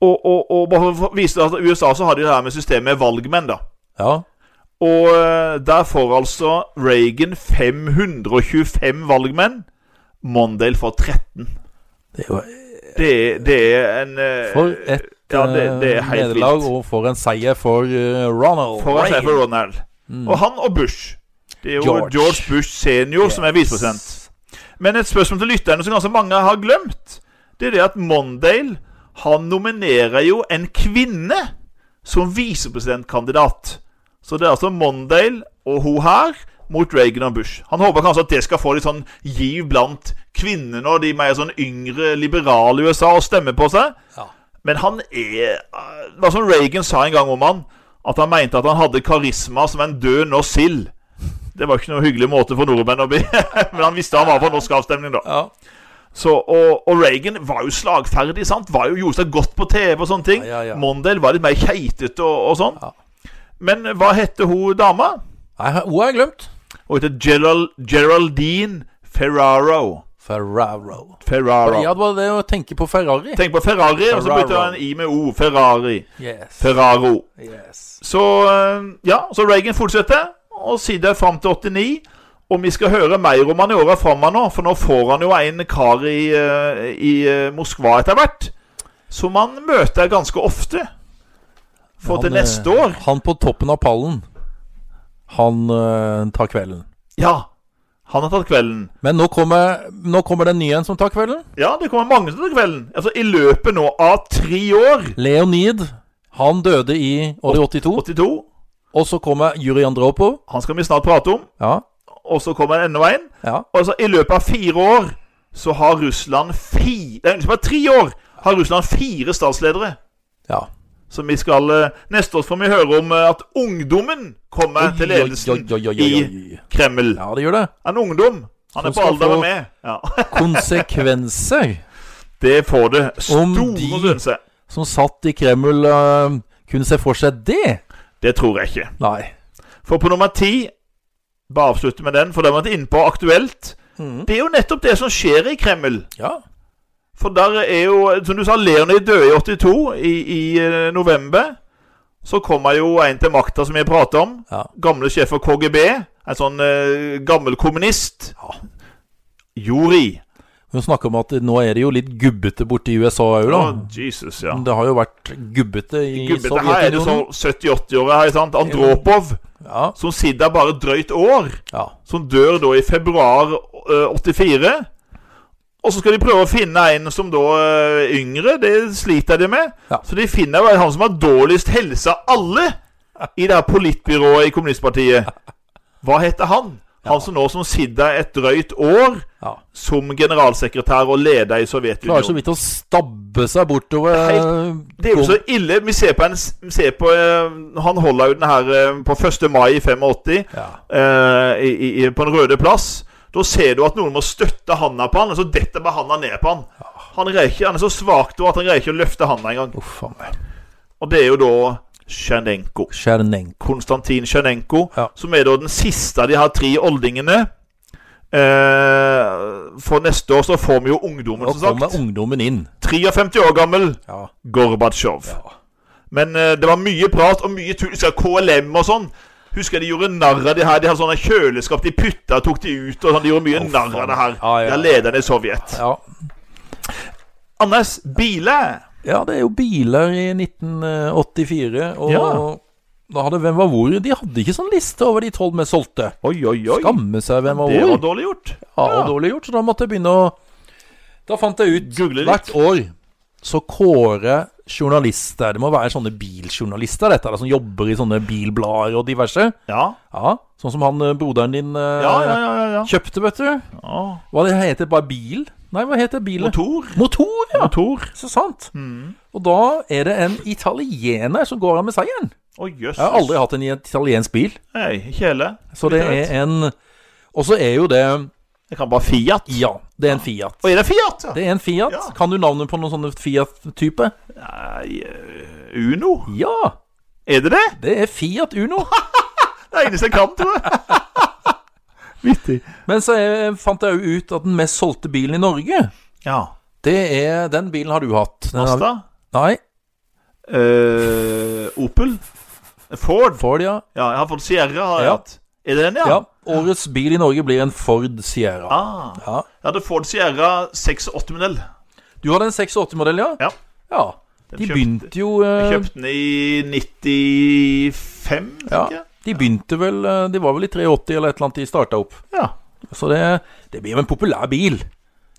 [SPEAKER 2] Og, og, og bare for å vise deg at i USA så har de det her med systemet med valgmenn, da.
[SPEAKER 1] Ja.
[SPEAKER 2] Og eh, der får altså Reagan 525 valgmenn. Mondale får 13.
[SPEAKER 1] Det er jo
[SPEAKER 2] Det, er- det er en eh,
[SPEAKER 1] for et
[SPEAKER 2] ja, det- det er
[SPEAKER 1] eh,
[SPEAKER 2] helt
[SPEAKER 1] nederlag,
[SPEAKER 2] vilt.
[SPEAKER 1] og for en seier for eh, Ronald
[SPEAKER 2] For å si
[SPEAKER 1] Reagan.
[SPEAKER 2] for Ronald. Og han og Bush. Det er jo
[SPEAKER 1] Mm. George.
[SPEAKER 2] George, Bush senior som er visepresident. Men et spørsmål til lytterne som ganske mange har glemt, det er det at Mondale han nominerer jo en kvinne som visepresidentkandidat. Så det er altså Mondale og hun her mot Reagan og Bush. Han håper kanskje at det skal få litt sånn giv blant kvinnene og de mer sånn yngre liberale i USA å stemme på seg.
[SPEAKER 1] Ja.
[SPEAKER 2] Men han er eh, Det var som Reagan sa en gang om han, at han mente at han hadde karisma som en død norsk sild. Det var ikke noe hyggelig måte for nordmenn å bli, men han visste han var på norsk avstemning, da.
[SPEAKER 1] Ja.
[SPEAKER 2] Så, og, og Reagan var jo slagferdig, sant? Var jo, gjorde seg godt på TV og sånne ting.
[SPEAKER 1] Ja, ja, ja.
[SPEAKER 2] Mondale var litt mer keitete og, og sånn.
[SPEAKER 1] Ja.
[SPEAKER 2] Men hva heter hun dama?
[SPEAKER 1] Nei, hun har jeg glemt.
[SPEAKER 2] Hun heter Geral- Geraldine Ferraro.
[SPEAKER 1] Ferraro.
[SPEAKER 2] Ferraro.
[SPEAKER 1] Ja, det var det å tenke på Ferrari.
[SPEAKER 2] Tenk på Ferrari, og så
[SPEAKER 1] Ferraro.
[SPEAKER 2] bytter han i med O. Ferrari.
[SPEAKER 1] Yes.
[SPEAKER 2] Ferraro.
[SPEAKER 1] yes.
[SPEAKER 2] Så eh, ja, så Reagan fortsetter, og sitter fram til 89. Og vi skal høre mer om han i åra framover nå, for nå får han jo en kar i, eh, i eh, Moskva etter hvert. Som han møter ganske ofte. For til
[SPEAKER 1] Han, eh,
[SPEAKER 2] neste år
[SPEAKER 1] Han på toppen av pallen. Han eh, tar kvelden.
[SPEAKER 2] Ja, han har tatt kvelden.
[SPEAKER 1] Men nå kommer, nå kommer den nye en som tar kvelden.
[SPEAKER 2] Ja, det kommer mange som tar kvelden. Altså i løpet nå av tre år.
[SPEAKER 1] Leonid. Han døde i året 82.
[SPEAKER 2] 82.
[SPEAKER 1] Og så kommer Jurij Andropov.
[SPEAKER 2] Han skal vi snart prate om.
[SPEAKER 1] Ja.
[SPEAKER 2] Og så kommer enda en.
[SPEAKER 1] ja.
[SPEAKER 2] Altså, I løpet av fire år så har Russland fire I løpet av tre år har Russland fire statsledere.
[SPEAKER 1] ja.
[SPEAKER 2] Som vi skal eh, Neste år får vi høre om eh, at ungdommen kommer til ledelsen
[SPEAKER 1] Oi, oi, oi, oi, oi, oi.
[SPEAKER 2] i Kreml.
[SPEAKER 1] Ja, det gjør det.
[SPEAKER 2] En ungdom. Han
[SPEAKER 1] Som
[SPEAKER 2] er på
[SPEAKER 1] skal
[SPEAKER 2] alder
[SPEAKER 1] få-
[SPEAKER 2] med meg. Ja.
[SPEAKER 1] Konsekvenser
[SPEAKER 2] Det får det.
[SPEAKER 1] Om
[SPEAKER 2] Store
[SPEAKER 1] de-
[SPEAKER 2] konsekvenser.
[SPEAKER 1] som satt i Kreml eh, kunne se for seg det.
[SPEAKER 2] Det tror jeg ikke.
[SPEAKER 1] Nei.
[SPEAKER 2] For på nummer ti Bare avslutte med den, for den var vi inne på aktuelt.
[SPEAKER 1] Mhm.
[SPEAKER 2] Det er jo nettopp det som skjer i Kreml.
[SPEAKER 1] Ja.
[SPEAKER 2] For der er jo, som du sa, Leonid døde i 82, i, i eh, november. Så kommer jo en til makta som jeg prater om.
[SPEAKER 1] Ja.
[SPEAKER 2] Gamle sjef for KGB. En sånn eh, gammel kommunist.
[SPEAKER 1] Ja.
[SPEAKER 2] Juri.
[SPEAKER 1] Hun snakker om at nå er det jo litt gubbete borte i USA òg, da.
[SPEAKER 2] Å, Jesus, ja.
[SPEAKER 1] Det har jo vært gubbete i
[SPEAKER 2] Gubbete her er det
[SPEAKER 1] Sovjetunionen.
[SPEAKER 2] sånn 70-80-åra, her, sant? Andropov,
[SPEAKER 1] Ja,
[SPEAKER 2] som sitter bare et drøyt år.
[SPEAKER 1] ja.
[SPEAKER 2] Som dør da i februar eh, 84. Og så skal de prøve å finne en som da er yngre. Det sliter de med.
[SPEAKER 1] Ja.
[SPEAKER 2] Så de finner vel han som har dårligst helse av alle i det her politbyrået i kommunistpartiet. Hva heter han? Han som nå som sitter et drøyt år
[SPEAKER 1] ja.
[SPEAKER 2] som generalsekretær og leder i
[SPEAKER 1] Klarer så
[SPEAKER 2] Sovjetunionen.
[SPEAKER 1] vidt å stabbe seg bortover eh,
[SPEAKER 2] Det er jo så ille. Vi ser på, en, vi ser på eh, Han holder jo den her eh, på 1. mai i 85
[SPEAKER 1] ja.
[SPEAKER 2] eh, i, i, på Den røde plass. Da ser du at noen må støtte handa på han, og så detter bare handa ned på han. Han, greier ikke, han er så svak da at han greier ikke å løfte handa engang.
[SPEAKER 1] Uff a meg.
[SPEAKER 2] Og det er jo da Sjernenko.
[SPEAKER 1] Tsjernenko.
[SPEAKER 2] Konstantin Sjernenko,
[SPEAKER 1] Ja.
[SPEAKER 2] som er da den siste av de her tre oldingene. Eh, for neste år så får vi jo ungdommen,
[SPEAKER 1] Nå
[SPEAKER 2] som
[SPEAKER 1] kommer
[SPEAKER 2] sagt.
[SPEAKER 1] ungdommen inn.
[SPEAKER 2] 53 år gammel
[SPEAKER 1] Ja.
[SPEAKER 2] Gorbatsjov.
[SPEAKER 1] Ja.
[SPEAKER 2] Men eh, det var mye prat og mye tull. Skal KLM og sånn. Husker jeg de gjorde narr av det her. De hadde sånne kjøleskap de putta og tok de ut. og sånn, De gjorde mye
[SPEAKER 1] Å,
[SPEAKER 2] narr
[SPEAKER 1] faen.
[SPEAKER 2] av det her.
[SPEAKER 1] Ja, ja,
[SPEAKER 2] De er
[SPEAKER 1] ja.
[SPEAKER 2] lederne i Sovjet.
[SPEAKER 1] ja.
[SPEAKER 2] Anders, biler
[SPEAKER 1] ja, det er jo biler i 1984, og
[SPEAKER 2] Ja.
[SPEAKER 1] da hadde Hvem var hvor? De hadde ikke sånn liste over de tolv mest solgte.
[SPEAKER 2] Oi, oi, oi.
[SPEAKER 1] Skamme seg, hvem var
[SPEAKER 2] Det var
[SPEAKER 1] hvor?
[SPEAKER 2] dårlig gjort.
[SPEAKER 1] Ja,
[SPEAKER 2] Ja.
[SPEAKER 1] og dårlig gjort, så da måtte jeg begynne å Da fant jeg ut
[SPEAKER 2] Google litt.
[SPEAKER 1] Hvert år så kårer journalister Det må være sånne biljournalister, dette, eller, som jobber i sånne bilblader og diverse.
[SPEAKER 2] Ja,
[SPEAKER 1] Ja, Sånn som han eh, broderen din eh,
[SPEAKER 2] ja, ja. ja, ja,
[SPEAKER 1] kjøpte, vet du.
[SPEAKER 2] ja. ja.
[SPEAKER 1] Hva det heter det? Bare bil? Nei, hva heter bilen?
[SPEAKER 2] Motor.
[SPEAKER 1] Motor, ja!
[SPEAKER 2] Motor.
[SPEAKER 1] Så sant. Og da er det en italiener som går av med seieren.
[SPEAKER 2] Å, jøss.
[SPEAKER 1] Jeg har aldri hatt en italiensk bil.
[SPEAKER 2] Nei, ikke heller.
[SPEAKER 1] Så det er en Og så er jo det
[SPEAKER 2] Jeg kan bare Fiat.
[SPEAKER 1] Ja, det er en Fiat.
[SPEAKER 2] Og er det Fiat? ja?
[SPEAKER 1] Det er en Fiat.
[SPEAKER 2] Ja.
[SPEAKER 1] Kan du navnet på noen sånne Fiat-type?
[SPEAKER 2] Nei, eh, Uno.
[SPEAKER 1] Ja,
[SPEAKER 2] Er det det?
[SPEAKER 1] det er Fiat Uno.
[SPEAKER 2] Det er eneste jeg kan, tror jeg. Vittig.
[SPEAKER 1] Men så eh, fant jeg jo ut at den mest solgte bilen i Norge,
[SPEAKER 2] Ja.
[SPEAKER 1] det er Den bilen har du hatt. Den har,
[SPEAKER 2] Asta?
[SPEAKER 1] nei,
[SPEAKER 2] Eh, Opel? Ford?
[SPEAKER 1] Ford, ja.
[SPEAKER 2] Ja, jeg har fått Sierra. har jeg
[SPEAKER 1] Ja.
[SPEAKER 2] hatt. Er det den, ja?
[SPEAKER 1] ja. Årets bil i Norge blir en Ford Sierra.
[SPEAKER 2] Ah,
[SPEAKER 1] Ja.
[SPEAKER 2] jeg hadde Ford Sierra 680-modell.
[SPEAKER 1] Du hadde en 86-modell, ja?
[SPEAKER 2] Ja.
[SPEAKER 1] ja.
[SPEAKER 2] Den
[SPEAKER 1] De
[SPEAKER 2] kjøpte-
[SPEAKER 1] begynte jo
[SPEAKER 2] Jeg
[SPEAKER 1] eh,
[SPEAKER 2] kjøpte den i 95, tenker
[SPEAKER 1] ja,
[SPEAKER 2] jeg.
[SPEAKER 1] De begynte vel eh, De var vel i 83 eller et eller annet de starta opp.
[SPEAKER 2] Ja.
[SPEAKER 1] Så det, det blir jo en populær bil.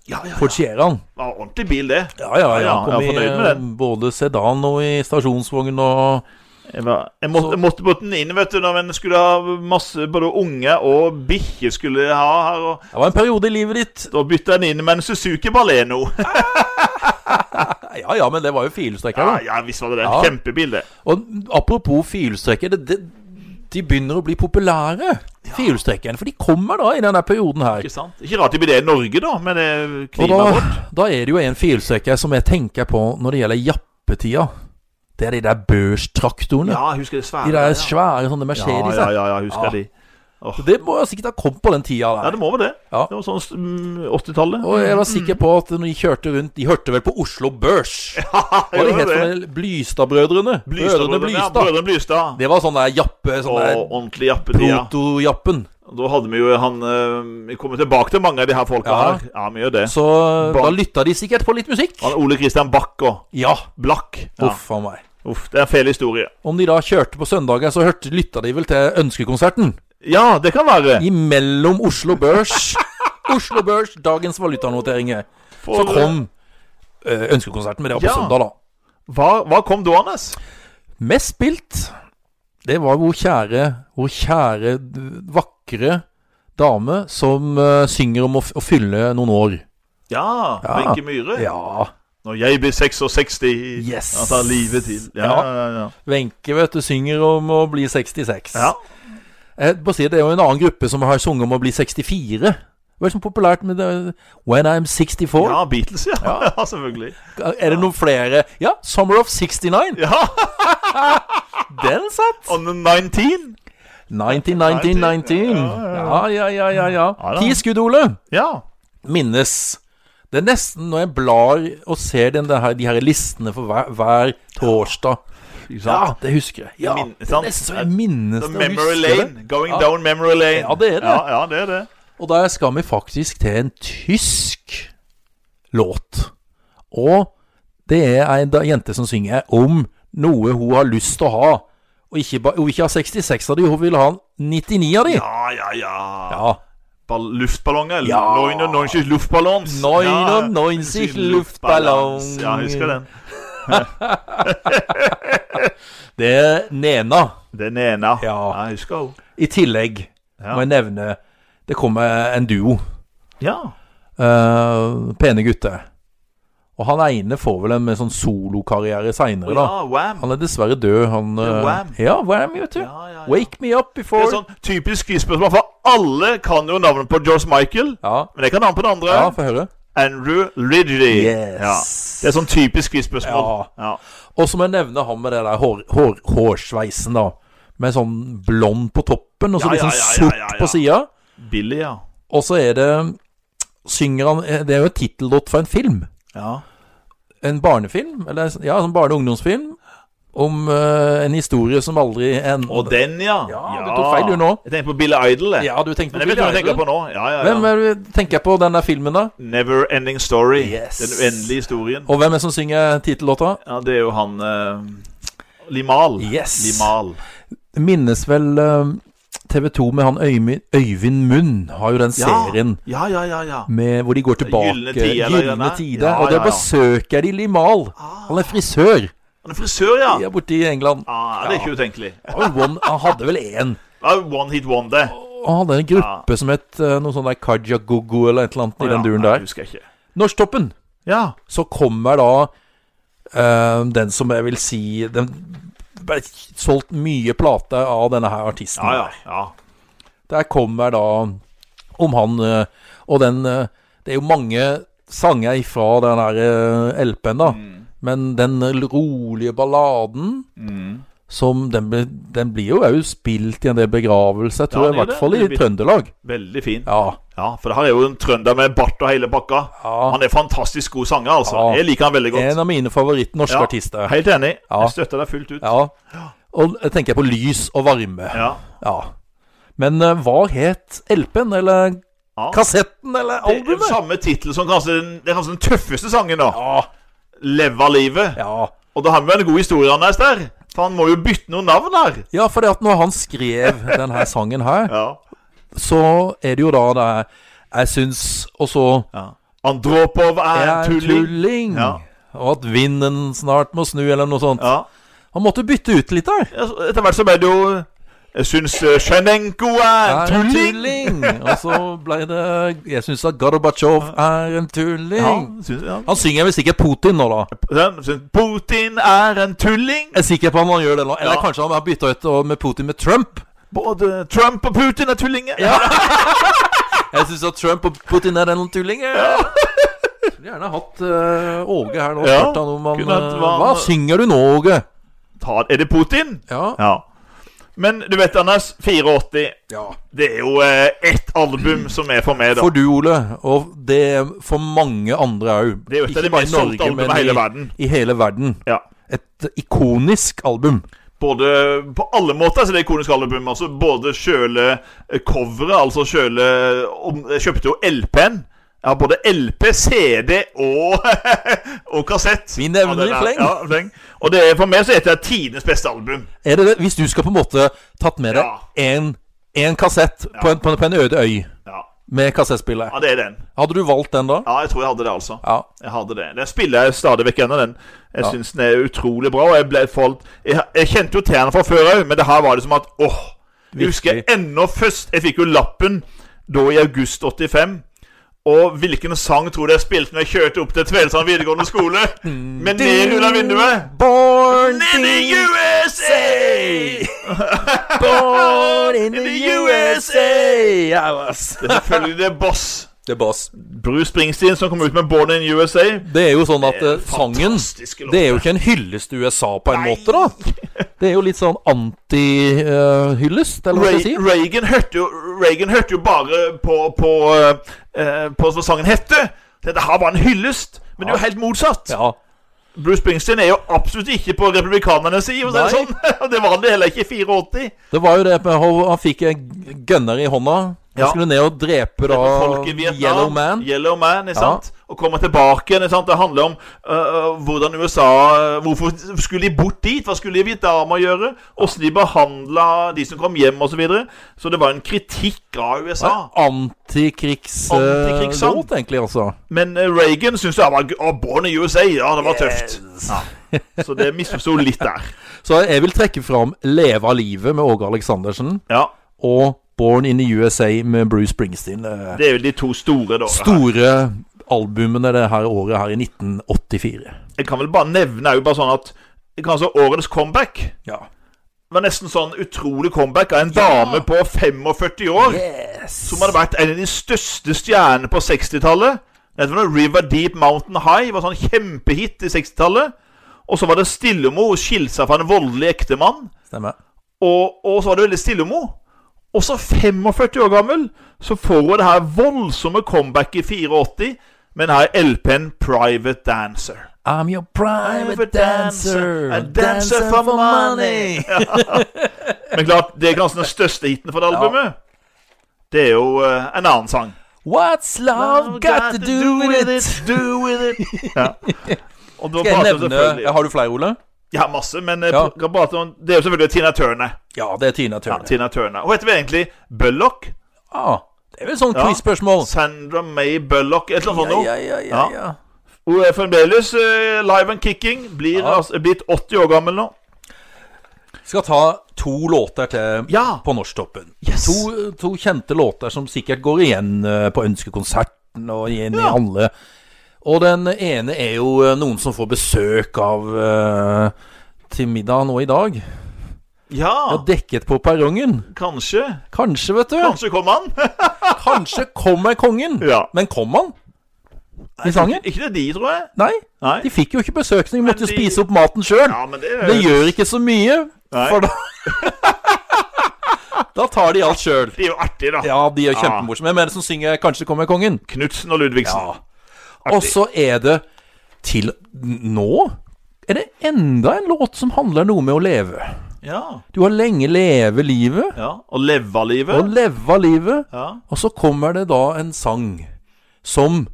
[SPEAKER 2] Ja, ja,
[SPEAKER 1] Ford Sierraen.
[SPEAKER 2] Det var ordentlig bil, det.
[SPEAKER 1] Ja, ja, ja.
[SPEAKER 2] Ja, ja,
[SPEAKER 1] Kom
[SPEAKER 2] jeg er fornøyd
[SPEAKER 1] i
[SPEAKER 2] med
[SPEAKER 1] eh, både sedan og i stasjonsvogn og
[SPEAKER 2] Jeg, var, jeg,
[SPEAKER 1] Så-
[SPEAKER 2] måtte, jeg måtte putte den inn vet du, når en skulle ha masse Både unge og bikkje skulle jeg ha her. Og,
[SPEAKER 1] Det var en periode i livet ditt
[SPEAKER 2] da bytta jeg den inn med en Suzuki Baleno.
[SPEAKER 1] Ja ja, men det var jo firehjulstrekker,
[SPEAKER 2] Ja,
[SPEAKER 1] da.
[SPEAKER 2] ja visst var det det.
[SPEAKER 1] Ja.
[SPEAKER 2] Kjempebil, det.
[SPEAKER 1] Og apropos firehjulstrekker, det, det, de begynner å bli populære, firehjulstrekkerne. For de kommer da i denne perioden her.
[SPEAKER 2] Ikke sant? Ikke rart det blir det i Norge, da, med det
[SPEAKER 1] Og
[SPEAKER 2] klimaet
[SPEAKER 1] da,
[SPEAKER 2] vårt.
[SPEAKER 1] da er det jo en firehjulstrekker som jeg tenker på når det gjelder jappetida. Det er de der børstraktorene.
[SPEAKER 2] Ja, jeg husker det svære.
[SPEAKER 1] de der
[SPEAKER 2] der,
[SPEAKER 1] svære sånne
[SPEAKER 2] ja. ja,
[SPEAKER 1] Mercedes.
[SPEAKER 2] ja, ja, ja, jeg husker
[SPEAKER 1] Ja.
[SPEAKER 2] de.
[SPEAKER 1] Det må jeg sikkert ha kommet på den tida
[SPEAKER 2] Ja,
[SPEAKER 1] der.
[SPEAKER 2] det må være det.
[SPEAKER 1] Ja.
[SPEAKER 2] Det var sånn mm, 80-tallet.
[SPEAKER 1] Og jeg var sikker på at når de kjørte rundt De hørte vel på Oslo Børs. Hva de
[SPEAKER 2] gjorde
[SPEAKER 1] het for
[SPEAKER 2] det.
[SPEAKER 1] noe? Blystad-brødrene? Brødrene
[SPEAKER 2] Blystad-brødrene. Ja,
[SPEAKER 1] Blystad.
[SPEAKER 2] Brødrene Blystad.
[SPEAKER 1] Det var sånn der jappe, sånn der
[SPEAKER 2] Og ordentlig jappetida.
[SPEAKER 1] proto-jappen.
[SPEAKER 2] Da hadde vi jo han eh, Vi kommer tilbake til mange av de her folka
[SPEAKER 1] Ja.
[SPEAKER 2] her. Ja, vi gjør det.
[SPEAKER 1] Så
[SPEAKER 2] Bak-
[SPEAKER 1] da lytta de sikkert på litt musikk.
[SPEAKER 2] Han Ole Kristian Bach og
[SPEAKER 1] Ja.
[SPEAKER 2] Black. Ja.
[SPEAKER 1] Uff a meg.
[SPEAKER 2] Uff, det er en fæl historie.
[SPEAKER 1] Om de da kjørte på søndager, så hørte, lytta de vel til Ønskekonserten.
[SPEAKER 2] Ja, det kan være.
[SPEAKER 1] Imellom Oslo Børs Oslo Børs, dagens valutanoteringer. Så
[SPEAKER 2] For,
[SPEAKER 1] kom ø, Ønskekonserten, men det var på
[SPEAKER 2] Ja.
[SPEAKER 1] søndag, da.
[SPEAKER 2] hva, hva kom da, Anders?
[SPEAKER 1] Mest spilt, det var vår kjære, vår kjære, d- vakre dame som ø, synger om å, f å fylle noen år.
[SPEAKER 2] Ja,
[SPEAKER 1] Ja.
[SPEAKER 2] Wenche Myhre.
[SPEAKER 1] Ja.
[SPEAKER 2] Når jeg blir 66
[SPEAKER 1] Yes.
[SPEAKER 2] Han tar livet til. Ja,
[SPEAKER 1] Ja.
[SPEAKER 2] ja, ja.
[SPEAKER 1] Wenche, vet du, synger om å bli 66.
[SPEAKER 2] ja.
[SPEAKER 1] Jeg bare sier, Det er jo en annen gruppe som har sunget om å bli 64. Det var så populært med det, When I'm 64.
[SPEAKER 2] ja Beatles, ja. ja. Selvfølgelig.
[SPEAKER 1] Er det noen flere? Ja, Summer of 69.
[SPEAKER 2] Ja,
[SPEAKER 1] Den satt!
[SPEAKER 2] On the 19.
[SPEAKER 1] 19, 19, 19. Ja, ja, ja, ja. ja.
[SPEAKER 2] da.
[SPEAKER 1] Ti skudd, Ole.
[SPEAKER 2] Ja.
[SPEAKER 1] Minnes. Det er nesten når jeg blar og ser den der, de her listene for hver, hver torsdag.
[SPEAKER 2] Ikke sant?
[SPEAKER 1] Ja, det husker jeg. Ja,
[SPEAKER 2] Min-
[SPEAKER 1] det er
[SPEAKER 2] sant?
[SPEAKER 1] nesten så jeg minnes
[SPEAKER 2] The
[SPEAKER 1] det og
[SPEAKER 2] memory
[SPEAKER 1] husker det.
[SPEAKER 2] lane. Going
[SPEAKER 1] Ja.
[SPEAKER 2] down memory lane.
[SPEAKER 1] Ja, det er det.
[SPEAKER 2] Ja, ja, det er det.
[SPEAKER 1] Og der skal vi faktisk til en tysk låt. Og det er ei da- jente som synger om noe hun har lyst til å ha. Og ikke, ba- hun vil ikke ha 66 av de, hun vil ha 99 av de.
[SPEAKER 2] Ja, ja, ja.
[SPEAKER 1] Ja.
[SPEAKER 2] Ball luftballonger.
[SPEAKER 1] Ja.
[SPEAKER 2] 99 luftballons.
[SPEAKER 1] 99 luftballons.
[SPEAKER 2] Ja, jeg husker den.
[SPEAKER 1] Det er Nena.
[SPEAKER 2] Den ene.
[SPEAKER 1] Ja.
[SPEAKER 2] jeg husker hun.
[SPEAKER 1] I tillegg
[SPEAKER 2] Ja.
[SPEAKER 1] må jeg nevne Det kommer en duo.
[SPEAKER 2] Ja.
[SPEAKER 1] Eh, pene gutter. Og han ene får vel en mer sånn solokarriere seinere,
[SPEAKER 2] Å
[SPEAKER 1] da.
[SPEAKER 2] ja, Wham.
[SPEAKER 1] Han er dessverre død, han
[SPEAKER 2] er
[SPEAKER 1] eh,
[SPEAKER 2] Wham.
[SPEAKER 1] Ja, Wham, vet du.
[SPEAKER 2] Ja, ja, ja.
[SPEAKER 1] Wake me up
[SPEAKER 2] Det
[SPEAKER 1] before
[SPEAKER 2] er sånn typisk quiz-spørsmål, for alle kan jo navnet på George Michael.
[SPEAKER 1] Ja,
[SPEAKER 2] Men jeg kan navnet på den andre.
[SPEAKER 1] ja få høre.
[SPEAKER 2] Andrew Ridgely.
[SPEAKER 1] Yes.
[SPEAKER 2] Ja. Det er sånn typisk quiz-spørsmål. Ja.
[SPEAKER 1] Og så må jeg nevne han med det der hår, hår, hårsveisen, da. Med sånn blond på toppen, og så
[SPEAKER 2] Ja,
[SPEAKER 1] litt
[SPEAKER 2] ja,
[SPEAKER 1] sånn
[SPEAKER 2] ja, ja,
[SPEAKER 1] sort
[SPEAKER 2] ja, ja.
[SPEAKER 1] på sida.
[SPEAKER 2] Billy, ja.
[SPEAKER 1] Og så er det Synger han eh, Det er jo et tittellåt fra en film.
[SPEAKER 2] ja.
[SPEAKER 1] En barnefilm, eller ja, en barne- og ungdomsfilm. Om eh, en historie som aldri en...
[SPEAKER 2] Og den, ja.
[SPEAKER 1] Ja, du tok feil, du, nå.
[SPEAKER 2] Jeg tenkte på Billy Idol. Jeg.
[SPEAKER 1] Ja, du tenkte på
[SPEAKER 2] Men jeg vet hva jeg
[SPEAKER 1] Billy
[SPEAKER 2] tenker
[SPEAKER 1] Idol.
[SPEAKER 2] på nå. Ja, ja, ja.
[SPEAKER 1] Hvem er det du tenker på den der filmen, da?
[SPEAKER 2] Never Ending Story.
[SPEAKER 1] Yes.
[SPEAKER 2] Den uendelige historien.
[SPEAKER 1] Og hvem er det som synger tittellåta?
[SPEAKER 2] Ja, det er jo han eh, Limal.
[SPEAKER 1] Yes.
[SPEAKER 2] Limal.
[SPEAKER 1] minnes vel eh, TV2 med han Øymi- Øyvind Munn har jo den serien
[SPEAKER 2] Ja, ja, ja. ja.
[SPEAKER 1] med, hvor de går tilbake
[SPEAKER 2] Gyllene tider, eller
[SPEAKER 1] Gyllene
[SPEAKER 2] denne?
[SPEAKER 1] tider.
[SPEAKER 2] Ja,
[SPEAKER 1] og der
[SPEAKER 2] ja, ja.
[SPEAKER 1] besøker de Limal. Han er frisør.
[SPEAKER 2] Han er frisør, ja.
[SPEAKER 1] De er borte i England.
[SPEAKER 2] Ah, det er ikke utenkelig.
[SPEAKER 1] Han, one, han hadde vel én.
[SPEAKER 2] Ja, One hit wonder.
[SPEAKER 1] Og han hadde en gruppe som het eh, noe sånn der Kajagogo eller et eller annet i den duren
[SPEAKER 2] Nei,
[SPEAKER 1] der.
[SPEAKER 2] husker jeg ikke.
[SPEAKER 1] Norsktoppen.
[SPEAKER 2] Ja.
[SPEAKER 1] Så kommer da eh, den som jeg vil si Den ble solgt mye plater av denne her artisten.
[SPEAKER 2] Ja, ja.
[SPEAKER 1] her.
[SPEAKER 2] ja.
[SPEAKER 1] Der kommer da om han eh, Og den eh, Det er jo mange sanger ifra den her eh, LP-en, da.
[SPEAKER 2] Mm.
[SPEAKER 1] Men den rolige balladen
[SPEAKER 2] Mm.
[SPEAKER 1] som den, ble, den blir jo òg spilt i en del begravelser, tror
[SPEAKER 2] Ja,
[SPEAKER 1] jeg.
[SPEAKER 2] den
[SPEAKER 1] I
[SPEAKER 2] gjør
[SPEAKER 1] hvert
[SPEAKER 2] det.
[SPEAKER 1] fall i
[SPEAKER 2] Det blir-
[SPEAKER 1] Trøndelag.
[SPEAKER 2] Veldig fin. Ja.
[SPEAKER 1] Ja.
[SPEAKER 2] for det her er jo en trønder med bart og hele pakka.
[SPEAKER 1] Ja.
[SPEAKER 2] Han er fantastisk god sanger, altså.
[SPEAKER 1] Ja.
[SPEAKER 2] Jeg liker han veldig godt.
[SPEAKER 1] En av mine favoritt-norske
[SPEAKER 2] Ja,
[SPEAKER 1] artister.
[SPEAKER 2] Helt enig.
[SPEAKER 1] Ja.
[SPEAKER 2] Jeg støtter deg fullt ut.
[SPEAKER 1] Ja. Og jeg tenker på lys og varme.
[SPEAKER 2] Ja.
[SPEAKER 1] Ja. Men eh, hva het LP-en, eller
[SPEAKER 2] Ja.
[SPEAKER 1] kassetten, eller
[SPEAKER 2] Det er jo
[SPEAKER 1] albumet?
[SPEAKER 2] samme tittel som kanskje den, det er kanskje den tøffeste sangen, da.
[SPEAKER 1] Ja.
[SPEAKER 2] 'Leva livet'.
[SPEAKER 1] ja.
[SPEAKER 2] Og da har vi en god historie hans der. For han må jo bytte noen navn her.
[SPEAKER 1] Ja, for det at når han skrev denne sangen her,
[SPEAKER 2] Ja.
[SPEAKER 1] så er det jo da det er, Jeg syns Og så
[SPEAKER 2] ja. Andropov er
[SPEAKER 1] Jeg er
[SPEAKER 2] tulling.
[SPEAKER 1] tulling.
[SPEAKER 2] Ja.
[SPEAKER 1] Og at vinden snart må snu, eller noe sånt.
[SPEAKER 2] Ja.
[SPEAKER 1] Han måtte bytte ut litt der.
[SPEAKER 2] Ja, så Etter hvert så ble det jo Jeg syns Sjenenko er
[SPEAKER 1] Er en
[SPEAKER 2] tulling!
[SPEAKER 1] tulling! Og så ble det Jeg syns at Gorbatsjov er en tulling.
[SPEAKER 2] Ja, synes, ja.
[SPEAKER 1] Han synger vel sikkert Putin nå, da.
[SPEAKER 2] Den synes Putin er en tulling!
[SPEAKER 1] Jeg er sikker på om han gjør det nå. Eller
[SPEAKER 2] Ja.
[SPEAKER 1] kanskje han har bytta ut og- med Putin med Trump.
[SPEAKER 2] Både Trump og Putin er tullinger!
[SPEAKER 1] Jeg syns at Trump og Putin er en tulling. jeg. Skulle gjerne hatt eh, Åge her nå.
[SPEAKER 2] Ja.
[SPEAKER 1] spurt han om han,
[SPEAKER 2] Kunne hatt
[SPEAKER 1] eh,
[SPEAKER 2] hva han-
[SPEAKER 1] hva synger du nå, Åge?
[SPEAKER 2] Ta, er det Putin?
[SPEAKER 1] Ja.
[SPEAKER 2] Ja. Men du vet, Anders. 84.
[SPEAKER 1] ja.
[SPEAKER 2] Det er jo eh, ett album som er for meg, da.
[SPEAKER 1] For du, Ole, og det for mange andre òg.
[SPEAKER 2] det er jo et av de mest solgte albumene i hele verden.
[SPEAKER 1] i hele verden.
[SPEAKER 2] Ja.
[SPEAKER 1] Et ikonisk album.
[SPEAKER 2] Både På alle måter så er det ikonisk album. Altså både sjøle eh, coveret, altså sjøle om- Jeg kjøpte jo LP-en. Jeg har både LP, CD og, og kassett.
[SPEAKER 1] Vi nevner
[SPEAKER 2] den er-
[SPEAKER 1] i fleng.
[SPEAKER 2] Ja, fleng. Og det, er- for meg så heter det tidenes beste album.
[SPEAKER 1] Er det det? Hvis du skal på en måte tatt med deg
[SPEAKER 2] Ja.
[SPEAKER 1] en, en kassett på, en, på, en, på en øde øy
[SPEAKER 2] Ja,
[SPEAKER 1] med kassettspillet,
[SPEAKER 2] ja det er den.
[SPEAKER 1] hadde du valgt den da?
[SPEAKER 2] Ja, jeg tror jeg hadde det, altså.
[SPEAKER 1] Ja.
[SPEAKER 2] Jeg hadde det. Den spiller jeg stadig vekk ennå, den. Jeg
[SPEAKER 1] Ja.
[SPEAKER 2] syns den er utrolig bra. Og jeg ble falt Jeg, jeg kjente jo til den fra før òg, men det her var det som at åh Jeg husker
[SPEAKER 1] Virkelig.
[SPEAKER 2] ennå først Jeg fikk jo lappen da i august 85. Og hvilken sang tror du jeg spilte når jeg kjørte opp til Tvedestrand videregående skole? Med ned ut av vinduet.
[SPEAKER 1] Born
[SPEAKER 2] In the
[SPEAKER 1] in,
[SPEAKER 2] USA!
[SPEAKER 1] born in
[SPEAKER 2] In
[SPEAKER 1] the
[SPEAKER 2] the
[SPEAKER 1] USA!
[SPEAKER 2] Det er selvfølgelig det Boss.
[SPEAKER 1] Det er boss.
[SPEAKER 2] Bruce Springsteen som kom ut med 'Born in USA'.
[SPEAKER 1] Det er jo sånn at eh, sangen
[SPEAKER 2] Fantastiske låter.
[SPEAKER 1] Det er jo ikke en hyllest til USA på en
[SPEAKER 2] Nei.
[SPEAKER 1] måte, da. Det er jo litt sånn anti-hyllest, eller hva skal jeg si.
[SPEAKER 2] Re- Reagan hørte jo, Reagan hørte jo bare på, på, eh, på hva sangen hette. Dette her var en hyllest, men det er jo helt motsatt.
[SPEAKER 1] Ja.
[SPEAKER 2] Bruce Springsteen er jo absolutt ikke på republikanernes side. for å si Det, sånn. Og det var han heller ikke i 84.
[SPEAKER 1] Det var jo det med han- han fikk en gunner i hånda. Han
[SPEAKER 2] Ja.
[SPEAKER 1] skulle ned og drepe da
[SPEAKER 2] Folk i Vietnam,
[SPEAKER 1] Yellow Man.
[SPEAKER 2] Yellow Man, ikke
[SPEAKER 1] Ja.
[SPEAKER 2] sant? Og komme tilbake. Ikke sant? Det handler om øh, hvordan USA eh, Hvorfor skulle de bort dit? Hva skulle de i Vietnam å gjøre? Åssen de behandla de som kom hjem, osv. Så, videre. så det var en kritikk av USA. Antikrigssang.
[SPEAKER 1] Antikrigslåt, egentlig, altså.
[SPEAKER 2] Men eh, Reagan syntes det var oh, Born in USA, ja, det var tøft. Ja. Så det misforsto litt der.
[SPEAKER 1] Så jeg vil trekke fram 'Leve av livet' med Åge Aleksandersen
[SPEAKER 2] Ja,
[SPEAKER 1] og 'Born in the USA' med Bruce Springsteen. eh,
[SPEAKER 2] Det er vel de to store, da.
[SPEAKER 1] Store albumene det her året her i 1984.
[SPEAKER 2] Jeg kan vel bare nevne jo bare sånn at kanskje årets comeback
[SPEAKER 1] Ja.
[SPEAKER 2] var nesten sånn utrolig comeback av en
[SPEAKER 1] Ja.
[SPEAKER 2] dame på 45 år
[SPEAKER 1] Yes.
[SPEAKER 2] som hadde vært en av de største stjernene på 60-tallet. Det var når River Deep Mountain High var sånn kjempehit i 60-tallet. Og så var det stille om henne. Hun skilte seg fra en voldelig ektemann.
[SPEAKER 1] Stemmer.
[SPEAKER 2] Og, og så var det veldig stille om henne. Og så 45 år gammel, så får hun det her voldsomme comebacket i 84 med denne LP-en Private Dancer.
[SPEAKER 1] I'm your private dancer,
[SPEAKER 2] a dancer for money. Men klart, det er kanskje den største hiten for det albumet. Det er jo eh, en annen sang.
[SPEAKER 1] What's love got to do with it?
[SPEAKER 2] Do with it. Ja. Og da
[SPEAKER 1] Skal jeg
[SPEAKER 2] prater vi
[SPEAKER 1] nevne
[SPEAKER 2] selvfølgelig
[SPEAKER 1] Har du flere, Ole?
[SPEAKER 2] Ja, masse, men eh,
[SPEAKER 1] Ja.
[SPEAKER 2] pr- kan prate om, det er jo selvfølgelig Tina Turner.
[SPEAKER 1] Ja, det er Tina
[SPEAKER 2] Ja,
[SPEAKER 1] Turner.
[SPEAKER 2] Tina Turner. Hun heter vel egentlig Bullock?
[SPEAKER 1] Ah, det er vel sånn
[SPEAKER 2] Ja.
[SPEAKER 1] quiz-spørsmål.
[SPEAKER 2] Sandra May Bullock, et eller annet sånt noe.
[SPEAKER 1] Ja, ja, ja, Sånn ja.
[SPEAKER 2] Hun er fremdeles eh, live and kicking. Blir
[SPEAKER 1] Ja.
[SPEAKER 2] altså, er blitt 80 år gammel nå.
[SPEAKER 1] Skal ta to låter til
[SPEAKER 2] Ja.
[SPEAKER 1] på Norsktoppen.
[SPEAKER 2] Yes.
[SPEAKER 1] To, to kjente låter som sikkert går igjen eh, på Ønskekonserten og igjen i
[SPEAKER 2] Ja.
[SPEAKER 1] alle. Og den ene er jo eh, noen som får besøk av eh, til middag nå i dag.
[SPEAKER 2] Ja,
[SPEAKER 1] Og dekket på perrongen.
[SPEAKER 2] kanskje.
[SPEAKER 1] Kanskje, vet du.
[SPEAKER 2] Kanskje kom han.
[SPEAKER 1] Kanskje kommer kongen.
[SPEAKER 2] Ja.
[SPEAKER 1] Men kom han? I sangen?
[SPEAKER 2] Ikke det de, tror jeg.
[SPEAKER 1] Nei.
[SPEAKER 2] Nei.
[SPEAKER 1] De fikk jo ikke besøk, så de måtte jo
[SPEAKER 2] de-
[SPEAKER 1] spise opp maten sjøl.
[SPEAKER 2] Ja, men det,
[SPEAKER 1] Det gjør ikke så mye,
[SPEAKER 2] Nei.
[SPEAKER 1] for da Da tar de alt sjøl.
[SPEAKER 2] Det er jo artig, da.
[SPEAKER 1] Ja, de er kjempemorsomme. Hvem er det som synger 'Kanskje kommer kongen'?
[SPEAKER 2] Knutsen og Ludvigsen.
[SPEAKER 1] Og så er det til nå er det enda en låt som handler noe med å leve.
[SPEAKER 2] Ja.
[SPEAKER 1] Du har lenge leve livet,
[SPEAKER 2] ja. Og leva
[SPEAKER 1] og
[SPEAKER 2] livet.
[SPEAKER 1] leva livet.
[SPEAKER 2] Ja.
[SPEAKER 1] Og så kommer det da en sang som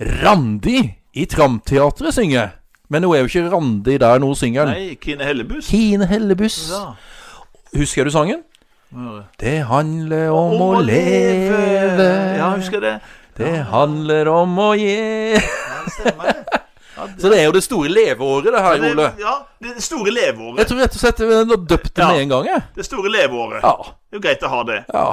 [SPEAKER 1] Randi i Tramteatret synger. Men hun er jo ikke Randi der nå, synger den.
[SPEAKER 2] Nei, Kine Hellebuss.
[SPEAKER 1] Kine Hellebuss.
[SPEAKER 2] Ja.
[SPEAKER 1] Husker du sangen?
[SPEAKER 2] Hva
[SPEAKER 1] Det handler om, å leve.
[SPEAKER 2] Ja, husker jeg det.
[SPEAKER 1] Det handler om å gi
[SPEAKER 2] Ja, det stemmer. Ja,
[SPEAKER 1] Så det er jo det store leveåret, det her,
[SPEAKER 2] det,
[SPEAKER 1] Ole.
[SPEAKER 2] ja, det store leveåret.
[SPEAKER 1] Jeg tror rett og slett jeg har døpt det
[SPEAKER 2] Ja.
[SPEAKER 1] med en gang, jeg.
[SPEAKER 2] Det store leveåret.
[SPEAKER 1] Ja.
[SPEAKER 2] Det er jo greit å ha det.
[SPEAKER 1] ja.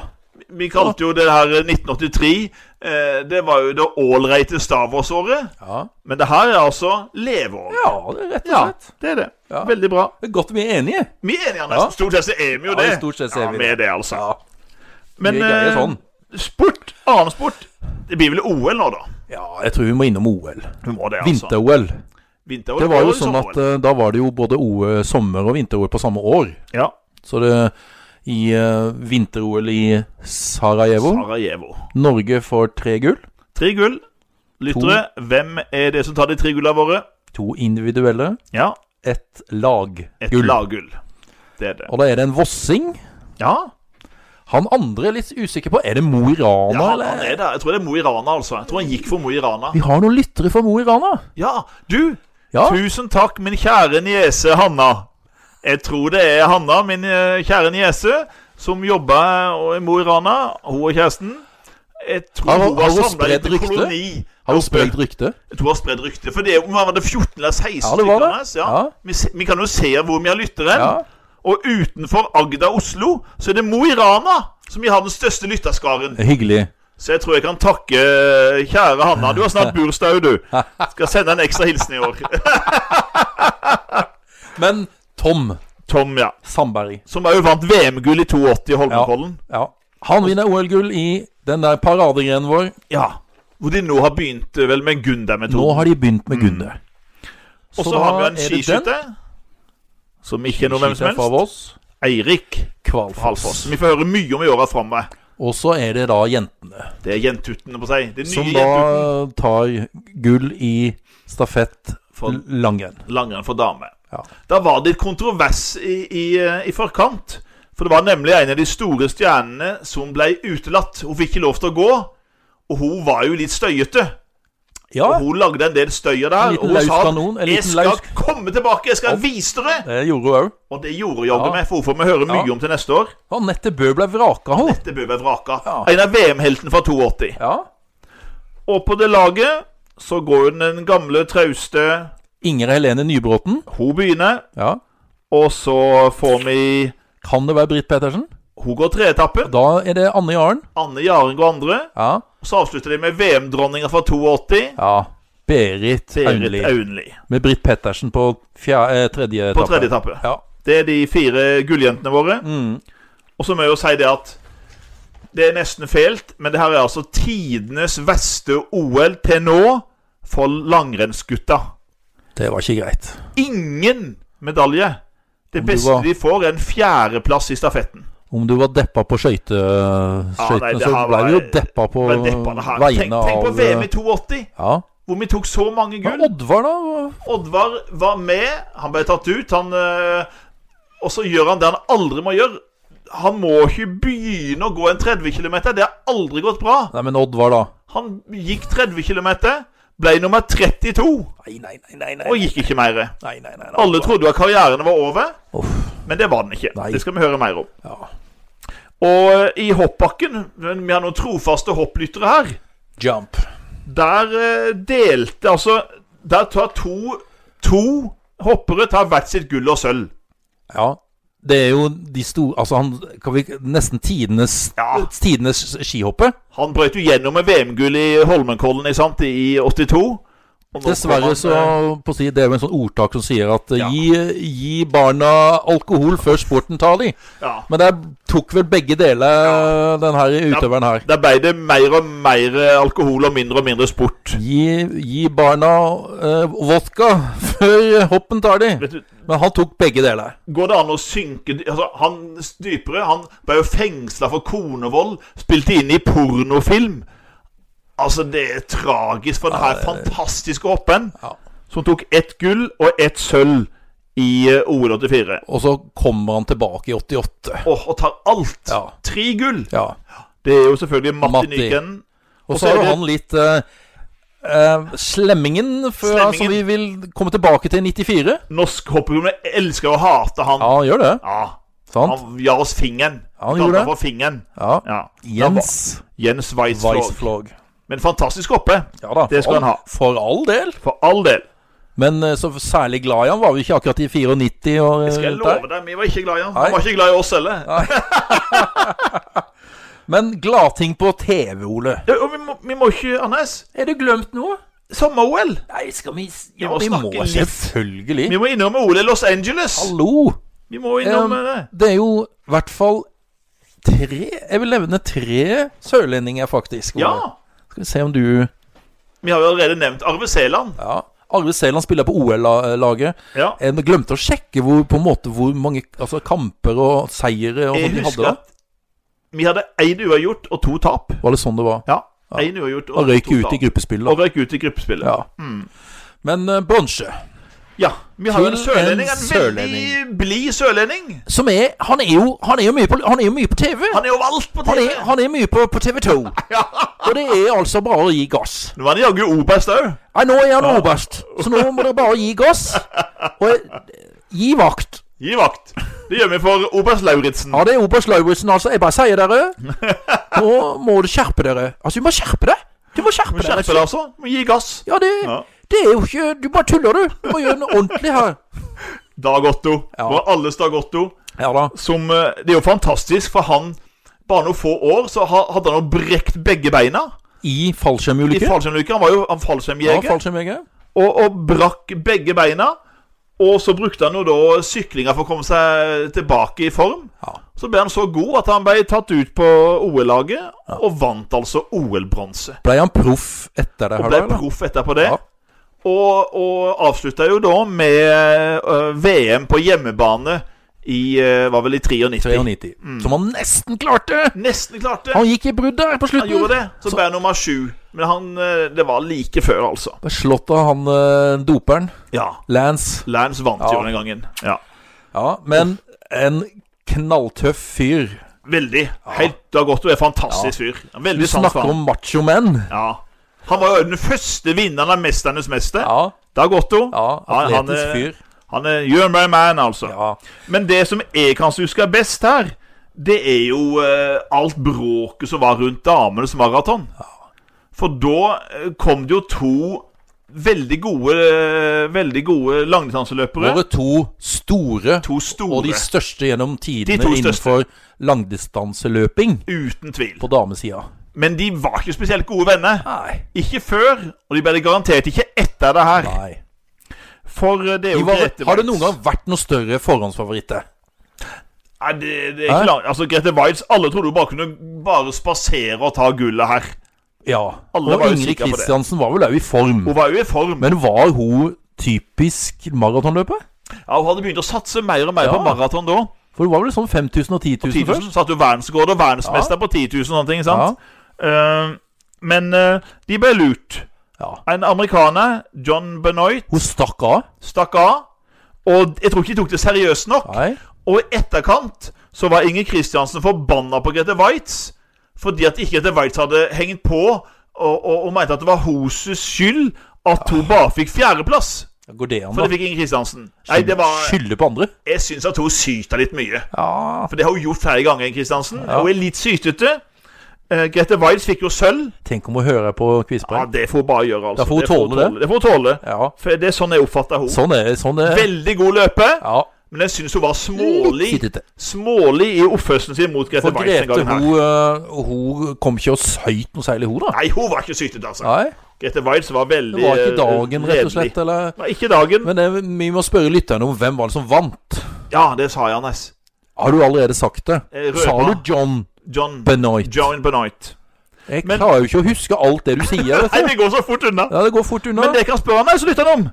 [SPEAKER 2] Vi kalte jo det her 1983 eh, Det var jo det ålreite Stavårsåret.
[SPEAKER 1] Ja,
[SPEAKER 2] Men det her er altså leveåret.
[SPEAKER 1] ja det er rett og slett.
[SPEAKER 2] det er det.
[SPEAKER 1] Ja.
[SPEAKER 2] Veldig bra.
[SPEAKER 1] Det er godt vi er enige.
[SPEAKER 2] Vi er
[SPEAKER 1] Ja.
[SPEAKER 2] enige, nesten. Stort sett så er vi jo
[SPEAKER 1] Ja,
[SPEAKER 2] det.
[SPEAKER 1] stort sett så er vi
[SPEAKER 2] vi er det, altså.
[SPEAKER 1] Ja,
[SPEAKER 2] Men
[SPEAKER 1] vi greier
[SPEAKER 2] eh,
[SPEAKER 1] sånn.
[SPEAKER 2] sport, annen sport Det blir vel OL nå, da.
[SPEAKER 1] ja, jeg tror vi må innom OL.
[SPEAKER 2] Vi må det, altså.
[SPEAKER 1] Vinter-OL.
[SPEAKER 2] Vinter-OL.
[SPEAKER 1] Det var jo
[SPEAKER 2] og
[SPEAKER 1] sånn at
[SPEAKER 2] sommer-OL.
[SPEAKER 1] eh, da var det jo både OL, sommer- og vinter-OL på samme år.
[SPEAKER 2] Ja.
[SPEAKER 1] Så det i eh, vinter-OL i Sarajevo
[SPEAKER 2] Sarajevo.
[SPEAKER 1] Norge får tre gull.
[SPEAKER 2] Tre gull. Lyttere, hvem er det som tar de tre gullene våre?
[SPEAKER 1] To individuelle,
[SPEAKER 2] Ja,
[SPEAKER 1] ett laggull.
[SPEAKER 2] et laggull. Det er det.
[SPEAKER 1] Og da er det en vossing.
[SPEAKER 2] Ja,
[SPEAKER 1] Han andre er litt usikker på. Er det Mo i
[SPEAKER 2] ja
[SPEAKER 1] Rana,
[SPEAKER 2] han, han
[SPEAKER 1] eller?
[SPEAKER 2] er der. Jeg tror det er Mo i Rana, altså. Jeg tror han gikk for Mo i Rana.
[SPEAKER 1] Vi har noen lyttere fra Mo i Rana.
[SPEAKER 2] Ja, du!
[SPEAKER 1] Ja.
[SPEAKER 2] Tusen takk, min kjære niese Hanna. Jeg tror det er Hanna, min eh, kjære niese, som jobber og- i Mo i Rana, hun og kjæresten. Jeg tror
[SPEAKER 1] Har- har
[SPEAKER 2] hun var
[SPEAKER 1] hun
[SPEAKER 2] samla i
[SPEAKER 1] spredd
[SPEAKER 2] en
[SPEAKER 1] rykte?
[SPEAKER 2] koloni.
[SPEAKER 1] Har hun spredd rykte?
[SPEAKER 2] Jeg tror hun har spredd rykte. For det er- var det 14 eller 16
[SPEAKER 1] Ja, det var det.
[SPEAKER 2] hennes, Ja.
[SPEAKER 1] Ja.
[SPEAKER 2] Vi, se- vi kan jo se hvor vi har lytteren.
[SPEAKER 1] Ja.
[SPEAKER 2] Og utenfor Agda-Oslo så er det Mo i Rana som vi har den største lytterskaren.
[SPEAKER 1] Det er Hyggelig.
[SPEAKER 2] Så jeg tror jeg kan takke eh, kjære Hanna. Du har snart bursdag òg, du. Skal sende en ekstra hilsen i år.
[SPEAKER 1] Men Tom
[SPEAKER 2] Tom, ja.
[SPEAKER 1] Sandberg
[SPEAKER 2] Som òg vant VM-gull i 82 i Holmenkollen.
[SPEAKER 1] ja. Han vinner OL-gull i den der paradegrenen vår.
[SPEAKER 2] Ja. Hvor de nå har begynt eh, vel med
[SPEAKER 1] Nå
[SPEAKER 2] Gunda-metoden.
[SPEAKER 1] har de begynt med Gunde.
[SPEAKER 2] Mm. Og så har vi jo en
[SPEAKER 1] er det den.
[SPEAKER 2] skiskytter. Som ikke er noe hvem som
[SPEAKER 1] Skiskytter fra
[SPEAKER 2] helst.
[SPEAKER 1] Voss.
[SPEAKER 2] Eirik
[SPEAKER 1] Kvalfoss.
[SPEAKER 2] Halfoss. Vi får høre mye om i åra framover.
[SPEAKER 1] Og så er det da jentene.
[SPEAKER 2] Det er jentuttene på seg. Det er nye
[SPEAKER 1] Som da
[SPEAKER 2] jentuttene.
[SPEAKER 1] tar gull i stafett
[SPEAKER 2] For-
[SPEAKER 1] l- langrenn.
[SPEAKER 2] Langrenn for damer.
[SPEAKER 1] Ja.
[SPEAKER 2] Da var det et kontrovers i, i, eh, i forkant. For det var nemlig en av de store stjernene som ble utelatt. Hun fikk ikke lov til å gå. Og hun var jo litt støyete.
[SPEAKER 1] Ja,
[SPEAKER 2] Og hun lagde en del støyer
[SPEAKER 1] En
[SPEAKER 2] der.
[SPEAKER 1] liten
[SPEAKER 2] Og hun
[SPEAKER 1] laus
[SPEAKER 2] sa
[SPEAKER 1] kanon, en
[SPEAKER 2] at 'jeg
[SPEAKER 1] liten
[SPEAKER 2] skal
[SPEAKER 1] laus-
[SPEAKER 2] komme tilbake, jeg skal vise dere'.
[SPEAKER 1] det gjorde hun òg.
[SPEAKER 2] Og det gjorde jaggu
[SPEAKER 1] Ja.
[SPEAKER 2] meg, for hun får vi høre mye
[SPEAKER 1] Ja.
[SPEAKER 2] om til neste år.
[SPEAKER 1] Anette Bø ble vraka, hun.
[SPEAKER 2] Det bør være vraka.
[SPEAKER 1] Ja.
[SPEAKER 2] En av VM-heltene fra 82.
[SPEAKER 1] Ja.
[SPEAKER 2] Og på det laget så går jo den gamle, trauste
[SPEAKER 1] Inger Helene Nybråten.
[SPEAKER 2] Hun begynner,
[SPEAKER 1] Ja.
[SPEAKER 2] og så får vi
[SPEAKER 1] Kan det være Britt Petersen?
[SPEAKER 2] Hun går treetappen.
[SPEAKER 1] Da er det Anne Jaren.
[SPEAKER 2] Anne Jaren går andre.
[SPEAKER 1] Ja.
[SPEAKER 2] Og så avslutter de med VM-dronninga fra 82.
[SPEAKER 1] ja. Berit Aunli.
[SPEAKER 2] Berit Aunli
[SPEAKER 1] Med Britt Pettersen på fjer- eh, tredje
[SPEAKER 2] på
[SPEAKER 1] etappe.
[SPEAKER 2] tredje etappe.
[SPEAKER 1] Ja.
[SPEAKER 2] Det er de fire gulljentene våre.
[SPEAKER 1] Mm.
[SPEAKER 2] Og så må jeg jo si det at det er nesten fælt, men det her er altså tidenes verste OL til nå for langrennsgutta.
[SPEAKER 1] Det var ikke greit.
[SPEAKER 2] Ingen medalje. Det
[SPEAKER 1] Om du
[SPEAKER 2] beste
[SPEAKER 1] var-
[SPEAKER 2] de får, er en fjerdeplass i stafetten.
[SPEAKER 1] Om du var deppa på skøyte-
[SPEAKER 2] nei,
[SPEAKER 1] skøytene,
[SPEAKER 2] det
[SPEAKER 1] så
[SPEAKER 2] her
[SPEAKER 1] ble
[SPEAKER 2] var-
[SPEAKER 1] du jo deppa på
[SPEAKER 2] Men deppa det her. Tenk,
[SPEAKER 1] vegne
[SPEAKER 2] tenk
[SPEAKER 1] av
[SPEAKER 2] på
[SPEAKER 1] eh,
[SPEAKER 2] VM i 82,
[SPEAKER 1] Ja.
[SPEAKER 2] hvor vi tok så mange
[SPEAKER 1] ja.
[SPEAKER 2] gull.
[SPEAKER 1] Oddvar, da?
[SPEAKER 2] Oddvar var med. Han ble tatt ut. Han, eh, og så gjør han det han aldri må gjøre. Han må ikke begynne å gå en 30 km. Det har aldri gått bra.
[SPEAKER 1] Nei, men Oddvar, da?
[SPEAKER 2] Han gikk 30 km, ble nummer 32
[SPEAKER 1] Nei, nei, nei, nei.
[SPEAKER 2] og gikk ikke mer.
[SPEAKER 1] nei, nei, nei, nei.
[SPEAKER 2] Alle trodde at karrieren var over,
[SPEAKER 1] Uff.
[SPEAKER 2] men det var den ikke.
[SPEAKER 1] Nei.
[SPEAKER 2] Det skal vi høre mer om.
[SPEAKER 1] Ja.
[SPEAKER 2] Og eh, i hoppbakken, men vi har noen trofaste hopplyttere her,
[SPEAKER 1] Jump.
[SPEAKER 2] der eh, delte altså Der tar to, to hoppere tar hvert sitt gull og sølv.
[SPEAKER 1] Ja. Det er jo de store Altså, han kan vi, Nesten tidenes,
[SPEAKER 2] Ja.
[SPEAKER 1] tidenes skihoppe.
[SPEAKER 2] Han brøt jo gjennom med VM-gull i Holmenkollen ikke sant, i 82. Og nå kom
[SPEAKER 1] Dessverre
[SPEAKER 2] han,
[SPEAKER 1] så
[SPEAKER 2] eh,
[SPEAKER 1] på å si, Det er jo en sånn ordtak som sier at eh,
[SPEAKER 2] Ja.
[SPEAKER 1] gi, gi barna alkohol før sporten tar de.
[SPEAKER 2] ja.
[SPEAKER 1] Men der tok vel begge deler eh, den her utøveren her.
[SPEAKER 2] Der ble det mer og mer eh, alkohol og mindre og mindre sport.
[SPEAKER 1] Gi, gi barna eh, vodka før hoppen tar de.
[SPEAKER 2] Vet du,
[SPEAKER 1] Men han tok begge deler.
[SPEAKER 2] Går det an å synke dy- altså, Han dypere Han ble jo fengsla for konevold, spilte inn i pornofilm. Altså, det er tragisk for denne fantastiske hoppen,
[SPEAKER 1] Ja.
[SPEAKER 2] som tok ett gull og ett sølv i eh, OL 84.
[SPEAKER 1] Og så kommer han tilbake i 88.
[SPEAKER 2] Åh, og tar alt!
[SPEAKER 1] Ja.
[SPEAKER 2] Tre gull!
[SPEAKER 1] ja.
[SPEAKER 2] Det er jo selvfølgelig Matti
[SPEAKER 1] Matti.
[SPEAKER 2] Nyken.
[SPEAKER 1] Og så har jo han litt eh, eh, Slemmingen, før,
[SPEAKER 2] Slemmingen.
[SPEAKER 1] som vi vil komme tilbake til i 94.
[SPEAKER 2] Norsk hoppeklubb elsker å hate han.
[SPEAKER 1] Ja, han gjør det.
[SPEAKER 2] Ja,
[SPEAKER 1] Sant?
[SPEAKER 2] han ga oss fingeren.
[SPEAKER 1] Han
[SPEAKER 2] Kalte
[SPEAKER 1] gjorde
[SPEAKER 2] han for fingeren.
[SPEAKER 1] Ja.
[SPEAKER 2] Ja.
[SPEAKER 1] Jens
[SPEAKER 2] Jens Weissflog.
[SPEAKER 1] Weissflog.
[SPEAKER 2] Men fantastisk hoppe,
[SPEAKER 1] Ja da.
[SPEAKER 2] Det skal
[SPEAKER 1] for
[SPEAKER 2] han ha.
[SPEAKER 1] For all del.
[SPEAKER 2] for all del.
[SPEAKER 1] Men eh, så særlig glad i han var vi ikke akkurat i 94 og eh,
[SPEAKER 2] Skal jeg
[SPEAKER 1] rundt der.
[SPEAKER 2] love deg, vi var ikke glad i han.
[SPEAKER 1] Nei.
[SPEAKER 2] Han var ikke glad i oss heller.
[SPEAKER 1] Men gladting på TV, Ole.
[SPEAKER 2] Ja, og vi må, vi må ikke Anders.
[SPEAKER 1] Er det glemt noe?
[SPEAKER 2] Sommer-OL.
[SPEAKER 1] Nei, skal vi s- Ja,
[SPEAKER 2] må
[SPEAKER 1] vi må,
[SPEAKER 2] snakke litt.
[SPEAKER 1] selvfølgelig.
[SPEAKER 2] Vi må innom OL i Los Angeles.
[SPEAKER 1] Hallo!
[SPEAKER 2] Vi må innom
[SPEAKER 1] Em,
[SPEAKER 2] eh, det.
[SPEAKER 1] Det er jo i hvert fall tre Jeg vil nevne tre sørlendinger, faktisk. Ole.
[SPEAKER 2] Ja.
[SPEAKER 1] Skal vi se om du
[SPEAKER 2] Vi har jo allerede nevnt Arve Sæland.
[SPEAKER 1] Ja. Arve Sæland spiller på OL-laget.
[SPEAKER 2] Ja.
[SPEAKER 1] Jeg glemte å sjekke hvor, på en måte, hvor mange altså, kamper og seire og
[SPEAKER 2] Jeg
[SPEAKER 1] sånt de hadde
[SPEAKER 2] husker
[SPEAKER 1] da.
[SPEAKER 2] at vi hadde én uavgjort og to tap.
[SPEAKER 1] Var det sånn det var?
[SPEAKER 2] Ja. Én uavgjort
[SPEAKER 1] Og
[SPEAKER 2] og,
[SPEAKER 1] røyk
[SPEAKER 2] to
[SPEAKER 1] ut i
[SPEAKER 2] tap.
[SPEAKER 1] gruppespillet.
[SPEAKER 2] Og røyk ut i gruppespillet.
[SPEAKER 1] Ja. Men uh, bronse.
[SPEAKER 2] Ja, vi har
[SPEAKER 1] Til
[SPEAKER 2] en sørlending.
[SPEAKER 1] en
[SPEAKER 2] En
[SPEAKER 1] sørlending.
[SPEAKER 2] veldig blid sørlending.
[SPEAKER 1] Som er Han er jo, han er jo, mye, på, han er jo mye på TV.
[SPEAKER 2] Han er jo valgt på
[SPEAKER 1] Han
[SPEAKER 2] TV.
[SPEAKER 1] er, han er mye på, på TV2. Og det er altså bare å gi gass.
[SPEAKER 2] Nå var han jaggu oberst òg.
[SPEAKER 1] Nei, nå er han oberst, så nå må dere bare gi gass. Og eh, gi vakt.
[SPEAKER 2] Gi vakt. Det gjør vi for oberst Lauritzen.
[SPEAKER 1] Ja, det er oberst Lauritzen, altså. Jeg bare sier dere Nå må du skjerpe dere. Altså, du må skjerpe deg. Du må skjerpe deg.
[SPEAKER 2] Skjerpe deg, altså. Må Gi gass.
[SPEAKER 1] Ja, det,
[SPEAKER 2] Ja.
[SPEAKER 1] det er jo ikke Du bare tuller, du. Du må gjøre noe ordentlig her.
[SPEAKER 2] Dag Otto.
[SPEAKER 1] Ja.
[SPEAKER 2] Det var alles Dag Otto.
[SPEAKER 1] Ja da.
[SPEAKER 2] Som, eh, det er jo fantastisk, for han Bare noen få år så ha- hadde han jo brekt begge beina
[SPEAKER 1] I
[SPEAKER 2] i
[SPEAKER 1] fallskjermulykke.
[SPEAKER 2] fallskjermlykker. Han var jo han
[SPEAKER 1] Ja,
[SPEAKER 2] fallskjermjeger.
[SPEAKER 1] fallskjermjeger.
[SPEAKER 2] og, og brakk begge beina. Og så brukte han jo da syklinga for å komme seg tilbake i form.
[SPEAKER 1] Ja.
[SPEAKER 2] Så ble han så god at han ble tatt ut på OL-laget, og vant altså OL-bronse.
[SPEAKER 1] Ble han proff etter det
[SPEAKER 2] Og
[SPEAKER 1] her,
[SPEAKER 2] ble
[SPEAKER 1] da? eller?
[SPEAKER 2] proff etterpå det.
[SPEAKER 1] Ja.
[SPEAKER 2] Og, og avslutta jo da med øh, VM på hjemmebane i øh, Var vel i 93.
[SPEAKER 1] 93.
[SPEAKER 2] Mm.
[SPEAKER 1] Som han nesten klarte!
[SPEAKER 2] Nesten klarte.
[SPEAKER 1] Han gikk i brudd der på
[SPEAKER 2] Han gjorde
[SPEAKER 1] slutten.
[SPEAKER 2] det. Så ble han nummer sju. Men han, øh, det var like før, altså.
[SPEAKER 1] Ble Slått av han eh, doperen.
[SPEAKER 2] Ja.
[SPEAKER 1] Lance.
[SPEAKER 2] Lance vant
[SPEAKER 1] Ja.
[SPEAKER 2] jo den gangen. Ja.
[SPEAKER 1] Ja, men en knalltøff fyr.
[SPEAKER 2] Veldig. Helt Dag Otto er en fantastisk fyr. En
[SPEAKER 1] Du
[SPEAKER 2] Veldig sans for
[SPEAKER 1] snakker
[SPEAKER 2] ham.
[SPEAKER 1] om machomenn.
[SPEAKER 2] Ja. Han var jo den første vinneren av 'Mesternes mester'.
[SPEAKER 1] Ja,
[SPEAKER 2] Dag Otto.
[SPEAKER 1] ja,
[SPEAKER 2] Han- eh, han
[SPEAKER 1] atletisk
[SPEAKER 2] er-
[SPEAKER 1] fyr.
[SPEAKER 2] Han er You're my man, altså.
[SPEAKER 1] Ja.
[SPEAKER 2] Men det som jeg kanskje husker best her, det er jo eh, alt bråket som var rundt damenes maraton. For da eh, kom det jo to veldig gode, eh, veldig gode langdistanseløpere.
[SPEAKER 1] Våre to store,
[SPEAKER 2] To store.
[SPEAKER 1] og de største gjennom tidene
[SPEAKER 2] De to
[SPEAKER 1] innenfor langdistanseløping
[SPEAKER 2] Uten tvil.
[SPEAKER 1] på damesida.
[SPEAKER 2] Men de var ikke spesielt gode venner.
[SPEAKER 1] Nei.
[SPEAKER 2] Ikke før, og de ble det garantert ikke etter det her.
[SPEAKER 1] Nei.
[SPEAKER 2] For eh, det er
[SPEAKER 1] De
[SPEAKER 2] jo
[SPEAKER 1] var,
[SPEAKER 2] Grete
[SPEAKER 1] har det
[SPEAKER 2] Waitz.
[SPEAKER 1] noen gang vært noen større forhåndsfavoritter?
[SPEAKER 2] Nei, det, det er
[SPEAKER 1] Hæ?
[SPEAKER 2] ikke langt. Altså, Grete Waitz Alle trodde hun bare kunne bare spasere og ta gullet her.
[SPEAKER 1] Ja.
[SPEAKER 2] Alle
[SPEAKER 1] Og
[SPEAKER 2] var jo
[SPEAKER 1] Ingrid
[SPEAKER 2] sikre på det.
[SPEAKER 1] Kristiansen var vel òg i form.
[SPEAKER 2] Hun var jo i form.
[SPEAKER 1] Men var hun typisk maratonløper?
[SPEAKER 2] Ja, hun hadde begynt å satse mer og mer
[SPEAKER 1] Ja.
[SPEAKER 2] på maraton da.
[SPEAKER 1] For hun var vel sånn 5000 og 10 000
[SPEAKER 2] 10 000,
[SPEAKER 1] først?
[SPEAKER 2] satt jo verdensrekord og verdensmester på 10 000 og sånne ting. sant? Eh, men eh, de ble lurt.
[SPEAKER 1] Ja.
[SPEAKER 2] En amerikaner, John Benoit,
[SPEAKER 1] Hun stakk av.
[SPEAKER 2] stakk av. Og jeg tror ikke de tok det seriøst nok.
[SPEAKER 1] Nei.
[SPEAKER 2] Og i etterkant så var Inger Kristiansen forbanna på Grete Waitz fordi at ikke Grete Waitz hadde hengt på og, og, og mente at det var hennes skyld at
[SPEAKER 1] Ah.
[SPEAKER 2] hun bare fikk fjerdeplass.
[SPEAKER 1] Går det an, da?
[SPEAKER 2] For det fikk Inger Kristiansen. Nei, det var
[SPEAKER 1] Skylde på andre?
[SPEAKER 2] Jeg syns at hun syter litt mye.
[SPEAKER 1] Ja
[SPEAKER 2] For det har hun gjort flere ganger, Inger Kristiansen.
[SPEAKER 1] Ja.
[SPEAKER 2] Hun er litt sytete. Eh, Grete Waitz fikk jo sølv.
[SPEAKER 1] Tenk om hun hører på
[SPEAKER 2] Ja,
[SPEAKER 1] quizpoeng.
[SPEAKER 2] det får hun bare gjøre, altså.
[SPEAKER 1] Da får hun tåle det.
[SPEAKER 2] Det får hun tåle.
[SPEAKER 1] Ja.
[SPEAKER 2] For det er sånn jeg oppfatter hun.
[SPEAKER 1] Sånn er sånn er.
[SPEAKER 2] Veldig god løper,
[SPEAKER 1] Ja.
[SPEAKER 2] men jeg syns hun var smålig.
[SPEAKER 1] Litt sittete.
[SPEAKER 2] Smålig i oppførselen sin mot Grete
[SPEAKER 1] For
[SPEAKER 2] Waitz den
[SPEAKER 1] Grete,
[SPEAKER 2] gangen her.
[SPEAKER 1] hun, øh, hun kom ikke og søyt noe særlig, hun, da.
[SPEAKER 2] Nei, hun var ikke sytete, altså.
[SPEAKER 1] Nei.
[SPEAKER 2] Grete Waitz var veldig
[SPEAKER 1] Det var ikke
[SPEAKER 2] eh,
[SPEAKER 1] dagen, rett og slett.
[SPEAKER 2] redelig.
[SPEAKER 1] Eller
[SPEAKER 2] Nei, ikke dagen.
[SPEAKER 1] Men det, vi må spørre lytterne om hvem var det som vant.
[SPEAKER 2] Ja, det sa jeg, Anders.
[SPEAKER 1] Har du allerede sagt det?
[SPEAKER 2] Eh, Røpa.
[SPEAKER 1] Sa du John
[SPEAKER 2] John
[SPEAKER 1] Benoit?
[SPEAKER 2] John Benoit.
[SPEAKER 1] Jeg
[SPEAKER 2] Men-
[SPEAKER 1] klarer jo ikke å huske alt det du sier.
[SPEAKER 2] Nei,
[SPEAKER 1] Vet du.
[SPEAKER 2] det går så fort unna.
[SPEAKER 1] Ja, det går fort unna.
[SPEAKER 2] Men det kan spørre meg, så lytter han om.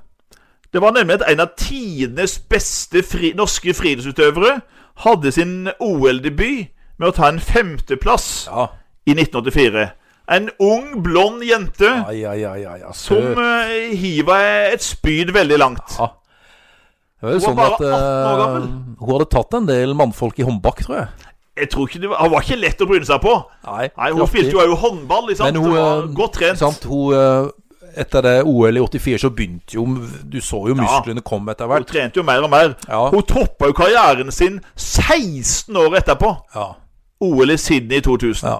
[SPEAKER 2] Det var nemlig at en av tidenes beste fri, norske friluftsutøvere hadde sin OL-debut med å ta en femteplass
[SPEAKER 1] Ja.
[SPEAKER 2] i 1984. En ung, blond jente
[SPEAKER 1] Ai, ai, ai, ai, ai.
[SPEAKER 2] som eh, hiva et spyd veldig langt.
[SPEAKER 1] Ja. Det var jo
[SPEAKER 2] Hun
[SPEAKER 1] sånn
[SPEAKER 2] var
[SPEAKER 1] at
[SPEAKER 2] bare 18 år
[SPEAKER 1] eh, hun hadde tatt en del mannfolk i håndbak, tror jeg.
[SPEAKER 2] Jeg tror ikke det var, Han var ikke lett å bryne seg på.
[SPEAKER 1] Nei,
[SPEAKER 2] Nei, Hun
[SPEAKER 1] kraftig.
[SPEAKER 2] spilte jo også håndball. Ikke sant?
[SPEAKER 1] Men hun,
[SPEAKER 2] det var
[SPEAKER 1] eh,
[SPEAKER 2] godt trent.
[SPEAKER 1] Sant, hun, eh, etter det OL i 84 så begynte jo Du så jo musklene komme etter
[SPEAKER 2] Hun
[SPEAKER 1] hvert.
[SPEAKER 2] trente jo mer og mer.
[SPEAKER 1] Ja.
[SPEAKER 2] Hun toppa jo karrieren sin 16 år etterpå.
[SPEAKER 1] Ja.
[SPEAKER 2] OL i Sydney i 2000.
[SPEAKER 1] Ja.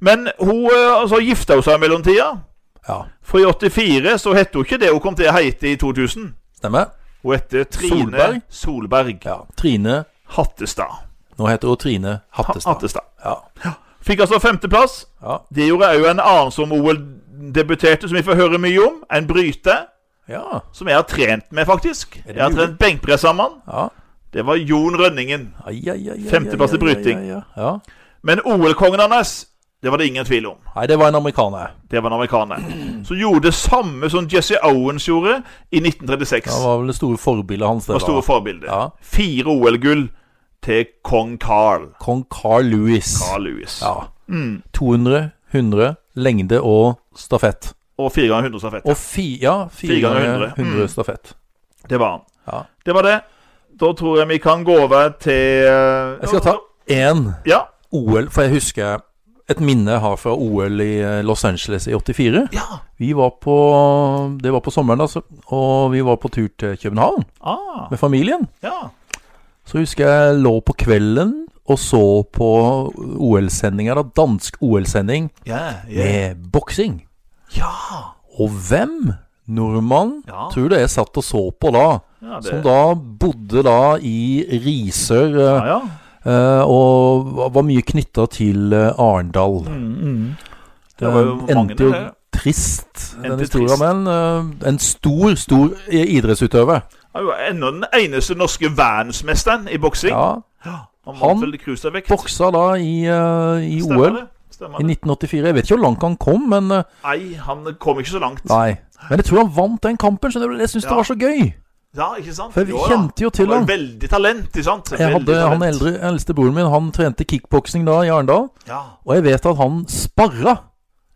[SPEAKER 2] Men hun eh, altså, gifta hun seg i mellomtida.
[SPEAKER 1] ja.
[SPEAKER 2] For i 84 så het hun ikke det hun kom til å hete i 2000.
[SPEAKER 1] Stemmer?
[SPEAKER 2] Hun heter Trine
[SPEAKER 1] Solberg.
[SPEAKER 2] Solberg,
[SPEAKER 1] Ja. Trine
[SPEAKER 2] Hattestad.
[SPEAKER 1] Nå heter hun Trine Hattestad.
[SPEAKER 2] Hattestad.
[SPEAKER 1] Ja.
[SPEAKER 2] Fikk altså femteplass.
[SPEAKER 1] ja.
[SPEAKER 2] Det gjorde òg en annen som OL-debuterte, som vi får høre mye om. En bryter.
[SPEAKER 1] Ja.
[SPEAKER 2] Som jeg har trent med, faktisk.
[SPEAKER 1] det
[SPEAKER 2] Jeg har
[SPEAKER 1] mulig?
[SPEAKER 2] trent benkpress sammen.
[SPEAKER 1] ja.
[SPEAKER 2] Det var Jon Rønningen.
[SPEAKER 1] Ai, ai, ai, ai, ai,
[SPEAKER 2] Femteplass i
[SPEAKER 1] ai, ai,
[SPEAKER 2] bryting.
[SPEAKER 1] ai, ai. Ja.
[SPEAKER 2] Men OL-kongen hans, det var det ingen tvil om.
[SPEAKER 1] Nei, det var en amerikaner.
[SPEAKER 2] Det var en amerikaner. Som gjorde det samme som Jesse Owens gjorde i 1936.
[SPEAKER 1] Det var vel det store forbildet hans. Det
[SPEAKER 2] var store forbilder.
[SPEAKER 1] Ja.
[SPEAKER 2] Fire OL-gull til kong Carl.
[SPEAKER 1] Kong Carl Louis.
[SPEAKER 2] Carl Lewis.
[SPEAKER 1] Ja.
[SPEAKER 2] Mm.
[SPEAKER 1] 200, 100, lengde og stafett.
[SPEAKER 2] Og fire ganger 100 stafett.
[SPEAKER 1] Og fi, ja, fire
[SPEAKER 2] Fire ganger
[SPEAKER 1] ganger 100,
[SPEAKER 2] 100. Mm.
[SPEAKER 1] stafett.
[SPEAKER 2] Det var han.
[SPEAKER 1] Ja.
[SPEAKER 2] Det var det. Da tror jeg vi kan gå over til eh,
[SPEAKER 1] Jeg skal ta én
[SPEAKER 2] Ja.
[SPEAKER 1] OL, for jeg husker et minne jeg har fra OL i eh, Los Angeles i 84.
[SPEAKER 2] ja.
[SPEAKER 1] Vi var på, Det var på sommeren, altså, og vi var på tur til København
[SPEAKER 2] Ah,
[SPEAKER 1] med familien.
[SPEAKER 2] ja.
[SPEAKER 1] Så husker jeg lå på kvelden og så på OL-sendinga, da. Dansk OL-sending
[SPEAKER 2] Ja, ja.
[SPEAKER 1] med boksing.
[SPEAKER 2] ja.
[SPEAKER 1] Og hvem nordmann
[SPEAKER 2] Ja.
[SPEAKER 1] tror du jeg satt og så på da?
[SPEAKER 2] ja det,
[SPEAKER 1] Som da bodde da i Risør,
[SPEAKER 2] Ja,
[SPEAKER 1] eh,
[SPEAKER 2] ja.
[SPEAKER 1] eh, og var- var mye knytta til eh, Arendal.
[SPEAKER 2] Mm, Det var jo
[SPEAKER 1] Eh,
[SPEAKER 2] mange
[SPEAKER 1] endte jo
[SPEAKER 2] der.
[SPEAKER 1] trist, den
[SPEAKER 2] Endte
[SPEAKER 1] historien,
[SPEAKER 2] trist.
[SPEAKER 1] men eh, en stor, stor eh, idrettsutøver.
[SPEAKER 2] Han var jo ennå den eneste norske verdensmesteren i boksing.
[SPEAKER 1] Ja,
[SPEAKER 2] Han
[SPEAKER 1] Han
[SPEAKER 2] vant vel cruiservekt.
[SPEAKER 1] boksa da i, eh, i
[SPEAKER 2] Stemmer
[SPEAKER 1] OL
[SPEAKER 2] det? Stemmer
[SPEAKER 1] i
[SPEAKER 2] det?
[SPEAKER 1] 1984. Jeg vet ikke hvor langt han kom, men eh,
[SPEAKER 2] Nei, han kom ikke så langt.
[SPEAKER 1] Nei. Men jeg tror han vant den kampen, så jeg syns
[SPEAKER 2] Ja.
[SPEAKER 1] det var så gøy.
[SPEAKER 2] Ja, ikke sant?
[SPEAKER 1] For jeg
[SPEAKER 2] Jo da.
[SPEAKER 1] kjente jo til
[SPEAKER 2] Han var
[SPEAKER 1] han.
[SPEAKER 2] Veldig talent, ikke sant?
[SPEAKER 1] Jeg
[SPEAKER 2] Veldig
[SPEAKER 1] hadde han
[SPEAKER 2] talent.
[SPEAKER 1] eldre, eldste broren min, han trente kickboksing da i Arendal.
[SPEAKER 2] Ja.
[SPEAKER 1] Og jeg vet at han sparra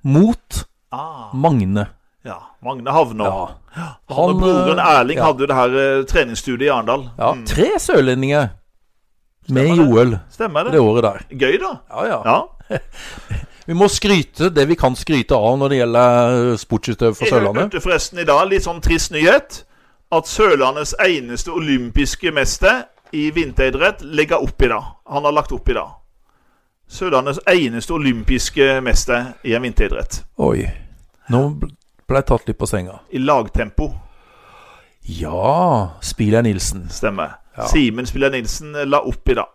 [SPEAKER 1] mot
[SPEAKER 2] Ah,
[SPEAKER 1] Magne.
[SPEAKER 2] ja. Magne Havnå.
[SPEAKER 1] Ja.
[SPEAKER 2] Han, og broren
[SPEAKER 1] eh,
[SPEAKER 2] Erling
[SPEAKER 1] ja.
[SPEAKER 2] hadde jo det her eh, treningsstudiet i Arendal.
[SPEAKER 1] Ja,
[SPEAKER 2] Mm.
[SPEAKER 1] tre sørlendinger med i
[SPEAKER 2] Stemmer det.
[SPEAKER 1] OL
[SPEAKER 2] Stemmer det?
[SPEAKER 1] det året der.
[SPEAKER 2] Gøy, da.
[SPEAKER 1] Ja, ja.
[SPEAKER 2] Ja.
[SPEAKER 1] Vi må skryte det vi kan skryte av når det gjelder eh, sportsutøvere fra
[SPEAKER 2] Jeg
[SPEAKER 1] Sørlandet.
[SPEAKER 2] hørte forresten i dag litt sånn trist nyhet. At Sørlandets eneste olympiske mester i vinteridrett legger opp i dag. Han har lagt opp i dag. Sørlandets eneste olympiske mester i en vinteridrett.
[SPEAKER 1] Oi. Nå bl- ble jeg tatt litt på senga.
[SPEAKER 2] I lagtempo,
[SPEAKER 1] Ja, Spiller Nilsen.
[SPEAKER 2] stemmer.
[SPEAKER 1] Ja.
[SPEAKER 2] Simen Spiller Nilsen la opp i dag.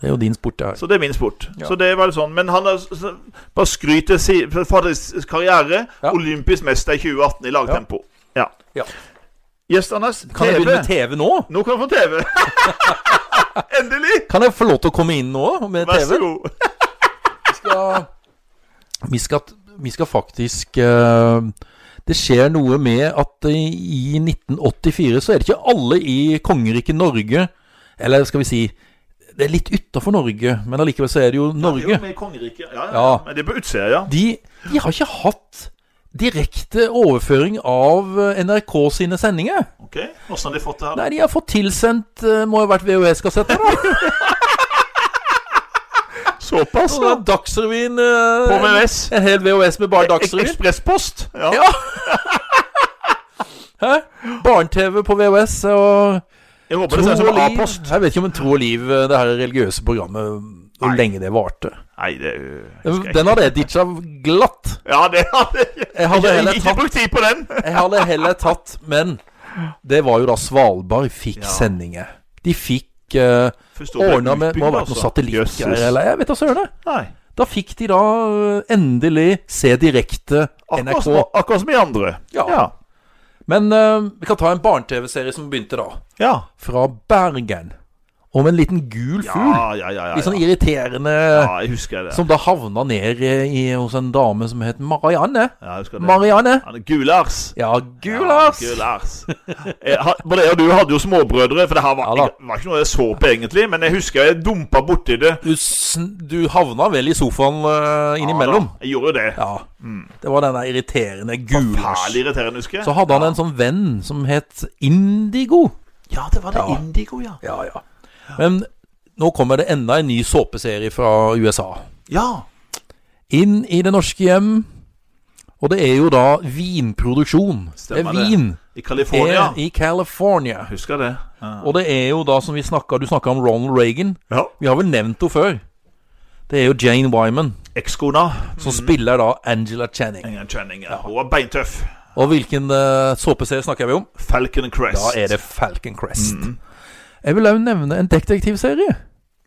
[SPEAKER 1] Det er jo din sport, det her.
[SPEAKER 2] Så det er min sport.
[SPEAKER 1] Ja.
[SPEAKER 2] Så det var sånn Men han har s- s- bare skryter si, for faderens karriere.
[SPEAKER 1] Ja.
[SPEAKER 2] Olympisk mester i 2018 i lagtempo. Ja.
[SPEAKER 1] Ja.
[SPEAKER 2] Gjestene hans
[SPEAKER 1] Kan jeg
[SPEAKER 2] TV.
[SPEAKER 1] begynne med TV nå?
[SPEAKER 2] Nå kan du få TV. Endelig!
[SPEAKER 1] Kan jeg få lov til å komme inn nå med
[SPEAKER 2] Vær
[SPEAKER 1] TV?
[SPEAKER 2] så god.
[SPEAKER 1] skal, vi, skal, vi skal faktisk eh, Det skjer noe med at eh, i 1984 så er det ikke alle i kongeriket Norge Eller skal vi si Det er litt utafor Norge, men allikevel så er det jo
[SPEAKER 2] Det er
[SPEAKER 1] Norge.
[SPEAKER 2] jo med kongeriket. Ja, ja.
[SPEAKER 1] Ja.
[SPEAKER 2] Men det er på utsida, ja.
[SPEAKER 1] De, de har ikke hatt direkte overføring av eh, NRK sine sendinger.
[SPEAKER 2] Ok, Hvordan har de fått det her? da?
[SPEAKER 1] Nei, de har fått tilsendt eh, Må ha vært VHS-kassetter, da.
[SPEAKER 2] Såpass,
[SPEAKER 1] Så
[SPEAKER 2] ja.
[SPEAKER 1] da Dagsrevyen eh,
[SPEAKER 2] På VVS.
[SPEAKER 1] En hel VHS med bare
[SPEAKER 2] Ek-
[SPEAKER 1] Dagsrevyen.
[SPEAKER 2] Ekspresspost. Ja.
[SPEAKER 1] Ja. Hæ? Barne-TV på VHS og
[SPEAKER 2] Jeg håper
[SPEAKER 1] Tro
[SPEAKER 2] det ser
[SPEAKER 1] og
[SPEAKER 2] ut som
[SPEAKER 1] liv.
[SPEAKER 2] A-post.
[SPEAKER 1] Jeg vet ikke om en Tro og liv, eh, det her religiøse programmet, hvor
[SPEAKER 2] Nei.
[SPEAKER 1] lenge det varte.
[SPEAKER 2] Nei, det er jo- husker jeg
[SPEAKER 1] Den hadde jeg ditcha glatt.
[SPEAKER 2] ikke. Ja, det hadde
[SPEAKER 1] Jeg hadde
[SPEAKER 2] jeg
[SPEAKER 1] heller
[SPEAKER 2] Ikke
[SPEAKER 1] tatt,
[SPEAKER 2] brukt tid på den.
[SPEAKER 1] jeg hadde heller tatt men det var jo da Svalbard fikk
[SPEAKER 2] Ja.
[SPEAKER 1] sendinger. De fikk uh, ordna med Må ha vært noen satellittgreier, eller jeg vet da søren. jeg.
[SPEAKER 2] altså. Nei.
[SPEAKER 1] Da fikk de da eh, endelig se direkte
[SPEAKER 2] Akkurat,
[SPEAKER 1] NRK.
[SPEAKER 2] som- akkurat som i andre.
[SPEAKER 1] Ja.
[SPEAKER 2] ja.
[SPEAKER 1] Men eh, vi kan ta en barne-TV-serie som begynte da.
[SPEAKER 2] Ja,
[SPEAKER 1] fra Bergen om en liten gul
[SPEAKER 2] ja,
[SPEAKER 1] fugl.
[SPEAKER 2] ja, ja, ja,
[SPEAKER 1] Litt sånn
[SPEAKER 2] ja.
[SPEAKER 1] irriterende
[SPEAKER 2] ja jeg husker det.
[SPEAKER 1] Som da havna ned i, i, hos en dame som het Marianne.
[SPEAKER 2] Ja, jeg husker det.
[SPEAKER 1] Marianne!
[SPEAKER 2] Han er Gulars.
[SPEAKER 1] Ja, Gulas!
[SPEAKER 2] Ja, Gulars. Eh, ha- Både jeg og du hadde jo småbrødre, for det her var,
[SPEAKER 1] Ja da.
[SPEAKER 2] jeg, var ikke noe jeg så på egentlig. Men jeg husker jeg dumpa borti det.
[SPEAKER 1] Du, sn- du havna vel i sofaen eh, innimellom.
[SPEAKER 2] Ja, da, jeg gjorde jo det.
[SPEAKER 1] Ja. Det var denne irriterende Gulas.
[SPEAKER 2] Forferdelig irriterende, husker jeg.
[SPEAKER 1] Så hadde han en sånn venn som het Indigo.
[SPEAKER 2] Ja, det var det
[SPEAKER 1] Ja.
[SPEAKER 2] Indigo, ja.
[SPEAKER 1] Ja, ja. Men nå kommer det enda en ny såpeserie fra USA.
[SPEAKER 2] Ja.
[SPEAKER 1] Inn i det norske hjem. Og det er jo da vinproduksjon.
[SPEAKER 2] Stemmer
[SPEAKER 1] det
[SPEAKER 2] det.
[SPEAKER 1] er vin.
[SPEAKER 2] I California.
[SPEAKER 1] er Eh, i California.
[SPEAKER 2] Husker det. Ja.
[SPEAKER 1] Og det er jo da som vi snakka Du snakka om Ronald Reagan.
[SPEAKER 2] ja.
[SPEAKER 1] Vi har vel nevnt henne før. Det er jo Jane Wyman
[SPEAKER 2] Ekskona. Mm.
[SPEAKER 1] som spiller da Angela Channing.
[SPEAKER 2] Ingen kjenning. Ja. Hun var beintøff.
[SPEAKER 1] Og hvilken eh, såpeserie snakker vi om?
[SPEAKER 2] Falcon Crest.
[SPEAKER 1] Da er det Falcon Crest. Jeg vil òg nevne en detektivserie.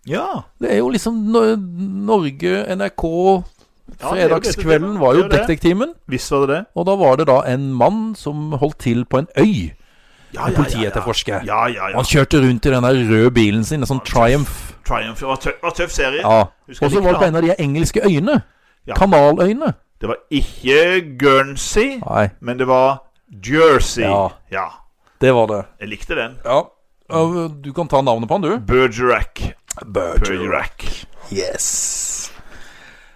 [SPEAKER 2] Ja.
[SPEAKER 1] Det er jo liksom Nor- Norge, NRK
[SPEAKER 2] Ja, det er jo
[SPEAKER 1] Fredagskvelden
[SPEAKER 2] detektiven.
[SPEAKER 1] var jo
[SPEAKER 2] Det er det.
[SPEAKER 1] Detektimen.
[SPEAKER 2] Visst var det det.
[SPEAKER 1] Og da var det da en mann som holdt til på en øy.
[SPEAKER 2] Ja,
[SPEAKER 1] En politietterforsker.
[SPEAKER 2] Ja, ja,
[SPEAKER 1] Og
[SPEAKER 2] ja.
[SPEAKER 1] Han kjørte rundt i den der røde bilen sin, en sånn Triumph.
[SPEAKER 2] Triumph. Det var tøff, var tøff serie.
[SPEAKER 1] Ja. Og
[SPEAKER 2] Husker jeg
[SPEAKER 1] så
[SPEAKER 2] likte
[SPEAKER 1] var det på en
[SPEAKER 2] han.
[SPEAKER 1] av de engelske øyene.
[SPEAKER 2] Ja.
[SPEAKER 1] Kanaløyene.
[SPEAKER 2] Det var ikke Guernsey,
[SPEAKER 1] Nei,
[SPEAKER 2] men det var Jersey.
[SPEAKER 1] Ja.
[SPEAKER 2] ja.
[SPEAKER 1] det var det.
[SPEAKER 2] Jeg likte den.
[SPEAKER 1] Ja. Og Du kan ta navnet på han, du.
[SPEAKER 2] Bergerac.
[SPEAKER 1] Berger.
[SPEAKER 2] Bergerac.
[SPEAKER 1] Yes.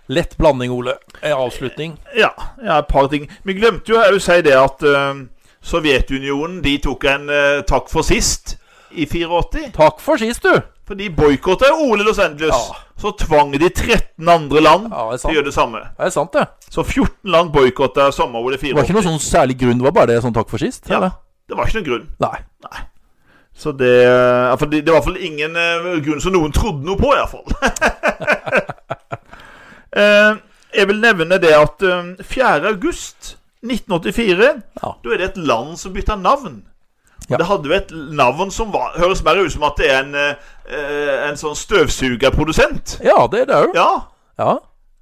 [SPEAKER 1] Lett blanding, Ole. En avslutning.
[SPEAKER 2] Ja, ja, et par ting. Vi glemte jo å si det at eh, Sovjetunionen de tok en eh, takk for sist i 84.
[SPEAKER 1] Takk for sist, du.
[SPEAKER 2] For de boikotta OL i Los Angeles.
[SPEAKER 1] Ja.
[SPEAKER 2] Så tvang de 13 andre land
[SPEAKER 1] Ja, det er
[SPEAKER 2] til å
[SPEAKER 1] sant.
[SPEAKER 2] gjøre det samme.
[SPEAKER 1] Det er sant, det.
[SPEAKER 2] Så 14 land boikotta sommer-OL i
[SPEAKER 1] Det var
[SPEAKER 2] 84.
[SPEAKER 1] ikke noe sånn særlig grunn, det var bare det sånn takk for sist?
[SPEAKER 2] Ja.
[SPEAKER 1] Eller?
[SPEAKER 2] Det var ikke noen grunn.
[SPEAKER 1] Nei.
[SPEAKER 2] Så det, eh, ja, for det, det var i hvert fall ingen eh, grunn som noen trodde noe på, iallfall. uh, jeg vil nevne det at eh, 4. august 1984
[SPEAKER 1] Ja.
[SPEAKER 2] Da er det et land som bytter navn.
[SPEAKER 1] Ja.
[SPEAKER 2] Det hadde jo et navn som var, høres mer ut som at det er en, eh, eh, en sånn støvsugerprodusent.
[SPEAKER 1] Ja, det er det òg.
[SPEAKER 2] Ja,
[SPEAKER 1] Ja.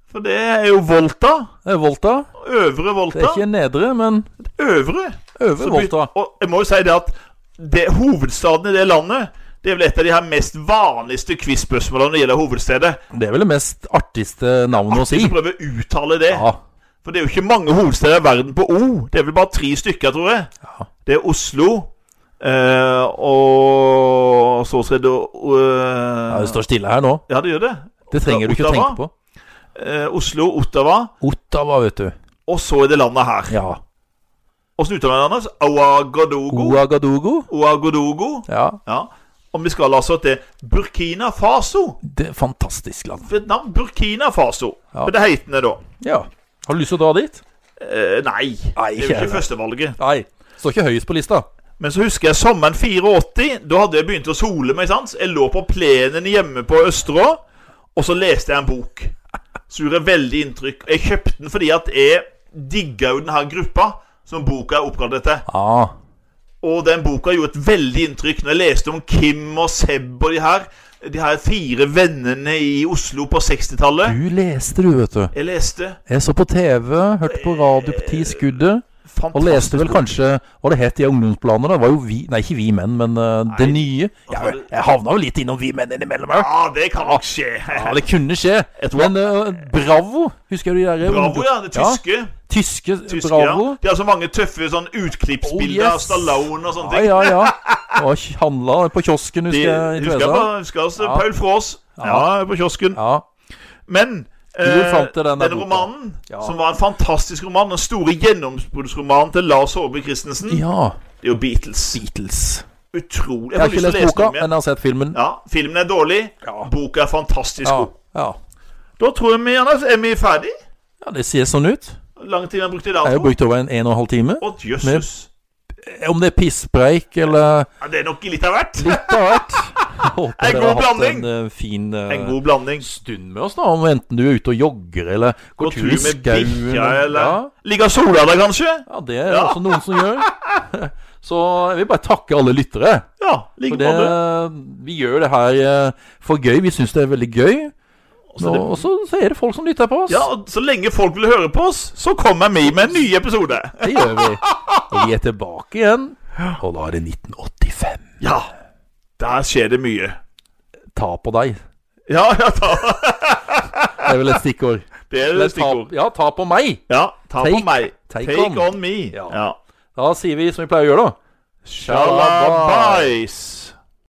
[SPEAKER 2] for det er jo Volta.
[SPEAKER 1] Det er Volta.
[SPEAKER 2] Øvre
[SPEAKER 1] Det er
[SPEAKER 2] Volta.
[SPEAKER 1] ikke nedre, men
[SPEAKER 2] Øvre.
[SPEAKER 1] øvre
[SPEAKER 2] Så
[SPEAKER 1] Volta.
[SPEAKER 2] byt- og jeg må jo si det at det, hovedstaden i det landet det er vel et av de her mest vanligste quiz-spørsmålene når det gjelder hovedstedet.
[SPEAKER 1] Det er vel det mest artigste navnet å si.
[SPEAKER 2] Artig å prøve å uttale det.
[SPEAKER 1] Ja.
[SPEAKER 2] For det er jo ikke mange hovedsteder i verden på O. Det er vel bare tre stykker, tror jeg.
[SPEAKER 1] Ja.
[SPEAKER 2] Det er Oslo eh, Og så er det
[SPEAKER 1] Ja,
[SPEAKER 2] eh,
[SPEAKER 1] det står stille her nå.
[SPEAKER 2] Ja, det gjør det.
[SPEAKER 1] Det trenger du ikke å
[SPEAKER 2] Ottawa.
[SPEAKER 1] tenke på.
[SPEAKER 2] Eh, Oslo, Ottawa,
[SPEAKER 1] Ottawa, vet du.
[SPEAKER 2] og så er det landet her.
[SPEAKER 1] Ja.
[SPEAKER 2] Åssen uttaler man det? Anders? Ouagadougou?
[SPEAKER 1] Ouagadougou.
[SPEAKER 2] Ouagadougou.
[SPEAKER 1] Ja.
[SPEAKER 2] Ja. Og vi skal altså til Burkina Faso.
[SPEAKER 1] Det er fantastisk land.
[SPEAKER 2] Vietnam, Burkina Faso.
[SPEAKER 1] Ja.
[SPEAKER 2] For det heter det da.
[SPEAKER 1] Ja. Har du lyst til å dra dit?
[SPEAKER 2] Eh, nei.
[SPEAKER 1] Nei,
[SPEAKER 2] det er jo
[SPEAKER 1] ikke
[SPEAKER 2] ikke førstevalget.
[SPEAKER 1] Nei. Står ikke høyest på lista.
[SPEAKER 2] Men så husker jeg sommeren 84. Da hadde jeg begynt å sole meg. sant? Jeg lå på plenen hjemme på Østerå, og så leste jeg en bok. Så gjorde jeg veldig inntrykk. Jeg kjøpte den fordi at jeg digga jo denne gruppa som boka er oppgradert til.
[SPEAKER 1] Ah.
[SPEAKER 2] Og den boka gjorde et veldig inntrykk når jeg leste om Kim og Seb og de her. De her fire vennene i Oslo på 60-tallet.
[SPEAKER 1] Du leste, du, vet du.
[SPEAKER 2] Jeg leste
[SPEAKER 1] Jeg så på TV, hørte på radio på Ti Skuddet. Og
[SPEAKER 2] fantastisk
[SPEAKER 1] leste vel kanskje hva det het i ungdomsplanene. Det var jo vi Nei, ikke vi menn, men eh, det nye. Jeg, jeg havna jo litt innom vi menn innimellom òg.
[SPEAKER 2] Ja, det kan nok skje.
[SPEAKER 1] Ja, det kunne skje.
[SPEAKER 2] hva-
[SPEAKER 1] Men eh, Bravo, husker du de der eh,
[SPEAKER 2] Bravo, ja. Det tyske.
[SPEAKER 1] tyske,
[SPEAKER 2] tyske
[SPEAKER 1] Bravo.
[SPEAKER 2] Ja. De har så mange tøffe sånn utklippsbilder
[SPEAKER 1] Oh,
[SPEAKER 2] av
[SPEAKER 1] yes.
[SPEAKER 2] Stallone og sånne
[SPEAKER 1] Ja,
[SPEAKER 2] ting.
[SPEAKER 1] ja, ja. Og handla på kiosken,
[SPEAKER 2] De,
[SPEAKER 1] husker jeg. i
[SPEAKER 2] husker jeg
[SPEAKER 1] Tvedestrand.
[SPEAKER 2] på- husker altså
[SPEAKER 1] Ja.
[SPEAKER 2] Paul Fraas. Ja, på kiosken.
[SPEAKER 1] Ja.
[SPEAKER 2] Men eh,
[SPEAKER 1] Hvor fant du den der
[SPEAKER 2] denne
[SPEAKER 1] boka?
[SPEAKER 2] romanen,
[SPEAKER 1] Ja.
[SPEAKER 2] som var en fantastisk roman, den store gjennombruddsromanen til Lars Aabye Christensen,
[SPEAKER 1] ja.
[SPEAKER 2] det er jo Beatles.
[SPEAKER 1] Beatles.
[SPEAKER 2] Utrolig.
[SPEAKER 1] Jeg
[SPEAKER 2] Jeg
[SPEAKER 1] har ikke
[SPEAKER 2] får lyst til
[SPEAKER 1] lest
[SPEAKER 2] å lese den
[SPEAKER 1] boka,
[SPEAKER 2] om
[SPEAKER 1] men
[SPEAKER 2] igjen.
[SPEAKER 1] jeg har sett filmen.
[SPEAKER 2] Ja, Filmen er dårlig,
[SPEAKER 1] Ja.
[SPEAKER 2] boka er fantastisk
[SPEAKER 1] Ja.
[SPEAKER 2] god.
[SPEAKER 1] ja.
[SPEAKER 2] Da tror jeg vi, Anders, er vi ferdig?
[SPEAKER 1] ja det ser sånn ut.
[SPEAKER 2] Lang tid vi har brukt i
[SPEAKER 1] Jeg har
[SPEAKER 2] dag.
[SPEAKER 1] jo brukt over en en og en halv time.
[SPEAKER 2] Å, jøsses.
[SPEAKER 1] Om det er pisspreik eller
[SPEAKER 2] Ja, det er nok litt av hvert.
[SPEAKER 1] litt av hvert. Håper
[SPEAKER 2] En
[SPEAKER 1] dere har
[SPEAKER 2] god
[SPEAKER 1] hatt en
[SPEAKER 2] blanding.
[SPEAKER 1] eh, fin eh,
[SPEAKER 2] En god blanding.
[SPEAKER 1] stund med oss, da. Om enten du er ute og jogger eller
[SPEAKER 2] Gå
[SPEAKER 1] går
[SPEAKER 2] tur
[SPEAKER 1] tur i
[SPEAKER 2] med
[SPEAKER 1] skauen.
[SPEAKER 2] bikkja, eller
[SPEAKER 1] Ja.
[SPEAKER 2] Ligge og sola deg, kanskje?
[SPEAKER 1] ja, det er det også noen som gjør. Så jeg vil bare takke alle lyttere.
[SPEAKER 2] Ja,
[SPEAKER 1] For
[SPEAKER 2] ligge
[SPEAKER 1] det,
[SPEAKER 2] på det.
[SPEAKER 1] vi gjør det her eh, for gøy. Vi syns det er veldig gøy.
[SPEAKER 2] så
[SPEAKER 1] Nå- Og så, så er det folk som lytter på oss.
[SPEAKER 2] Ja, og så lenge folk vil høre på oss, så kommer vi med en ny episode.
[SPEAKER 1] Det gjør vi. Og vi er tilbake igjen. Og da er det 1985.
[SPEAKER 2] Ja, der skjer det mye.
[SPEAKER 1] Ta på deg.
[SPEAKER 2] Ja, ja, ta
[SPEAKER 1] Det er vel et stikkord.
[SPEAKER 2] Det er
[SPEAKER 1] Eller
[SPEAKER 2] et stikkord.
[SPEAKER 1] Ta, ja, ta på meg.
[SPEAKER 2] Ja, ta på
[SPEAKER 1] Take-
[SPEAKER 2] meg.
[SPEAKER 1] take
[SPEAKER 2] Take
[SPEAKER 1] on.
[SPEAKER 2] on me.
[SPEAKER 1] Ja.
[SPEAKER 2] Ja.
[SPEAKER 1] Da sier vi som vi pleier å gjøre, da.
[SPEAKER 2] Shalabais.